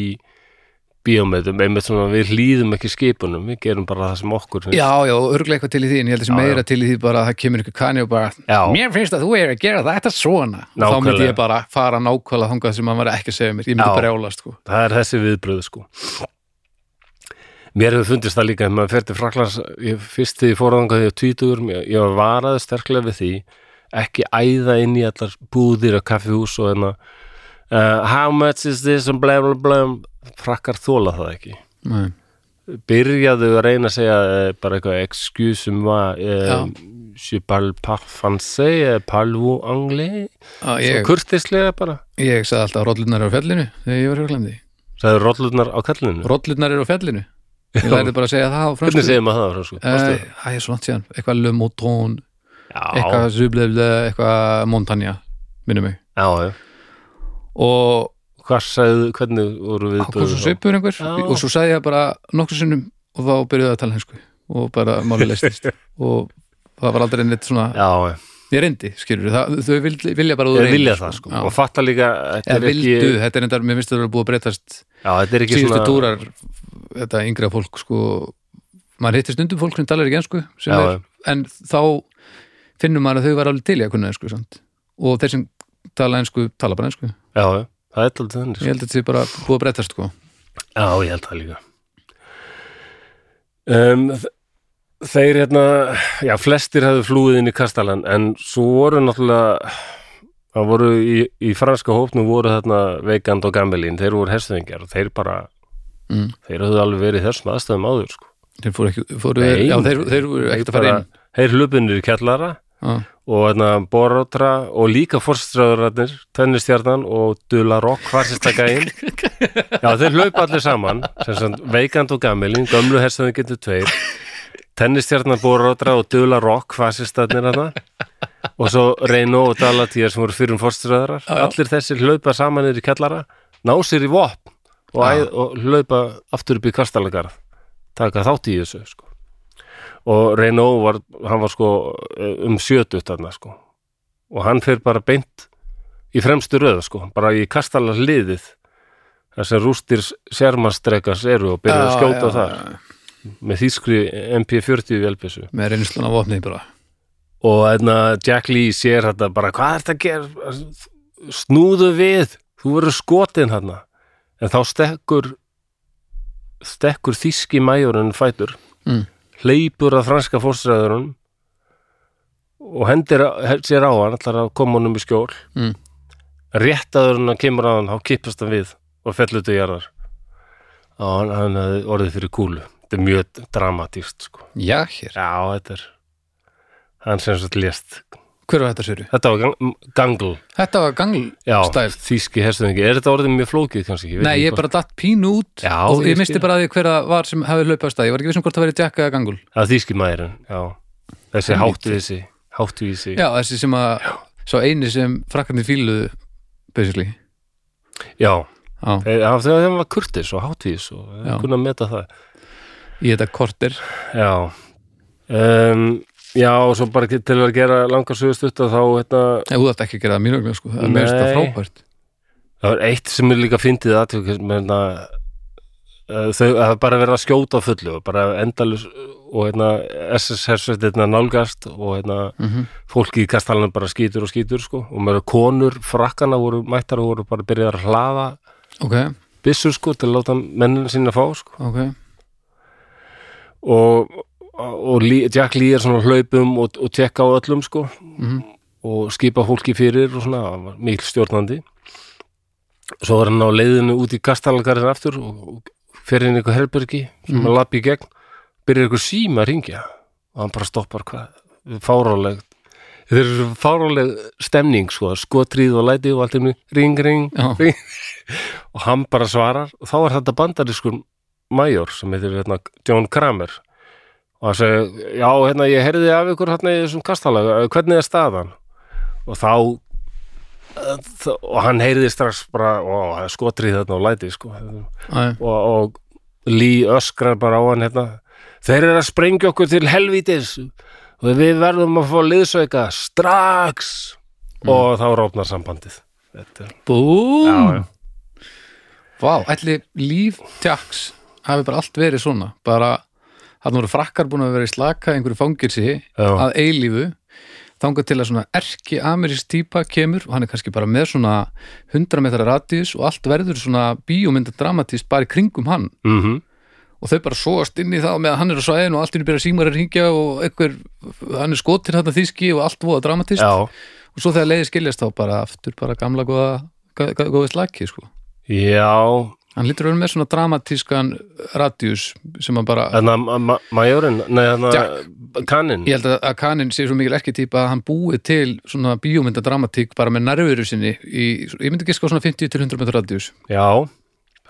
Speaker 1: bíómeðum, einmitt svona við hlýðum ekki skipunum, við gerum bara það sem okkur finnst.
Speaker 2: já, já örglega eitthvað til í því en ég held að þessi
Speaker 1: Já, já.
Speaker 2: meira til í því bara að það kemur ykkur kanni og bara
Speaker 1: Já.
Speaker 2: Mér finnst að þú er að gera þetta svona og Þá
Speaker 1: Nákvæmlega.
Speaker 2: myndi ég bara fara nákvæmlega þangað sem hann var ekki að segja mér Ég myndi
Speaker 1: Já.
Speaker 2: brjálast sko
Speaker 1: það er þessi viðbröð sko mér hefur fundist það líka ef maður fer til Fraklands, ég, fyrst því fóraðangað ég tvítugur, ég, ég varaði sterklega við því, ekki æða inn í allar búðir og kaffihús og enna uh, how much is this and blah blah blah frakkar þóla það ekki
Speaker 2: Nei.
Speaker 1: byrjaðu að reyna að segja eh, bara eitthvað excuse moi eh,
Speaker 2: Já.
Speaker 1: je parle pas français eh, parle-vous anglais svo
Speaker 2: Á, Ah, Ég,
Speaker 1: kurtislega bara
Speaker 2: ég sagði alltaf rollurnar eru á fjallinu þegar ég var hjörglandi
Speaker 1: sagði rollurnar á kallinu
Speaker 2: Rollurnar eru á fjallinu Ég læri bara að segja það á fransku
Speaker 1: hvernig segir maður það á
Speaker 2: Eh,
Speaker 1: fransku?
Speaker 2: Það er svona tíðan, eitthvað Le Mouton
Speaker 1: Fórstu?
Speaker 2: eitthvað Zublevle, eitthvað Montagna minnum mig
Speaker 1: já, já, já.
Speaker 2: og
Speaker 1: hvað sagði, hvernig voru við
Speaker 2: það kom svo svipur einhver
Speaker 1: Já.
Speaker 2: og svo sagði ég bara nokkur sinnum og þá byrjuði að tala hensku og bara máli leistist og það var aldrei neitt svona
Speaker 1: já, já,
Speaker 2: ég reyndi, skilur það, þau vil- vilja bara að þú
Speaker 1: ég
Speaker 2: reynir,
Speaker 1: vilja það sko
Speaker 2: Já.
Speaker 1: og fatta líka, þetta
Speaker 2: eða
Speaker 1: er ekki
Speaker 2: vildu, þetta er reyndar, mér finnst það að búið að breytast
Speaker 1: já, þetta er ekki
Speaker 2: síðustu
Speaker 1: svona
Speaker 2: túrar þetta yngra fólk sko maður hittir stundum fólk sem talar ekki ensku sem
Speaker 1: Já,
Speaker 2: er, en þá finnum maður að þau var alveg til í að kunna ensku samt. og þeir sem tala ensku tala bara ensku,
Speaker 1: já, já, það er alltaf þannig
Speaker 2: ég
Speaker 1: sko.
Speaker 2: held að þetta sé bara búið að breytast sko
Speaker 1: já, ég held það líka um, þ- þeir hérna, já, flestir hefðu flúið inn í Kastalan en svo voru náttúrulega það voru í, í franska hópnum voru þarna Veikand og Gamelin, þeir voru herstuðingjar og þeir bara,
Speaker 2: Mm.
Speaker 1: þeir hefðu alveg verið í þessum aðstæðum áður sko.
Speaker 2: Þeir fóru ekki, fóru,
Speaker 1: Nei.
Speaker 2: já, þeir, þeir voru ekkert að fara
Speaker 1: bara,
Speaker 2: inn
Speaker 1: þeir hlupinir í kjallara
Speaker 2: Já,
Speaker 1: og hérna Borótra og líka forstræðurarnir, tennistjarnan og Dula Rock var sérsta gæinn Já, þeir hlaupa allir saman sem sem veikand og gamilinn, gömlu herstaðin getur tveir tennistjarnan Borótra og Dula Rock var sérstaðnir hana hérna. og svo Reino og Dalatýr sem voru fyrir um forstræðurar
Speaker 2: Já, já.
Speaker 1: allir þessir hlaupa saman yfir í kellara ná sér í vopn og, æð, og hlaupa aftur upp í kastalagarð taka þátt í þessu sko og Renault var, hann var sko eh, um sjötut þarna sko og hann fyrir bara beint í fremstu röða sko, bara í kastala hliðið þar sem rústir sérmastrekas eru og byrjaði að
Speaker 2: Já,
Speaker 1: skjóta
Speaker 2: já,
Speaker 1: þar
Speaker 2: já.
Speaker 1: með þýskri MP40 velbissu
Speaker 2: Með reynslun á vopnið bara
Speaker 1: og hérna Jack Lee sér þetta bara hvað er þetta að gera snúðu við, þú verður skotin hérna en þá stekkur stekkur þíski majorinn fætur
Speaker 2: Mm.
Speaker 1: hleypur að franska fórstræðurinn og hendir hendir sér á hann allar að koma honum í skjól
Speaker 2: Mm.
Speaker 1: réttaður hann að kemur að hann þá kippast hann við og fellur til jarðar og hann, hann hafði orðið fyrir kúlu þetta er mjög dramatíst sko.
Speaker 2: Já, hér,
Speaker 1: já, þetta er hann sem svo lést
Speaker 2: hver var þetta séru?
Speaker 1: Þetta var gang, gangl
Speaker 2: Þetta var gangl
Speaker 1: Já,
Speaker 2: Stæl.
Speaker 1: þýski herstöðingi Er þetta orðið mjög flókið kannski? veit
Speaker 2: Nei,
Speaker 1: ekki
Speaker 2: ég
Speaker 1: hvort-
Speaker 2: bara datt pínu út
Speaker 1: Já,
Speaker 2: og ég
Speaker 1: ég
Speaker 2: misti
Speaker 1: skil.
Speaker 2: bara að því hver það var sem hafði hlaupað af stað, ég var ekki vissum hvort það verið jakka eða gangul
Speaker 1: Það er þýski maðurinn, já Þessi
Speaker 2: Helvíti.
Speaker 1: hátvísi Hátvísi
Speaker 2: Já, þessi sem að, svo eini sem frakkarnir fíluðu, basically
Speaker 1: já. Eh,
Speaker 2: Já,
Speaker 1: Þeir- það- Þegar þeim var kurtis og hátvís og
Speaker 2: Já.
Speaker 1: kunna að meta það
Speaker 2: í þetta korter
Speaker 1: Já um, Já, og svo bara til að gera langarsögustutta þá hérna,
Speaker 2: Nei, þú þátt ekki að gera það mínu vegna, sko, það er mér þetta
Speaker 1: Nei.
Speaker 2: frábært
Speaker 1: það var eitt sem er líka fyndið að hérna, eh, þau það er bara verið að skjóta á fullu og bara endalus og hérna, SS hersveitirna nálgast og hérna,
Speaker 2: mm
Speaker 1: fólki í kastalanum bara skýtur og skýtur sko og maður konur frakkana voru mættar og voru bara byrjaðar að hlaða
Speaker 2: Ok,
Speaker 1: byssur sko til að láta mennin sína fá sko
Speaker 2: ok
Speaker 1: og, og Lee- Jack Lee er svona á hlaupum og, og tekka á öllum sko
Speaker 2: Mhm.
Speaker 1: og skipa fólki fyrir og svona hann var mikil stjórnandi svo var hann á leiðinu út í kastalangarinn aftur og, og fer inn í eitthvað herbergi sem mm. að lappi í gegn byrjar eitthvað síma að ringja og hann bara stoppar hvað fárálegt þetta er svo fáráleg stemning sko, skotrið og læti og allt um ring, ring
Speaker 2: Já,
Speaker 1: og hann bara svarar og þá er þetta bandarískur major sem heitir hérna, John Kramer og hann segir, já hérna ég heyrði af ykkur hérna í þessum kastalaga hvernig er staðan og þá þ- og hann heyrði strax bara, ó, það er skotrið þarna og læti sko. og,
Speaker 2: Æ,
Speaker 1: og Lee öskrar bara á hann hérna, þeir eru að sprengja okkur til helvítis og við verðum að fá liðsauka strax og þá rópnar sambandið þetta, Mm.
Speaker 2: búm
Speaker 1: já, já.
Speaker 2: Vá, ætli líf tjaks hafi bara allt verið svona bara hann voru frakkar búin að vera í slaka í einhverju fangirsi
Speaker 1: Já.
Speaker 2: að eilífu þangað til að svona erki amerísk típa kemur og hann er kannski bara með svona 100 metrar radíus og allt verður svona bíómynda dramatíst bara í kringum hann
Speaker 1: Mm
Speaker 2: og þau bara sóast inn í það meðan hann er á svæðinu og allt inni byrja símar að ringja og einhver, hann er skotir hann að þýski og allt voða dramatist
Speaker 1: Já,
Speaker 2: og svo þegar leiði skiljast þá bara aftur bara gamla góða, góða, góða slaki sko
Speaker 1: já,
Speaker 2: Hann lítur að vera með svona dramatískan radíus sem að bara,
Speaker 1: þannig að hérna, ma- ma- majorinn, nei hérna, þannig að kannin,
Speaker 2: ég held að, að Kanin sé svo mikil ekki típa að hann búið til svona bíómynda dramatík bara með nærveru sinni í, ég myndi ekki sko svona 50 til 100 metra radíus.
Speaker 1: já,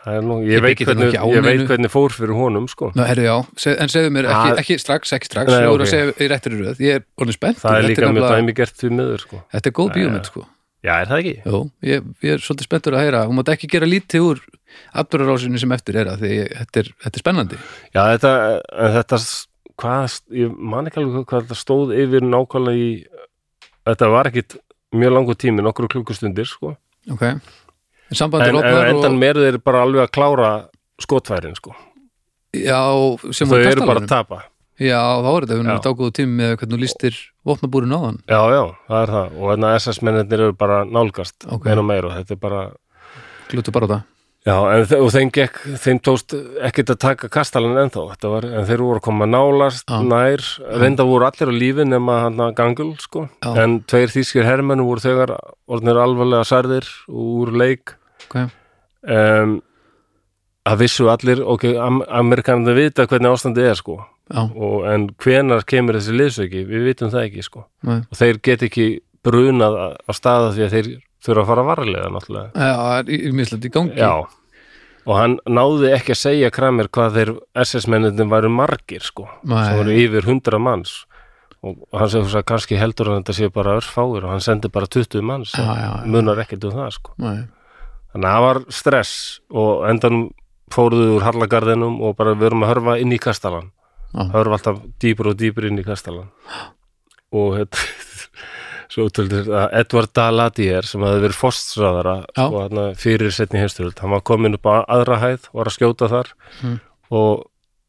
Speaker 1: það er nú, ég,
Speaker 2: Ég
Speaker 1: veit,
Speaker 2: byggi þetta nú
Speaker 1: hvernig,
Speaker 2: ekki á
Speaker 1: ég veit
Speaker 2: neinu.
Speaker 1: hvernig fór fyrir honum, sko.
Speaker 2: Ná, herri, já, seg, en segðu mér ekki,
Speaker 1: Ah.
Speaker 2: ekki strax, ekki strax,
Speaker 1: Nei,
Speaker 2: ég voru
Speaker 1: ok.
Speaker 2: að segja í réttir röð, ég er orðin spennt.
Speaker 1: Það er
Speaker 2: Þetta
Speaker 1: líka mjög
Speaker 2: nefnilega-
Speaker 1: dæmi gert því miður, sko.
Speaker 2: Þetta er góð bíómynd, sko.
Speaker 1: Já, er það ekki?
Speaker 2: Jú, ég, ég er svolítið spenntur að heyra, hún mátt ekki gera lítið úr atbyrðarásinu sem eftir er að því ég- þetta er, þetta er spennandi.
Speaker 1: Já, þetta, en þetta, s- hvað, s- ég man ekki alveg hvað þetta stóð yfir nákvæmlega í, þetta var ekkit mjög langur tími, nokkru klukkustundir, sko.
Speaker 2: Ok, en
Speaker 1: En,
Speaker 2: sambandi
Speaker 1: en
Speaker 2: lopnar
Speaker 1: endan og... meru þeir bara alveg að klára skotfærin, sko.
Speaker 2: já, sem
Speaker 1: Þau
Speaker 2: hún
Speaker 1: eru bara
Speaker 2: kastalanum.
Speaker 1: að tapa.
Speaker 2: Já, þá er þetta, við erum
Speaker 1: Já.
Speaker 2: dágóðu tími með hvernig þú lístir vopnabúrin á hann
Speaker 1: Já, já, það hérna, er það. Og þannig að SS-mennir eru bara nálgast,
Speaker 2: Ok.
Speaker 1: meira og meira og þetta er bara
Speaker 2: Glutu bara á það
Speaker 1: Já, en, þe- og þeim, gekk, þeim tókst ekkert að taka kastalan ennþá, þetta var, en þeir voru að koma nálast,
Speaker 2: Já.
Speaker 1: nær, reynda voru allir á lífi nema hann að gangul, sko,
Speaker 2: Já.
Speaker 1: en tveir þýskir hermennu voru þegar orðnir alvarlega særðir úr leik,
Speaker 2: okay.
Speaker 1: um, að vissu allir, ok, am amerikanandi vita hvernig ástandið er, sko,
Speaker 2: Já,
Speaker 1: og, en hvenar kemur þessi liðsöki, við vitum það ekki, sko,
Speaker 2: nei.
Speaker 1: og þeir get ekki brunað á- á staða því að þeir þurfa að fara varlega, náttúrulega.
Speaker 2: Já, það er í- í mislætt í gangi
Speaker 1: Já, og hann náði ekki að segja Kramer hvað þeir SS-menninni væru margir, sko,
Speaker 2: Nei.
Speaker 1: sem voru yfir hundra manns og og hann segir þess að kannski heldur hann að þetta séu bara örfáir og hann sendi bara 20 manns
Speaker 2: Já,
Speaker 1: og
Speaker 2: já, já.
Speaker 1: munar ekkert um það, sko.
Speaker 2: Nei.
Speaker 1: Þannig að það var stress og endanum fóruðu úr harlagarðinum og bara við erum að hörfa inn í kastalan.
Speaker 2: Já.
Speaker 1: Hörfa alltaf dýpur og dýpur inn í kastalan. Og þetta, svo útöldur að Edward Daladier sem hafði verið fórstsræðara
Speaker 2: Já.
Speaker 1: sko, þarna fyrir setni heimstyrjöld, hann var komin upp á aðra hæð, var að skjóta þar
Speaker 2: Mm.
Speaker 1: og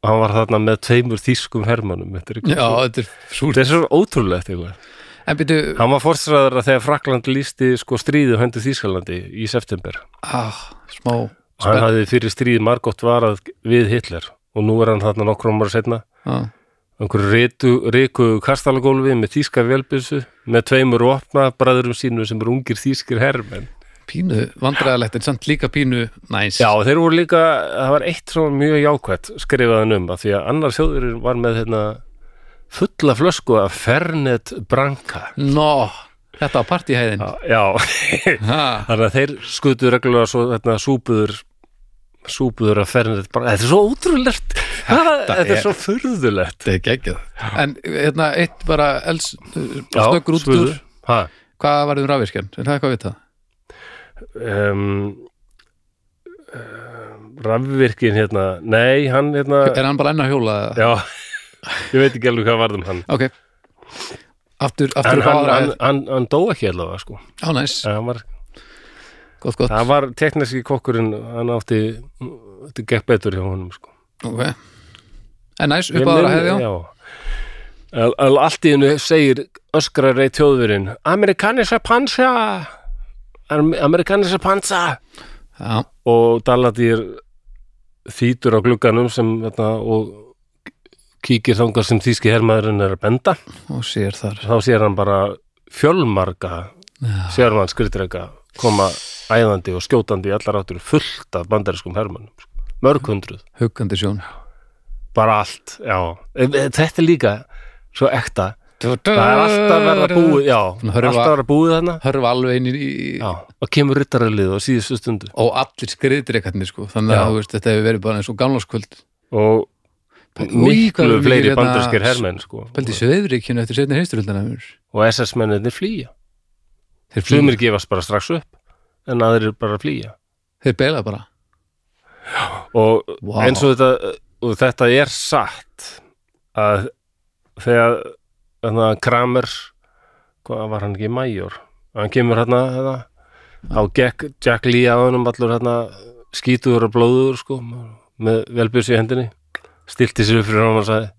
Speaker 1: hann var þarna með tveimur þýskum hermannum. Þetta er,
Speaker 2: Já,
Speaker 1: eitthvað svo-
Speaker 2: þetta er súrt
Speaker 1: þetta er svo ótrúlegt eitthvað.
Speaker 2: En byrju,
Speaker 1: Hann var fórstsræðara þegar Frakland lísti sko stríðu hendur Þýskalandi í september.
Speaker 2: ah, smá
Speaker 1: Og hann hafði fyrir stríð margótt varað við Hitler og nú er hann þarna nokkrum ára setna
Speaker 2: Já,
Speaker 1: einhverju ritu, riku kastalagólfi með þýska velbyrsu með tveimur opna bræðurum sínum sem eru ungir þýskir herrmenn
Speaker 2: Pínu, vandræðalegt en samt líka pínu Næs
Speaker 1: Já, þeir voru líka, það var eitt svona mjög jákvætt skrifaðan um að því að annar þjóðurinn var með hérna, fulla flösku af Fernet Branca
Speaker 2: Nó, þetta var partíhæðin
Speaker 1: Já, Já,
Speaker 2: Ha,
Speaker 1: þannig að þeir skutu reglulega svo hérna, súpuður súpuður af Fernet Branca Þetta er svo ótrúlegt, þetta, er
Speaker 2: er-
Speaker 1: svo furðulegt
Speaker 2: þetta er geggjað En hérna, eitt bara els Snöggur út
Speaker 1: spuðu.
Speaker 2: úr
Speaker 1: Ha,
Speaker 2: Hvað varðið um rafvirkjan? Er það eitthvað við það?
Speaker 1: um, um, rafvirkin hérna nei, hann hérna
Speaker 2: Er hann bara enn að hjóla? eða?
Speaker 1: já, ég veit ekki alveg hvað varð um hann
Speaker 2: Ok Aftur, aftur
Speaker 1: en
Speaker 2: upp á
Speaker 1: hann,
Speaker 2: aðra
Speaker 1: hann,
Speaker 2: hæð.
Speaker 1: hann, hann dó ekki allavega sko.
Speaker 2: Já, næs,
Speaker 1: En hann var,
Speaker 2: gott, gott
Speaker 1: það var tekniski kokkurinn hann átti, þetta gekk betur hjá honum sko.
Speaker 2: Ok En næs,
Speaker 1: Ég
Speaker 2: upp á aðra
Speaker 1: minn-
Speaker 2: hæði, já
Speaker 1: já Al- al- allt í hennu segir öskrar reyð þjóðverinn Amerikanische Panzer Am- Amerikanische Panzer
Speaker 2: Já,
Speaker 1: og Daladýr þýtur á glugganum sem þetta, og kíkir þangað sem þýski hermaðurinn er að benda
Speaker 2: og sér þar
Speaker 1: þá sér hann bara fjölmarga
Speaker 2: Já,
Speaker 1: sérmann skritrega koma æðandi og skjótandi í allar áttur fullt af bandariskum hermannum sko. mörg hundruð,
Speaker 2: huggandi sjón
Speaker 1: bara allt já. E- e- þetta er líka svo ekta það er alltaf að verða búið já,
Speaker 2: Svona
Speaker 1: alltaf
Speaker 2: hörfa-
Speaker 1: að verða búið þarna
Speaker 2: Hörfa alveg inn í
Speaker 1: já, og kemur ryttaralið á síðustu stundu
Speaker 2: og allir skriðdrekarnir sko þannig
Speaker 1: Já.
Speaker 2: að þú veist, þetta hefur verið bara eins og gamláskvöld
Speaker 1: og
Speaker 2: Új, hvað
Speaker 1: miklu
Speaker 2: eru mikið
Speaker 1: fleiri
Speaker 2: hérna-
Speaker 1: bandarskir hermenn sko.
Speaker 2: Pældi sveifrikjunu eftir setni heisturhildana Þeir
Speaker 1: og SS-menninir flýja
Speaker 2: flýja,
Speaker 1: Sumir gefast bara strax upp en aðrir bara flýja
Speaker 2: þeir beila bara
Speaker 1: og
Speaker 2: Vá.
Speaker 1: eins og þetta og þetta er satt að þegar þarna, Kramer hvað var hann ekki major hann kemur hérna, hérna á gekk Jack Lee að honum allur hérna skítuður og blóður sko með velbjörs í hendinni stilti sér upp fyrir hann og sagði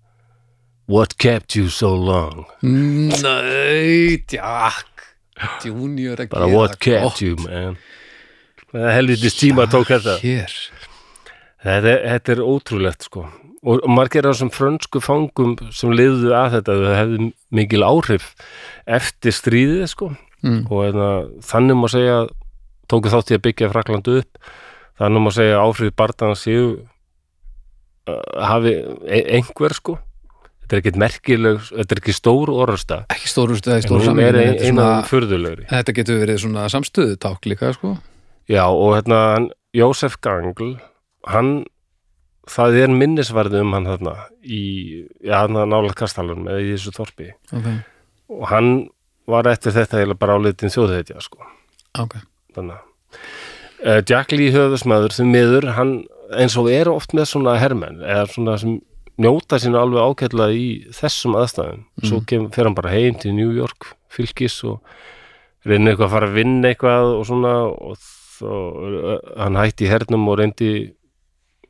Speaker 1: What kept you so long?
Speaker 2: Nei, tjakk Junior að
Speaker 1: Bara
Speaker 2: gera Oh,
Speaker 1: what kept
Speaker 2: gott
Speaker 1: you man? Helvitist tíma tók þetta
Speaker 2: Hér,
Speaker 1: Þetta, er- þetta er ótrúlegt sko og margir af þessum frönsku fangum sem liðu að þetta þau hefðu mikil áhrif eftir stríðið sko
Speaker 2: Mm.
Speaker 1: og hérna, þannig má segja tóku þátt í að byggja Fraklandu upp þannig má segja að áhrif barðan séu uh, hafi e einhver sko þetta er ekkit merkileg, þetta er ekki stór orðasta
Speaker 2: ekki stórustu eða
Speaker 1: en
Speaker 2: í stóru
Speaker 1: hún
Speaker 2: samvíðinu
Speaker 1: er
Speaker 2: þetta, er
Speaker 1: eina
Speaker 2: svona-
Speaker 1: furðulegri
Speaker 2: þetta getur verið svona samstöðuták líka sko
Speaker 1: Já, og hérna hann, Jósef Gangl, hann, það er minnisvarði um hann þarna í, já, hann nála kastalunum eða í þessu þorpi.
Speaker 2: Ok,
Speaker 1: Og hann var eftir þetta eiginlega bara álitin þjóðheitja, sko.
Speaker 2: ok
Speaker 1: Þannig að Eh, Jack Lee höfðusmaður sem miður, hann eins og er oft með svona hermenn, eða svona sem njóta sín alveg ágætlega í þessum aðstæðum. Svo kem, fer hann bara heim til New York, fylgis og reynir eitthvað að fara að vinna eitthvað og svona og þó, eh, hann hætti í hernum og reyndi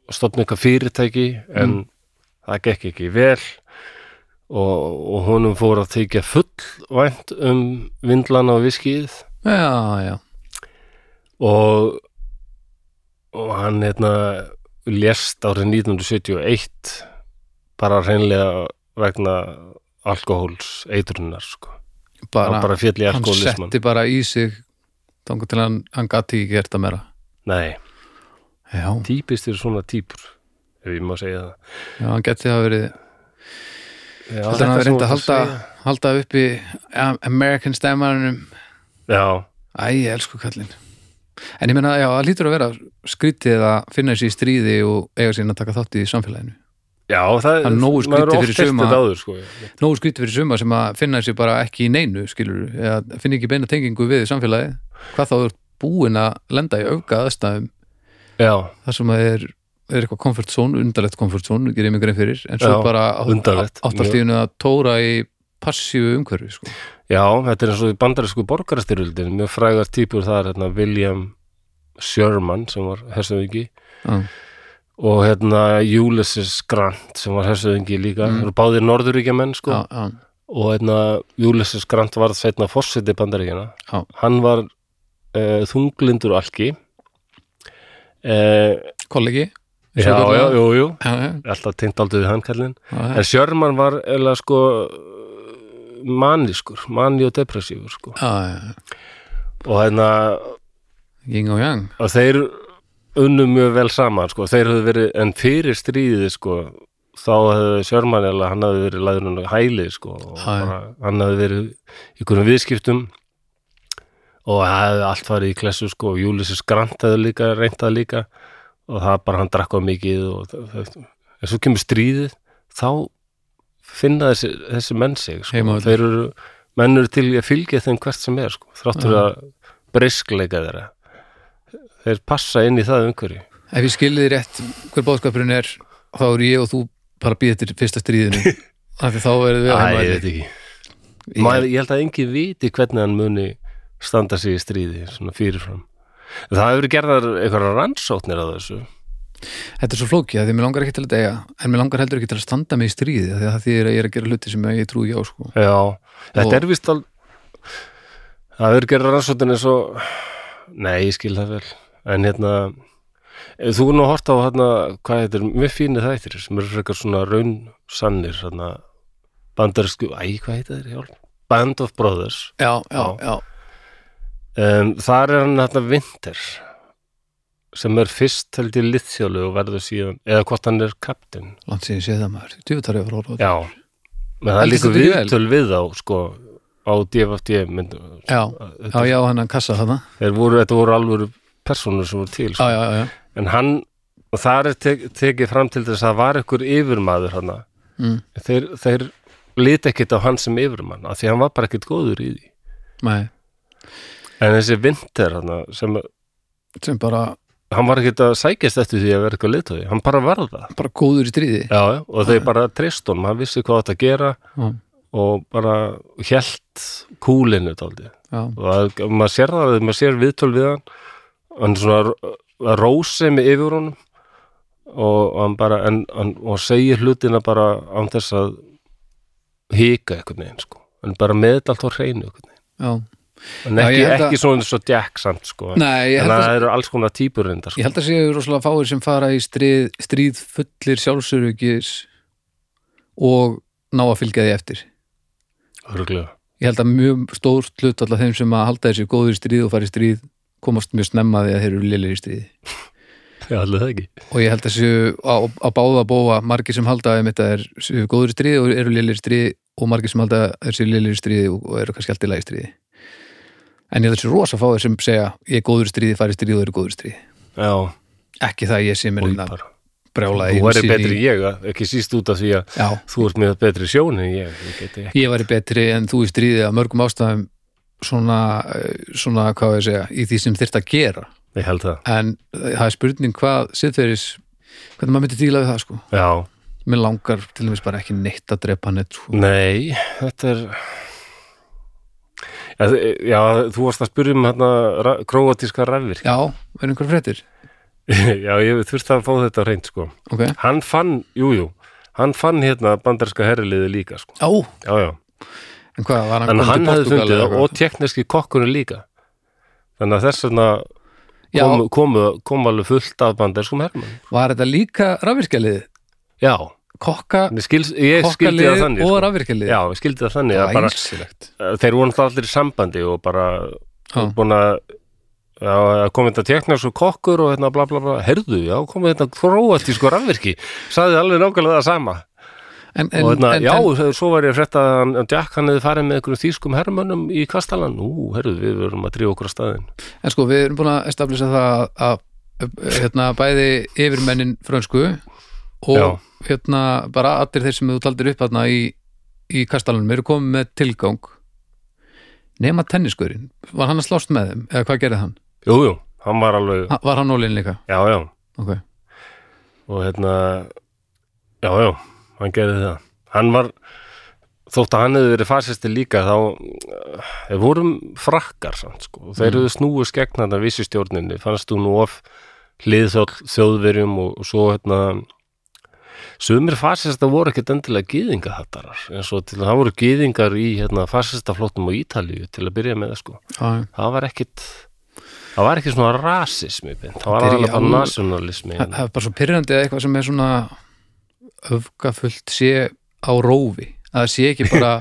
Speaker 1: að stofna eitthvað fyrirtæki en það gekk ekki vel og, og honum fór að þykja fullvænt um vindlana og viskið
Speaker 2: Já, já,
Speaker 1: og, og og hann hérna lést árið 1971 bara hreinlega vegna alkohóls eitrunar sko.
Speaker 2: bara,
Speaker 1: hann bara sko féll í
Speaker 2: hann
Speaker 1: alkohólismann
Speaker 2: setti bara í sig þangar til hann, hann gati ekki gert að meira
Speaker 1: nei,
Speaker 2: já,
Speaker 1: típist er svona típur ef ég má segja það
Speaker 2: já, hann geti það verið
Speaker 1: Já,
Speaker 2: heldur
Speaker 1: þetta
Speaker 2: hann hafi reyndi
Speaker 1: sem
Speaker 2: að
Speaker 1: þú ert
Speaker 2: halda, halda upp í American stemmarinum
Speaker 1: segja. já,
Speaker 2: æ, ég elsku kallinn en ég meina, já, það lítur að vera skrítið að finna sér í stríði og eiga sín að taka þátt í samfélaginu
Speaker 1: já, það
Speaker 2: Hann er nógu
Speaker 1: maður
Speaker 2: skrítið
Speaker 1: oft
Speaker 2: fyrir
Speaker 1: heyrt
Speaker 2: suma-
Speaker 1: þetta áður, sko.
Speaker 2: nógu skrítið fyrir suma sem að finna sér bara ekki í neinu skilur, eða finna ekki beina tengingu við samfélagi, hvað þá þú ert búin að lenda í auka aðstæðum
Speaker 1: já,
Speaker 2: þar sem að er, er eitthvað comfort zone, undarlegt comfort zone, gerir mig grein fyrir en svo
Speaker 1: Já,
Speaker 2: bara
Speaker 1: undarlegt,
Speaker 2: áttastíðinu að tóra í passífu umhverfi sko.
Speaker 1: já, þetta er eins og í bandarísku borgarastyrjöldin mjög frægar típur þar hérna, William Sherman sem var hersuðingi
Speaker 2: Já.
Speaker 1: og hérna Ulysses Grant sem var hersuðingi líka
Speaker 2: Mm.
Speaker 1: mm. eru báðir norðuríkjamenn sko
Speaker 2: já, já,
Speaker 1: og hérna Ulysses Grant varð setna fórseti bandaríkjana
Speaker 2: Já.
Speaker 1: hann var uh, þunglindur alki uh,
Speaker 2: kollegi
Speaker 1: já, já, jú, jú
Speaker 2: já, já,
Speaker 1: alltaf tengt aldrei við hann kallinn
Speaker 2: já, já,
Speaker 1: en Sjörman var eða sko eh, manískur, mani og depressífur sko.
Speaker 2: já, já.
Speaker 1: og hérna
Speaker 2: Ying og Yang
Speaker 1: og þeir unnu mjög vel saman sko. þeir höfðu verið, en fyrir stríðið sko, þá hefði Sjörman eða hann hefði verið læðurinn á hæli sko, og
Speaker 2: Já, já.
Speaker 1: bara, hann hefði verið í einhverjum viðskiptum og það hefði allt farið í klessu sko, og Júlisins Grant hefði líka reyndað líka og það bara hann drakk á mikið og það, það, en svo kemur stríðið þá finna þessi, þessi menn sig sko.
Speaker 2: Heimavöllur.
Speaker 1: þeir eru, menn eru til í að fylgja þeim hvert sem er sko, þráttur
Speaker 2: Já.
Speaker 1: að breyskleika þeirra þeir passa inn í það umhverju
Speaker 2: Ef ég skilði þið rétt hver bóðskapurinn er þá eru ég og þú bara býðið til fyrsta stríðinu af því þá verðum við
Speaker 1: Æ,
Speaker 2: að
Speaker 1: ég
Speaker 2: heima
Speaker 1: veit ekki Maður, ég held að enginn viti hvernig hann muni standa sig í stríði svona fyrirfram það hefur gerðar einhverja rannsóknir á þessu
Speaker 2: Þetta er svo flókið af því að mér langar ekki til að deyja en mér langar heldur ekki til að standa mig í stríði af því að því er að ég er að gera hluti sem ég trúi ekki á sko.
Speaker 1: Já, þetta
Speaker 2: Og-
Speaker 1: er vist al... Það er gerður rannsóttin eins og Nei, ég skil það vel En hérna ef Þú er nú að horta á hérna Hvað þetta er mjög fínir þættir sem eru frekar svona raun sannir hérna, Bandarsku, æ, hvað heita þeir? Hjálp? Band of Brothers
Speaker 2: Já, já,
Speaker 1: Já.
Speaker 2: já,
Speaker 1: um, Þar er hann hérna Vinter sem er fyrst held í liðþjólu og verður síðan, eða hvort hann er kaptinn
Speaker 2: langt síðan séð það maður Djúvitar hefur orðað
Speaker 1: Já, menn það er
Speaker 2: Eldist
Speaker 1: líka
Speaker 2: þetta ekki vel?
Speaker 1: viðtöl við þá sko, á DFFD myndu,
Speaker 2: Já, já, já, hann kassa þarna
Speaker 1: þeir voru, þetta voru alvöru personur sem voru til,
Speaker 2: Já,
Speaker 1: sko.
Speaker 2: já, já, já,
Speaker 1: en hann og það er tek, tekið fram til þess að það var ykkur yfirmaður hann
Speaker 2: mm,
Speaker 1: þeir, þeir lít ekkit á hann sem yfirmann af því hann var bara ekkit góður í því
Speaker 2: nei,
Speaker 1: en þessi vinter hann sem,
Speaker 2: sem bara,
Speaker 1: hann var ekkit að sækjast eftir því að vera eitthvað litói, hann bara varð það
Speaker 2: bara góður í stríði
Speaker 1: já, já, og þeir bara treyst honum, hann vissi hvað þetta að gera
Speaker 2: Já,
Speaker 1: og bara hélt kúlinu dálítið
Speaker 2: já,
Speaker 1: og það- maður sér það að maður sér viðtöl við hann hann svona að rósi með yfir honum og hann bara en, hann, og segir hlutina bara án þess að hika einhvern veginn sko en bara með þetta allt á hreinu einhvern veginn
Speaker 2: já
Speaker 1: en
Speaker 2: Já,
Speaker 1: ekki,
Speaker 2: ég held að-
Speaker 1: ekki svona eins og Jack samt sko
Speaker 2: Nei, ég
Speaker 1: en
Speaker 2: held að
Speaker 1: það eru alls konar típur reyndar sko.
Speaker 2: Ég held að séu rosalega fáir sem fara í stríð, stríð fullir sjálfsörugis og ná að fylgja því eftir.
Speaker 1: sko, Örugglega.
Speaker 2: Ég held að mjög stórt hlut alltaf þeim sem að halda þessi góður í stríð og fara í stríð komast mjög snemma því að þeir eru lilir í stríði.
Speaker 1: Já, allir það ekki
Speaker 2: Og ég held að séu á, á báða bóa margir sem halda þeim þetta er séu góður í stríði og eru lilir í stríði og margir sem halda þessi lilir í stríði og, og eru kannski alltaf í stríði. En ég held að séu rosa fáir sem segja ég er góður í stríði, fara í stríð og eru góður í stríði.
Speaker 1: Já,
Speaker 2: Ekki það að ég sé mér
Speaker 1: og
Speaker 2: hérna
Speaker 1: bara
Speaker 2: brjála
Speaker 1: Þú væri betri en ég, ekki síst út af því að
Speaker 2: Já,
Speaker 1: þú ert með betri sjón en ég, ég geti ekki
Speaker 2: ég væri betri en þú í stríði að mörgum ástæðum svona, eh, svona hvað á ég að segja, í því sem þyrft að gera
Speaker 1: Ég held það,
Speaker 2: en eh, það er spurning hvað siðferðis, hvernig maður myndi díla við það sko,
Speaker 1: já
Speaker 2: mér langar til dæmis bara ekki neitt að drepa neitt sko.
Speaker 1: Nei, þetta er Já, þi- já þú varst að spyrja um hérna ra- króatíska rafvirk
Speaker 2: já, verður einhver fréttir
Speaker 1: Já, ég þurfti að fá þetta á hreint sko.
Speaker 2: ok,
Speaker 1: Hann fann, jú, jú Hann fann hérna bandarska herriliði líka sko.
Speaker 2: já,
Speaker 1: Já, já,
Speaker 2: en hvað var hann
Speaker 1: en
Speaker 2: kominn
Speaker 1: hann
Speaker 2: til
Speaker 1: hafði
Speaker 2: Portúgal
Speaker 1: fundið
Speaker 2: eða
Speaker 1: það
Speaker 2: eitthvað?
Speaker 1: og tekniski kokkunni líka Þannig að þess vegna
Speaker 2: Já.
Speaker 1: komu, komu, komu alveg fullt af banderskum hermann
Speaker 2: Var þetta líka rafvirkjalið?
Speaker 1: Já,
Speaker 2: Kokka,
Speaker 1: ég skils, ég skildi
Speaker 2: kokkalið
Speaker 1: það þannig
Speaker 2: og
Speaker 1: sko.
Speaker 2: rafvirkjalið?
Speaker 1: Já, ég skildi það þannig
Speaker 2: það
Speaker 1: að
Speaker 2: var
Speaker 1: bara,
Speaker 2: einsilegt.
Speaker 1: þeir voru náttúrulega allir í sambandi og bara
Speaker 2: Já.
Speaker 1: búin að já, að komið þetta teknar svo kokkur og hérna bla bla bla, herðu, já, komið þetta króatísku rafvirki, sagði alveg nákvæmlega það sama
Speaker 2: En, en,
Speaker 1: og hérna,
Speaker 2: en,
Speaker 1: já,
Speaker 2: en,
Speaker 1: svo var ég að frétta að hann- að Jack hann hefði farið með einhverjum þýskum hermönnum í Kastalan, ú, herðu, við verum að drífa okkur á staðinn
Speaker 2: en sko, við erum búin að establisa það að, að hérna, bæði yfirmennin frönsku og
Speaker 1: Já.
Speaker 2: hérna bara allir þeir sem þú taldir upp hérna í, í kastalunum eru komið með tilgang nema tenniskurinn var hann að slást með þeim eða hvað gerði hann?
Speaker 1: Jú, jú, hann var alveg,
Speaker 2: Ha, var hann ólinn líka?
Speaker 1: já, já
Speaker 2: Ok,
Speaker 1: og hérna já, já, hann gerði það hann var, þótt að hann hefði verið fasisti líka þá eh, þeir vorum frakkar samt sko þeir
Speaker 2: Mhm.
Speaker 1: hefðu snúið skegna þetta vissi stjórninni fannst þú nú of hlið þjóð- þjóðverjum og, og svo hérna sumir fasista voru ekkert endilega gýðingahattarar eins og til það voru gýðingar í hérna, fasistaflóttum á Ítalíu til að byrja með sko
Speaker 2: já, já.
Speaker 1: það var ekkit það var ekki svona rasismi beint, það var
Speaker 2: Þetta er í
Speaker 1: alveg bara
Speaker 2: alvöru-
Speaker 1: nasjonalismi
Speaker 2: það það er bara svo pyrrandi að eitthvað sem er svona öfgafullt sé á rófi að það sé ekki bara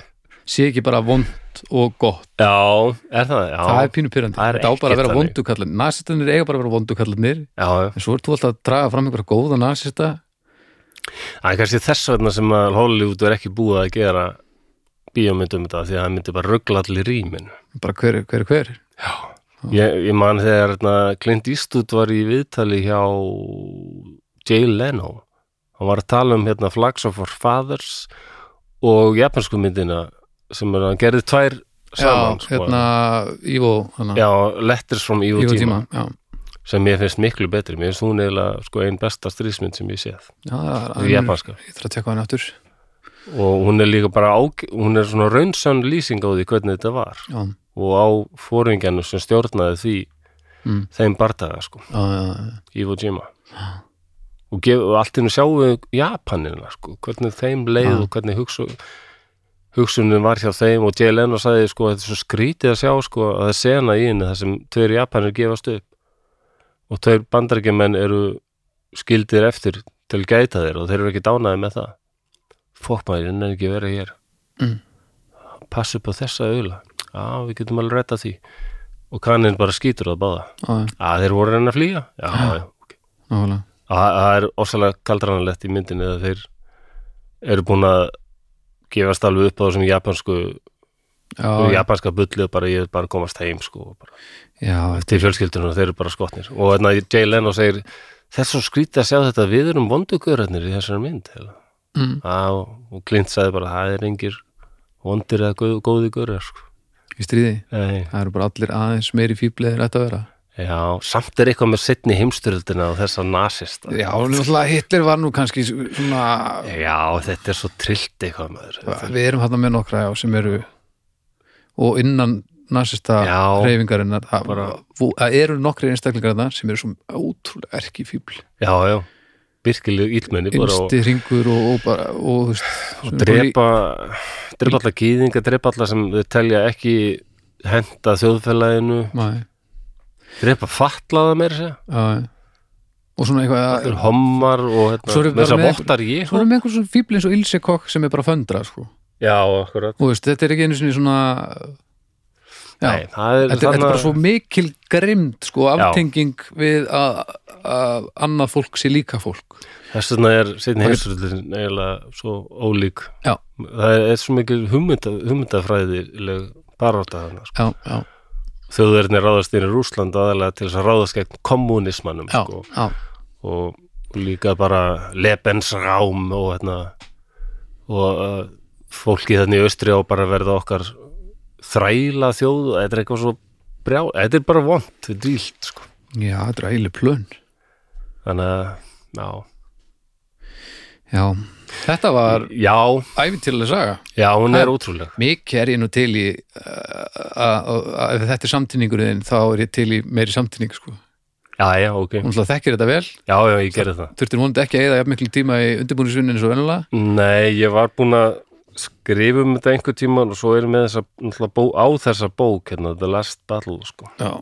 Speaker 2: sé ekki bara vond og gott
Speaker 1: Já, er það, já
Speaker 2: það er pínu pyrrandi,
Speaker 1: Það er
Speaker 2: þetta á bara
Speaker 1: ekkert
Speaker 2: að vera
Speaker 1: þannig.
Speaker 2: vondukallarnir nasistarnir eiga bara að vera vondukallarnir
Speaker 1: Já, já.
Speaker 2: en svo ert þú alltaf að draga fram einhverja góða nasista
Speaker 1: það er kannski þess vegna sem að Hollywood er ekki búið að gera bíómyndum þetta því að það myndi bara ruggla allir rýmin
Speaker 2: bara hver, hver, hver
Speaker 1: ég, ég man þegar hérna, Clint Eastwood var í viðtali hjá Jay Leno hann var að tala um hérna, Flags of Our Fathers og japansku myndina sem er, hann gerði tvær saman
Speaker 2: já, hérna, Ívo
Speaker 1: sko.
Speaker 2: hana,
Speaker 1: já, Letters from Evil,
Speaker 2: Ívo
Speaker 1: Evil
Speaker 2: tíma,
Speaker 1: Tíma
Speaker 2: já,
Speaker 1: sem ég finnst miklu betri, mér finnst hún eiginlega sko, ein besta strísmynd sem ég séð
Speaker 2: já það er-
Speaker 1: japanska
Speaker 2: ég þarf að tjekka hann aftur
Speaker 1: og hún er líka bara á, hún er svona raunsann lýsing á því hvernig þetta var
Speaker 2: já, já,
Speaker 1: og á fóringjanu sem stjórnaði því
Speaker 2: Mm.
Speaker 1: þeim bardaga sko,
Speaker 2: já, já.
Speaker 1: Iwo Jima og, gef, og allt innu sjáum við Japanina sko, hvernig þeim leið
Speaker 2: Já.
Speaker 1: og hvernig hugsu, hugsunin var hjá þeim og J. Leno sagði sko, þetta er svo skrítið að sjá sko, að það er sena í henni þar sem tveir Japanir gefast upp og tveir bandarækjumenn eru skildir eftir til að gæta þeir og þeir eru ekki dánaði með það fokk maður, henni er ekki verið hér
Speaker 2: Mm.
Speaker 1: passa upp á þessa auðla já, við getum alveg retta því og kannin bara skýtur það báða
Speaker 2: já, já,
Speaker 1: að þeir voru að reyna að flýja já, já, ok
Speaker 2: nákvæmlega.
Speaker 1: Og Það það er ósalega kaldranalegt í myndinni að þeir eru búin að gefast alveg upp á þessum japansku
Speaker 2: já,
Speaker 1: japanska bullu og bara ég er bara að komast heim sko, og bara,
Speaker 2: já, já,
Speaker 1: til fjölskyldunum og þeir eru bara skotnir og þarna Jay Leno segir þess að skrýta að sjá þetta við erum vondugaurarnir í þessari mynd heila.
Speaker 2: Mm.
Speaker 1: Á, og Clint sagði bara það er engir vondir eða góð, góði gaurar sko.
Speaker 2: í stríði
Speaker 1: Nei,
Speaker 2: það eru bara allir aðeins meiri fíbleðir ætti að vera
Speaker 1: já, samt er eitthvað með setni heimstyrldina og þessa nasista
Speaker 2: já, náttúrulega Hitler var nú kannski svona
Speaker 1: já, þetta er svo trillt eitthvað maður
Speaker 2: við erum hann með nokkra já, sem eru og innan nasista
Speaker 1: Já.
Speaker 2: reyfingarinnar það
Speaker 1: Bara-
Speaker 2: vo- það eru nokkri einstaklingar þarna sem eru svo ótrúlega erki fíbl
Speaker 1: já, já, virkileg íllmenni bara og
Speaker 2: innsti hringur og, og bara og, þú veist,
Speaker 1: og
Speaker 2: sem bara
Speaker 1: drepa drepa alla gýðinga, drepa alla sem þau telja ekki henda þjóðfélaginu
Speaker 2: í- Nei,
Speaker 1: drepa fatlaða meir sér
Speaker 2: já, já. og svona eitthvað
Speaker 1: þeir hommar og hérna,
Speaker 2: Svo erum við
Speaker 1: með þess
Speaker 2: bara
Speaker 1: að
Speaker 2: með
Speaker 1: vottar ég
Speaker 2: svo erum við einhver svona fíbl eins og Ilse Kokk sem er bara að föndra sko.
Speaker 1: já, akkurat
Speaker 2: og þú veist, þetta er ekki einu sinni svona já,
Speaker 1: Nei, það er
Speaker 2: þetta, er- þetta er
Speaker 1: þarna-
Speaker 2: bara svo mikil grimd sko,
Speaker 1: Já.
Speaker 2: aftenging við að, að annað fólk sé líka fólk
Speaker 1: þess vegna er setni heimsröldin eiginlega svo ólík
Speaker 2: Já.
Speaker 1: það er svo mikil hugmynda, hugmyndafræðileg baróta þarna sko.
Speaker 2: já, já,
Speaker 1: þjóðverðin er ráðast inn í Rúsland aðalega til þess að ráðast gegn kommunismannum
Speaker 2: já,
Speaker 1: sko.
Speaker 2: já.
Speaker 1: og líka bara Lebensraum og hérna og uh, fólkið þannig í austri á bara að verða okkar þræla þjóð, þetta er eitthvað svo brjá, þetta er bara vond, þetta er dýlt sko.
Speaker 2: Já, þetta er ægileg plön
Speaker 1: þannig að já,
Speaker 2: Já, þetta var
Speaker 1: já,
Speaker 2: æfintilega saga
Speaker 1: já, hún
Speaker 2: Það-
Speaker 1: er ótrúleg
Speaker 2: Mikið er ég nú til í uh, að- að- að- ef þetta er samtínningurinn þá er ég til í meiri samtínning sko.
Speaker 1: já, já, ok,
Speaker 2: Hún slá þekkir þetta vel
Speaker 1: já, já, ég gerði það
Speaker 2: þurftir vonandi ekki að eða jafn miklu tíma í undirbúnisvinnin svo vennulega
Speaker 1: nei, ég var búin að skrifa um þetta einhver tíman og svo erum við þessa, náttúrulega bó, á þessa bók hérna, The Last Battle sko.
Speaker 2: Já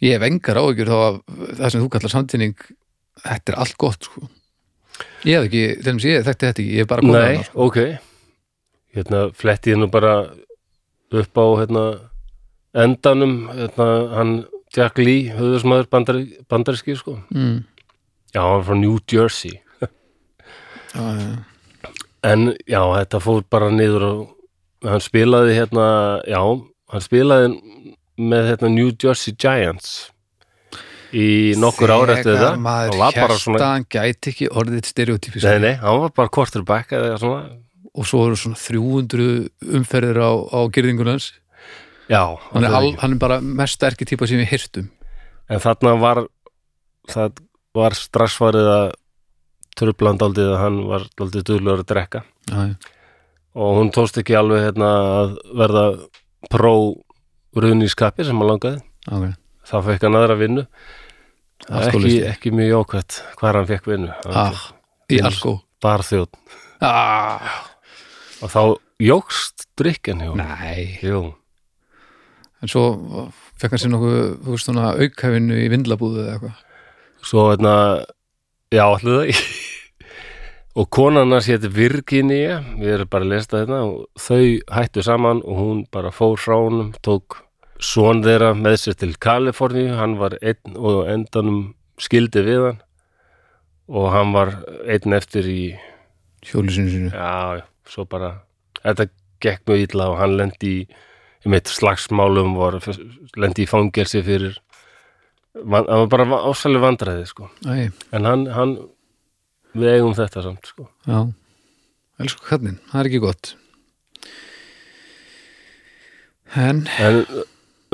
Speaker 2: Ég hef engar áhyggjur þá að það sem þú kallar samtíning þetta er allt gott sko. Ég hef ekki, til dæmis ég þekkti þetta ekki ég hef bara komið
Speaker 1: Nei,
Speaker 2: þarna, sko.
Speaker 1: ok Hérna fletti ég nú bara upp á hérna endanum hérna, hann Jack Lee, höfðusmaður bandar, bandarski sko.
Speaker 2: mm.
Speaker 1: Já, hann var frá New Jersey
Speaker 2: Já, já, já.
Speaker 1: En já, þetta fór bara niður og hann spilaði hérna, já, hann spilaði með hérna New Jersey Giants í nokkur ár eftir þetta.
Speaker 2: Þegar maður
Speaker 1: Hann var bara svona,
Speaker 2: hjartaðan gæti ekki orðið stereotypisk
Speaker 1: nei, nei, hann var bara quarterback eða svona,
Speaker 2: og svo eru svona 300 umferðir á, á gyrðingun hans
Speaker 1: já.
Speaker 2: hann er,
Speaker 1: það
Speaker 2: al,
Speaker 1: ekki.
Speaker 2: hann er bara mest sterkir típa sem við hirtum
Speaker 1: En þarna var, það var strassvarið að trubland aldrei að hann var aldrei duðlur að drekka
Speaker 2: Já, já.
Speaker 1: og hún tókst ekki alveg hérna að verða pró runískapi sem hann langaði.
Speaker 2: okay.
Speaker 1: þá fekk hann aðra vinnu Það er ekki,
Speaker 2: Alkohólisti.
Speaker 1: ekki mjög jókvætt hvar hann fekk vinnu
Speaker 2: ah, í alko
Speaker 1: barþjóð
Speaker 2: ah,
Speaker 1: og þá jókst drikkin hjá honum.
Speaker 2: nei
Speaker 1: Jú,
Speaker 2: en svo fekk hann sér nokkuð þú veist, svona, aukæfinu í vindlabúðu eða eitthvað
Speaker 1: svo hérna já, allir það og konan hans héti Virginia við erum bara að lesta þetta hérna, og þau hættu saman og hún bara fór frá honum tók son þeirra með sér til Kaliforníu, hann var einn og á endanum skildi við hann og hann var einn eftir í
Speaker 2: hjólusinu sinu
Speaker 1: Já, já, svo bara þetta gekk mjög illa og hann lendi í um eitt slagsmálum var, lendi í fangelsi fyrir van- hann var bara ásæli vandræði sko.
Speaker 2: Æ,
Speaker 1: en hann, hann við eigum þetta samt sko.
Speaker 2: já elsku kallinn, það er ekki gott en
Speaker 1: en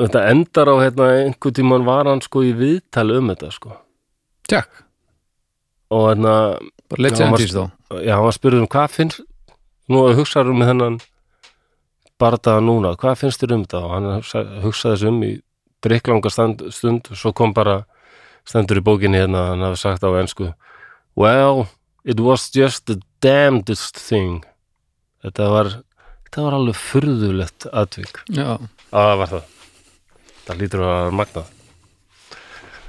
Speaker 1: þetta endar á hérna, einhver tímann var hann sko í viðtali um þetta sko.
Speaker 2: tjakk,
Speaker 1: og hérna,
Speaker 2: bara
Speaker 1: Já,
Speaker 2: let's end
Speaker 1: maður-
Speaker 2: this þá
Speaker 1: já, hann var spurðið um hvað finnst nú að hugsaður um þennan bardaða núna, hvað finnst þér um þetta og hann hugsa- hugsaði þessu um í drikklanga stand- stund og svo kom bara stendur í bókinni hérna hann hafi sagt á ensku well, it was just the damnedest thing þetta var þetta var alveg furðulegt atvik
Speaker 2: já,
Speaker 1: að það var það það lítur að vera magnað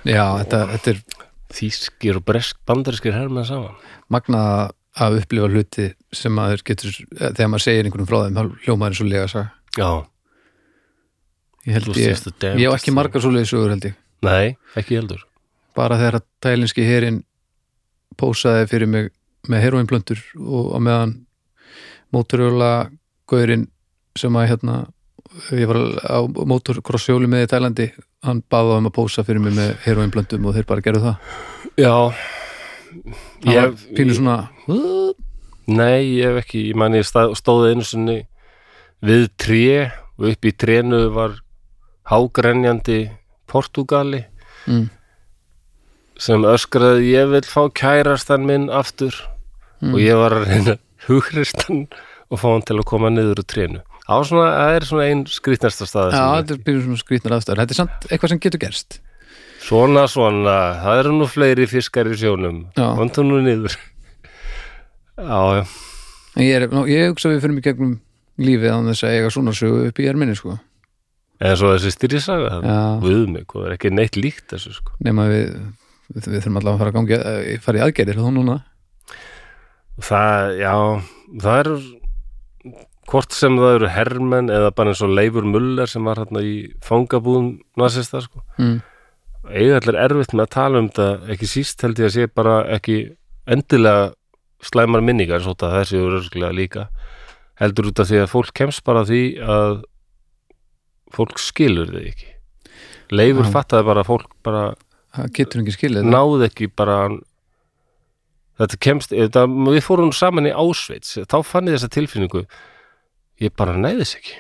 Speaker 2: já þetta, þetta er
Speaker 1: þýskir og bresk bandarskir herrmenn saman
Speaker 2: magna að upplifa hluti sem maður getur, eh, þegar maður segir einhvernum frá þeim, þá hljómaður eins og lega sag
Speaker 1: já,
Speaker 2: ég
Speaker 1: it
Speaker 2: held
Speaker 1: was
Speaker 2: ég,
Speaker 1: just the
Speaker 2: ég á
Speaker 1: damnedest
Speaker 2: ekki margar svo leiðisugur held ég,
Speaker 1: thing. nei, ekki heldur
Speaker 2: bara þegar að tælinski herin pósaði fyrir mig með heroinblöndur og á meðan móturjóla gaurinn sem að hérna ég var á móturkrosshjóli með í Tælandi hann baða um að pósa fyrir mig með heroinblöndum og þeir bara gerðu það
Speaker 1: Já
Speaker 2: það
Speaker 1: ég,
Speaker 2: var pínu svona "Hú?"
Speaker 1: Nei, ég hef ekki, ég man ég stað- stóð einu sinni við tré og upp í trénu var hágrenjandi Portugali
Speaker 2: Mm.
Speaker 1: sem öskraði ég vil fá kærastan minn aftur og
Speaker 2: Mm.
Speaker 1: ég var að reyna hugristan og fá hann til að koma niður úr trénu Það var svona, það er svona ein skrýtnasta staða
Speaker 2: já,
Speaker 1: sem ég-
Speaker 2: þetta er pínu svona skrýtnar aðstæður þetta er samt eitthvað sem getur gerst
Speaker 1: Svona, svona, það eru nú fleiri fiskar í sjónum
Speaker 2: Já.
Speaker 1: Vandu nú niður Já, já
Speaker 2: en ég, er, ná, ég hugsa að við fyrir mig gegnum lífið án þess að eiga svona sögu upp í erminni sko
Speaker 1: eða svo þessi styrjasaga það
Speaker 2: Já.
Speaker 1: við mig, hvað er ekki neitt líkt þessu sko.
Speaker 2: nema við, við, við þurfum allavega að fara að gangi að fara í aðgerðir þá núna
Speaker 1: það, já það eru hvort sem það eru hermenn eða bara eins og Leifur Muller sem var hérna í fangabúðum nasista sko.
Speaker 2: mm.
Speaker 1: eiga allir erfitt með að tala um þetta ekki síst held ég að sé bara ekki endilega slæmar minningar svo þetta þessi eru örgulega líka heldur út af því að fólk kemst bara að því að fólk skilur þið ekki Leifur
Speaker 2: Já.
Speaker 1: fattaði bara að fólk bara
Speaker 2: það getur ekki skilið þetta.
Speaker 1: náði ekki bara þetta kemst þetta, við fórum saman í Ásveits þá fann ég þessa tilfinningu ég bara næði þess ekki,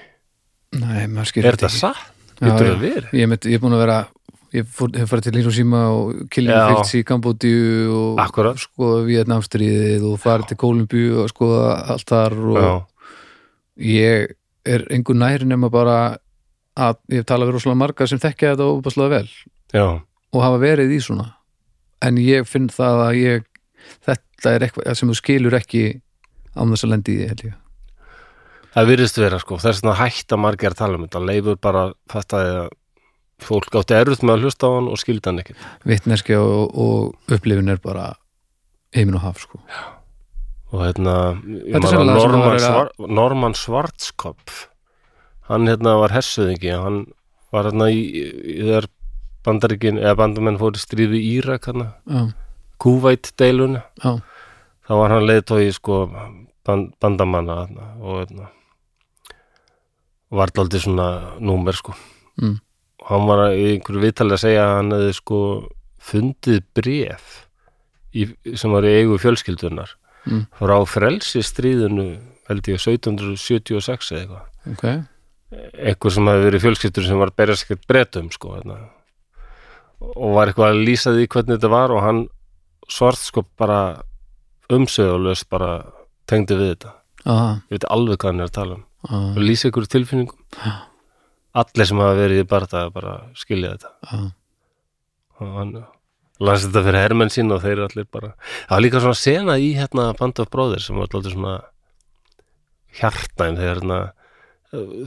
Speaker 2: Nei, maður skilur
Speaker 1: er þetta
Speaker 2: ekki.
Speaker 1: satt?
Speaker 2: Já,
Speaker 1: getur
Speaker 2: já.
Speaker 1: það verið?
Speaker 2: Ég, met, ég er búin að vera ég fór, hef farið til Hiroshima og Killing
Speaker 1: Já.
Speaker 2: Fields í Kambodíu og
Speaker 1: Akkurat. sko.
Speaker 2: skoða Vietnamstríðið og farið til Kólumbíu og skoða allt þar og
Speaker 1: Já,
Speaker 2: ég er engu næri nema bara að ég hef talað við rosalega marga sem þekkja þetta og opaslega vel
Speaker 1: já,
Speaker 2: og hafa verið í svona en ég finn það að ég þetta er eitthvað sem þú skilur ekki án þess að lendi í því held ég
Speaker 1: það virðist vera sko þess að hætta margir að tala um þetta leifur bara fattaði að fólk átti erut með að hlusta á hann og skildi hann ekkert
Speaker 2: vitneskja og, og upplifin er bara heimin og haf sko.
Speaker 1: og hérna
Speaker 2: Þetta er
Speaker 1: ég man að
Speaker 2: sennilega það sem
Speaker 1: Norman,
Speaker 2: maður er að-
Speaker 1: Svar, Norman Schwarzkopf hann hérna var hessuðingi hann var hérna í, í þegar bandaríkin eða bandamenn fóru í stríði í Írak hérna,
Speaker 2: já,
Speaker 1: Kuwait deiluna
Speaker 2: já,
Speaker 1: þá var hann leiðtói sko band, bandamanna þarna, og hérna var daldið svona númer sko
Speaker 2: Mm.
Speaker 1: og hann var í einhverju viðtalið að segja að hann hefði sko fundið bref í, sem var í eigu fjölskyldunar
Speaker 2: Mm.
Speaker 1: frá frelsi stríðinu held ég 1776 eða eitthvað
Speaker 2: ok
Speaker 1: eitthvað sem hafi verið fjölskyldur sem var að berjast ekkert bretum sko hérna. og var eitthvað að lýsa því hvernig þetta var og hann svart sko bara umsöðulegst bara tengdi við þetta
Speaker 2: aha,
Speaker 1: ég veit alveg hvað hann er að tala um
Speaker 2: aha,
Speaker 1: og lýsa ykkur tilfinningum
Speaker 2: Já.
Speaker 1: allir sem hafa verið í barða bara skilja þetta
Speaker 2: aha.
Speaker 1: og hann lasi þetta fyrir hermenn sín og þeir allir bara það var líka svona sena í hérna Band of Brothers sem var alltaf svona hjartnæm þegar hérna uh,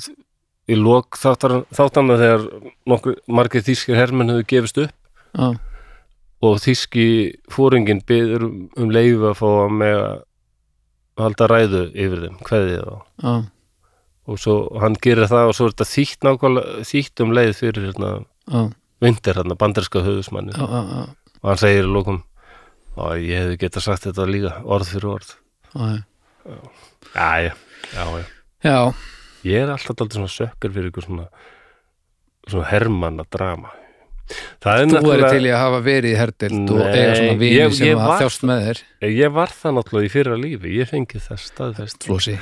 Speaker 1: í lok þáttar- þáttanna þegar nokkur margir þýskir hermenn höfðu gefist upp
Speaker 2: já,
Speaker 1: og þýski fóringin byður um, um leifu að fá með að halda ræðu yfir þeim, kveðið þá
Speaker 2: já,
Speaker 1: og svo hann gerir það og svo er þetta þýtt nákvæmlega þýtt um leið fyrir hérna
Speaker 2: já,
Speaker 1: vindir hérna banderska höfusmannin
Speaker 2: já, já, já,
Speaker 1: og hann segir í lókum og ég hefði getað sagt þetta líka orð fyrir orð
Speaker 2: já
Speaker 1: já, já, já, já.
Speaker 2: Já,
Speaker 1: ég er alltaf alltaf svona sökkur fyrir ykkur svona, svona hermanna drama það er
Speaker 2: þú er til í að hafa verið í herdild og
Speaker 1: Nei,
Speaker 2: eiga svona vini
Speaker 1: ég-
Speaker 2: sem
Speaker 1: ég
Speaker 2: að
Speaker 1: var-
Speaker 2: þjást með þér
Speaker 1: Eh, ég var það náttúrulega í fyrra lífi ég fengi það staðfest
Speaker 2: Flósi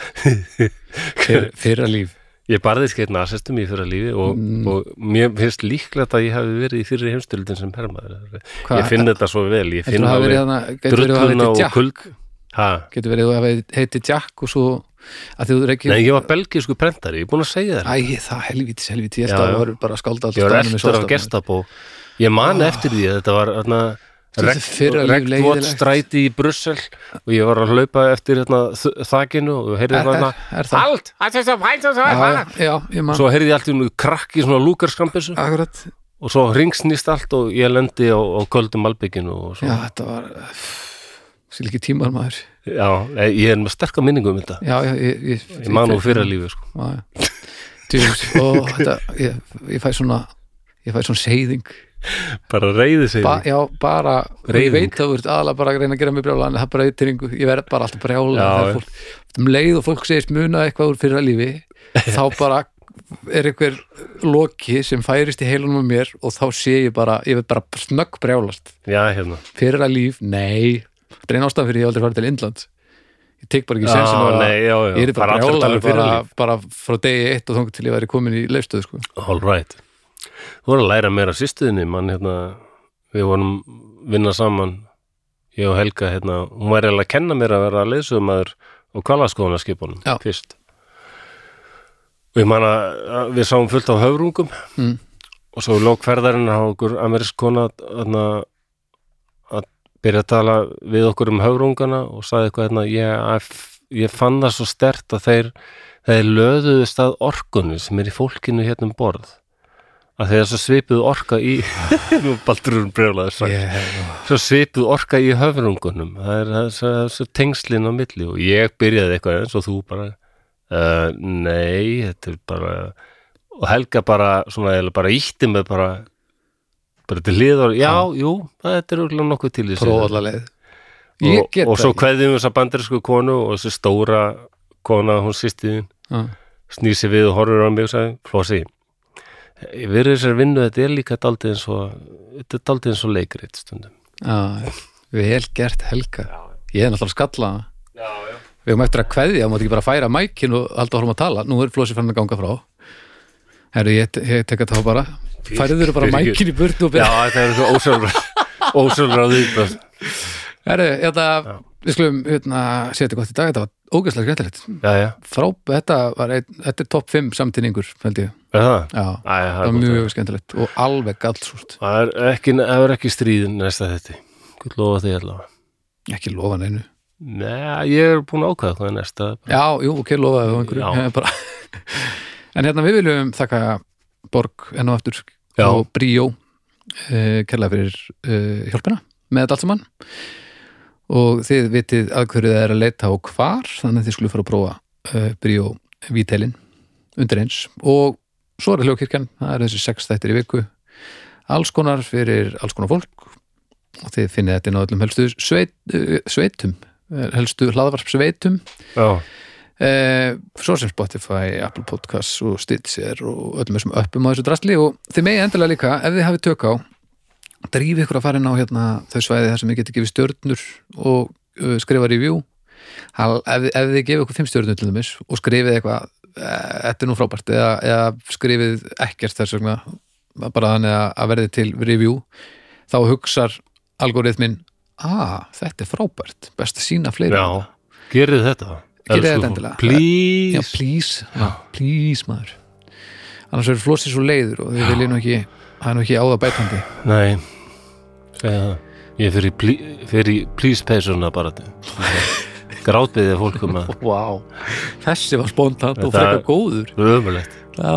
Speaker 2: Fyr, Fyrra líf
Speaker 1: ég barðist gett nasistum í fyrra lífi og,
Speaker 2: Mm.
Speaker 1: og mér finnst líklegt að ég hafi verið í fyrri heimstöldin sem hermaður
Speaker 2: Hva-
Speaker 1: ég finn þetta svo vel ég
Speaker 2: Getur
Speaker 1: finn
Speaker 2: þú hafa verið
Speaker 1: alveg
Speaker 2: þarna Getur verið að hafa
Speaker 1: drulluna
Speaker 2: heiti
Speaker 1: og
Speaker 2: Jack
Speaker 1: kulg ha?
Speaker 2: Getur verið að hafa heiti Jack og svo að þú er ekki
Speaker 1: nei, ég var belgísku prentari, ég er búin að segja þér
Speaker 2: Æ, það helvítis, helvítis, ég
Speaker 1: Já,
Speaker 2: held að
Speaker 1: já.
Speaker 2: það voru bara skálda
Speaker 1: Ég var eftir af gestabó Ég man eftir því að þetta var hérna, þarna,
Speaker 2: Þetta er fyrra líf
Speaker 1: Rektvot
Speaker 2: leiðilegt.
Speaker 1: stræti í Brussel og ég var að hlaupa eftir hérna, þ- þakinu og heyrði
Speaker 2: Er- er-
Speaker 1: þarna
Speaker 2: er það?
Speaker 1: Halt! Halt! Halt! Halt! Halt!
Speaker 2: Já,
Speaker 1: Halt!
Speaker 2: já, ég man
Speaker 1: Svo heyrði ég allt í nú krakki svona lúkarskambisu
Speaker 2: Akkurat,
Speaker 1: og svo ringsnýst allt og ég lendi á, á köldum albygginu og
Speaker 2: já,
Speaker 1: svo Já,
Speaker 2: þetta var Sýl ekki tímar maður
Speaker 1: eh, ég er með sterka minningu um þetta
Speaker 2: Já, já, ég Ég,
Speaker 1: Ég man nú fyrra lífi sko
Speaker 2: Já, já. Djús, og þetta, ég, ég fæ svona ég fæ svona seyðing
Speaker 1: Bara reyði sig
Speaker 2: ba, já, bara, ég
Speaker 1: Reyðing.
Speaker 2: veit að þú ert aðalega bara að reyna að gera mig brjála en það er bara ytringu, ég verð bara alltaf
Speaker 1: Já,
Speaker 2: brjála þegar
Speaker 1: já.
Speaker 2: fólk, um leið og fólk segist muna eitthvað úr fyrra lífi þá bara er einhver loki sem færist í heilunum á mér og þá sé ég bara, ég verð bara snögg brjálast
Speaker 1: Já, hérna
Speaker 2: fyrra líf, nei þetta er einn ástæðan fyrir ég hef aldrei farið til Indlands ég tek bara ekki
Speaker 1: Já,
Speaker 2: sensin á það
Speaker 1: nei, já, já
Speaker 2: ég er bara
Speaker 1: allir að tala
Speaker 2: brjálaður
Speaker 1: um fyrra
Speaker 2: bara,
Speaker 1: líf.
Speaker 2: bara frá degi eitt og þangað til ég væri komin í leifstöðu sko.
Speaker 1: All right. Þú voru að læra meira sýstuðinni, mann hérna, við vorum vinna saman, ég og Helga hérna, hún var eiginlega að kenna mér að vera að leysumæður og kvalaskoðunarskipunum
Speaker 2: Já.
Speaker 1: fyrst. Og ég man að að við sáum fullt á höfrungum
Speaker 2: Mm.
Speaker 1: og svo lók ferðarinn á okkur amerísk kona hérna, að byrja að tala við okkur um höfrungana og sagði eitthvað hérna, ég, ég fann það svo stert að þeir þeir löðuðu stað orkunni sem er í fólkinu hérna um borð að þeir svo svipuðu orka í nú baldurum brjólaður sagt
Speaker 2: yeah.
Speaker 1: svo svipuð orka í höfrungunum það er þessu, þessu tengslin á milli og ég byrjaði eitthvað eins og þú bara uh, nei, þetta er bara og Helga bara, svona, eiginlega bara ítti með bara bara til hliðar, já, jú þetta er örugglega nokkuð til þessu
Speaker 2: prófa allar leið ég
Speaker 1: og,
Speaker 2: get
Speaker 1: og svo
Speaker 2: það
Speaker 1: kveðjum við þessa bandarísku konu og þessi stóra kona, hún sýstiðin
Speaker 2: Já.
Speaker 1: snýr sér við og horfir á mig og sagði Flósi, við erum þessar vinnu þetta er líka daldið eins og þetta er daldið eins og leikrit stundum
Speaker 2: Já, vel gert Helga ég er náttúrulega skalla hana.
Speaker 1: já, já
Speaker 2: við höfum eftir að kveðja, maður ekki bara færa mækin og halda að horfum að tala, nú er Flósi fann að ganga frá herru, ég, te- ég tek að þá bara færðu þurru bara
Speaker 1: Fyrirgefðu.
Speaker 2: mækin í burtu og
Speaker 1: Já,
Speaker 2: byrja
Speaker 1: þetta er svo ósjálfráð ósjálfráð viðbröð
Speaker 2: herru, þetta, við skulum hérna, setja gott í dag, þetta var ógeðslega skemmtilegt
Speaker 1: Já, já,
Speaker 2: frá, þetta var ein, þetta er topp 5 samtíningur, held ég
Speaker 1: er það?
Speaker 2: já,
Speaker 1: Æ, það
Speaker 2: það
Speaker 1: er
Speaker 2: var
Speaker 1: gott.
Speaker 2: mjög skemmtilegt og alveg gallsúrt,
Speaker 1: Það er ekki, það er ekki stríð næsta þetta Guð lofa því allavega
Speaker 2: ekki lofa neinu
Speaker 1: Nei, ég er búin að ákvæða hvað er næsta
Speaker 2: Já, jú, ok, lofaði þú einhverju
Speaker 1: Já.
Speaker 2: Bara- En hérna við viljum þakka Borg enn og aftur
Speaker 1: Já.
Speaker 2: og Bríó uh, kærlega fyrir uh, hjálpina með þetta allt saman og þið vitið að hverju það er að leita og hvar, þannig að þið skulle fara að prófa uh, Bríó Vítelin undir eins og svo er hljókirkjan, það eru þessi sex þættir í viku alls konar fyrir alls konar fólk og þið finnið þetta inn á öllum helstu sveit, eh, sveitum eh, helstu hlaðvarp sveitum
Speaker 1: já,
Speaker 2: eh, svo sem Spotify, Apple Podcasts og Stitcher og öllum þessum öppum á þessu drastli og þið megið endilega líka ef þið hafið tök á drífi ykkur að fara inn á hérna, þau svæði þar sem þið getið gefið stjörnur og uh, skrifa review Hal, ef, ef þið gefið ykkur fimm stjörnur til þeimis og skrifið eitthvað eh, þetta er nú frábært eða, eða skrifið ekkert þess vegna bara þannig að- að verði til review þá hugsar algoritmin ah, þetta er frábært, best að sína fleiri
Speaker 1: já gerið þetta
Speaker 2: Gerið
Speaker 1: elsku
Speaker 2: þetta
Speaker 1: fólk.
Speaker 2: endilega. Já,
Speaker 1: please
Speaker 2: please, já. please maður annars verður flósið svo leiður og þau vilja nú ekki það er nú ekki áða bætandi
Speaker 1: nei, segja það ég fyrir, plí- fyrir please peysuna bara grátbyðið fólkum um að
Speaker 2: wow. þessi var spontant og
Speaker 1: Þetta-
Speaker 2: frekar góður
Speaker 1: ömulegt,
Speaker 2: já,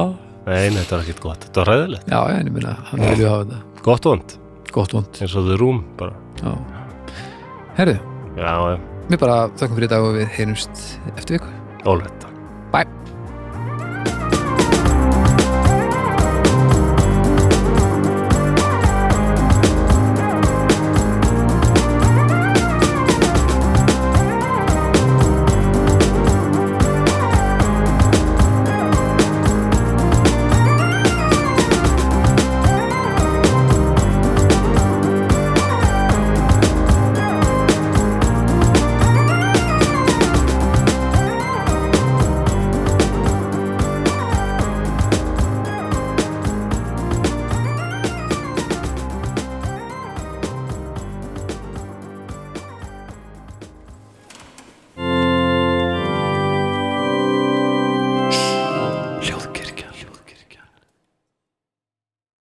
Speaker 1: nei, nei, þetta var ekkert gott þetta var ræðilegt,
Speaker 2: já, já, en ég minna hann vilja hafa þetta,
Speaker 1: gott vond
Speaker 2: gott vond
Speaker 1: eins og þau rúm bara,
Speaker 2: já. herðu,
Speaker 1: já, já,
Speaker 2: mér bara þakkum fyrir í dag og við heyrumst eftir viku
Speaker 1: ólega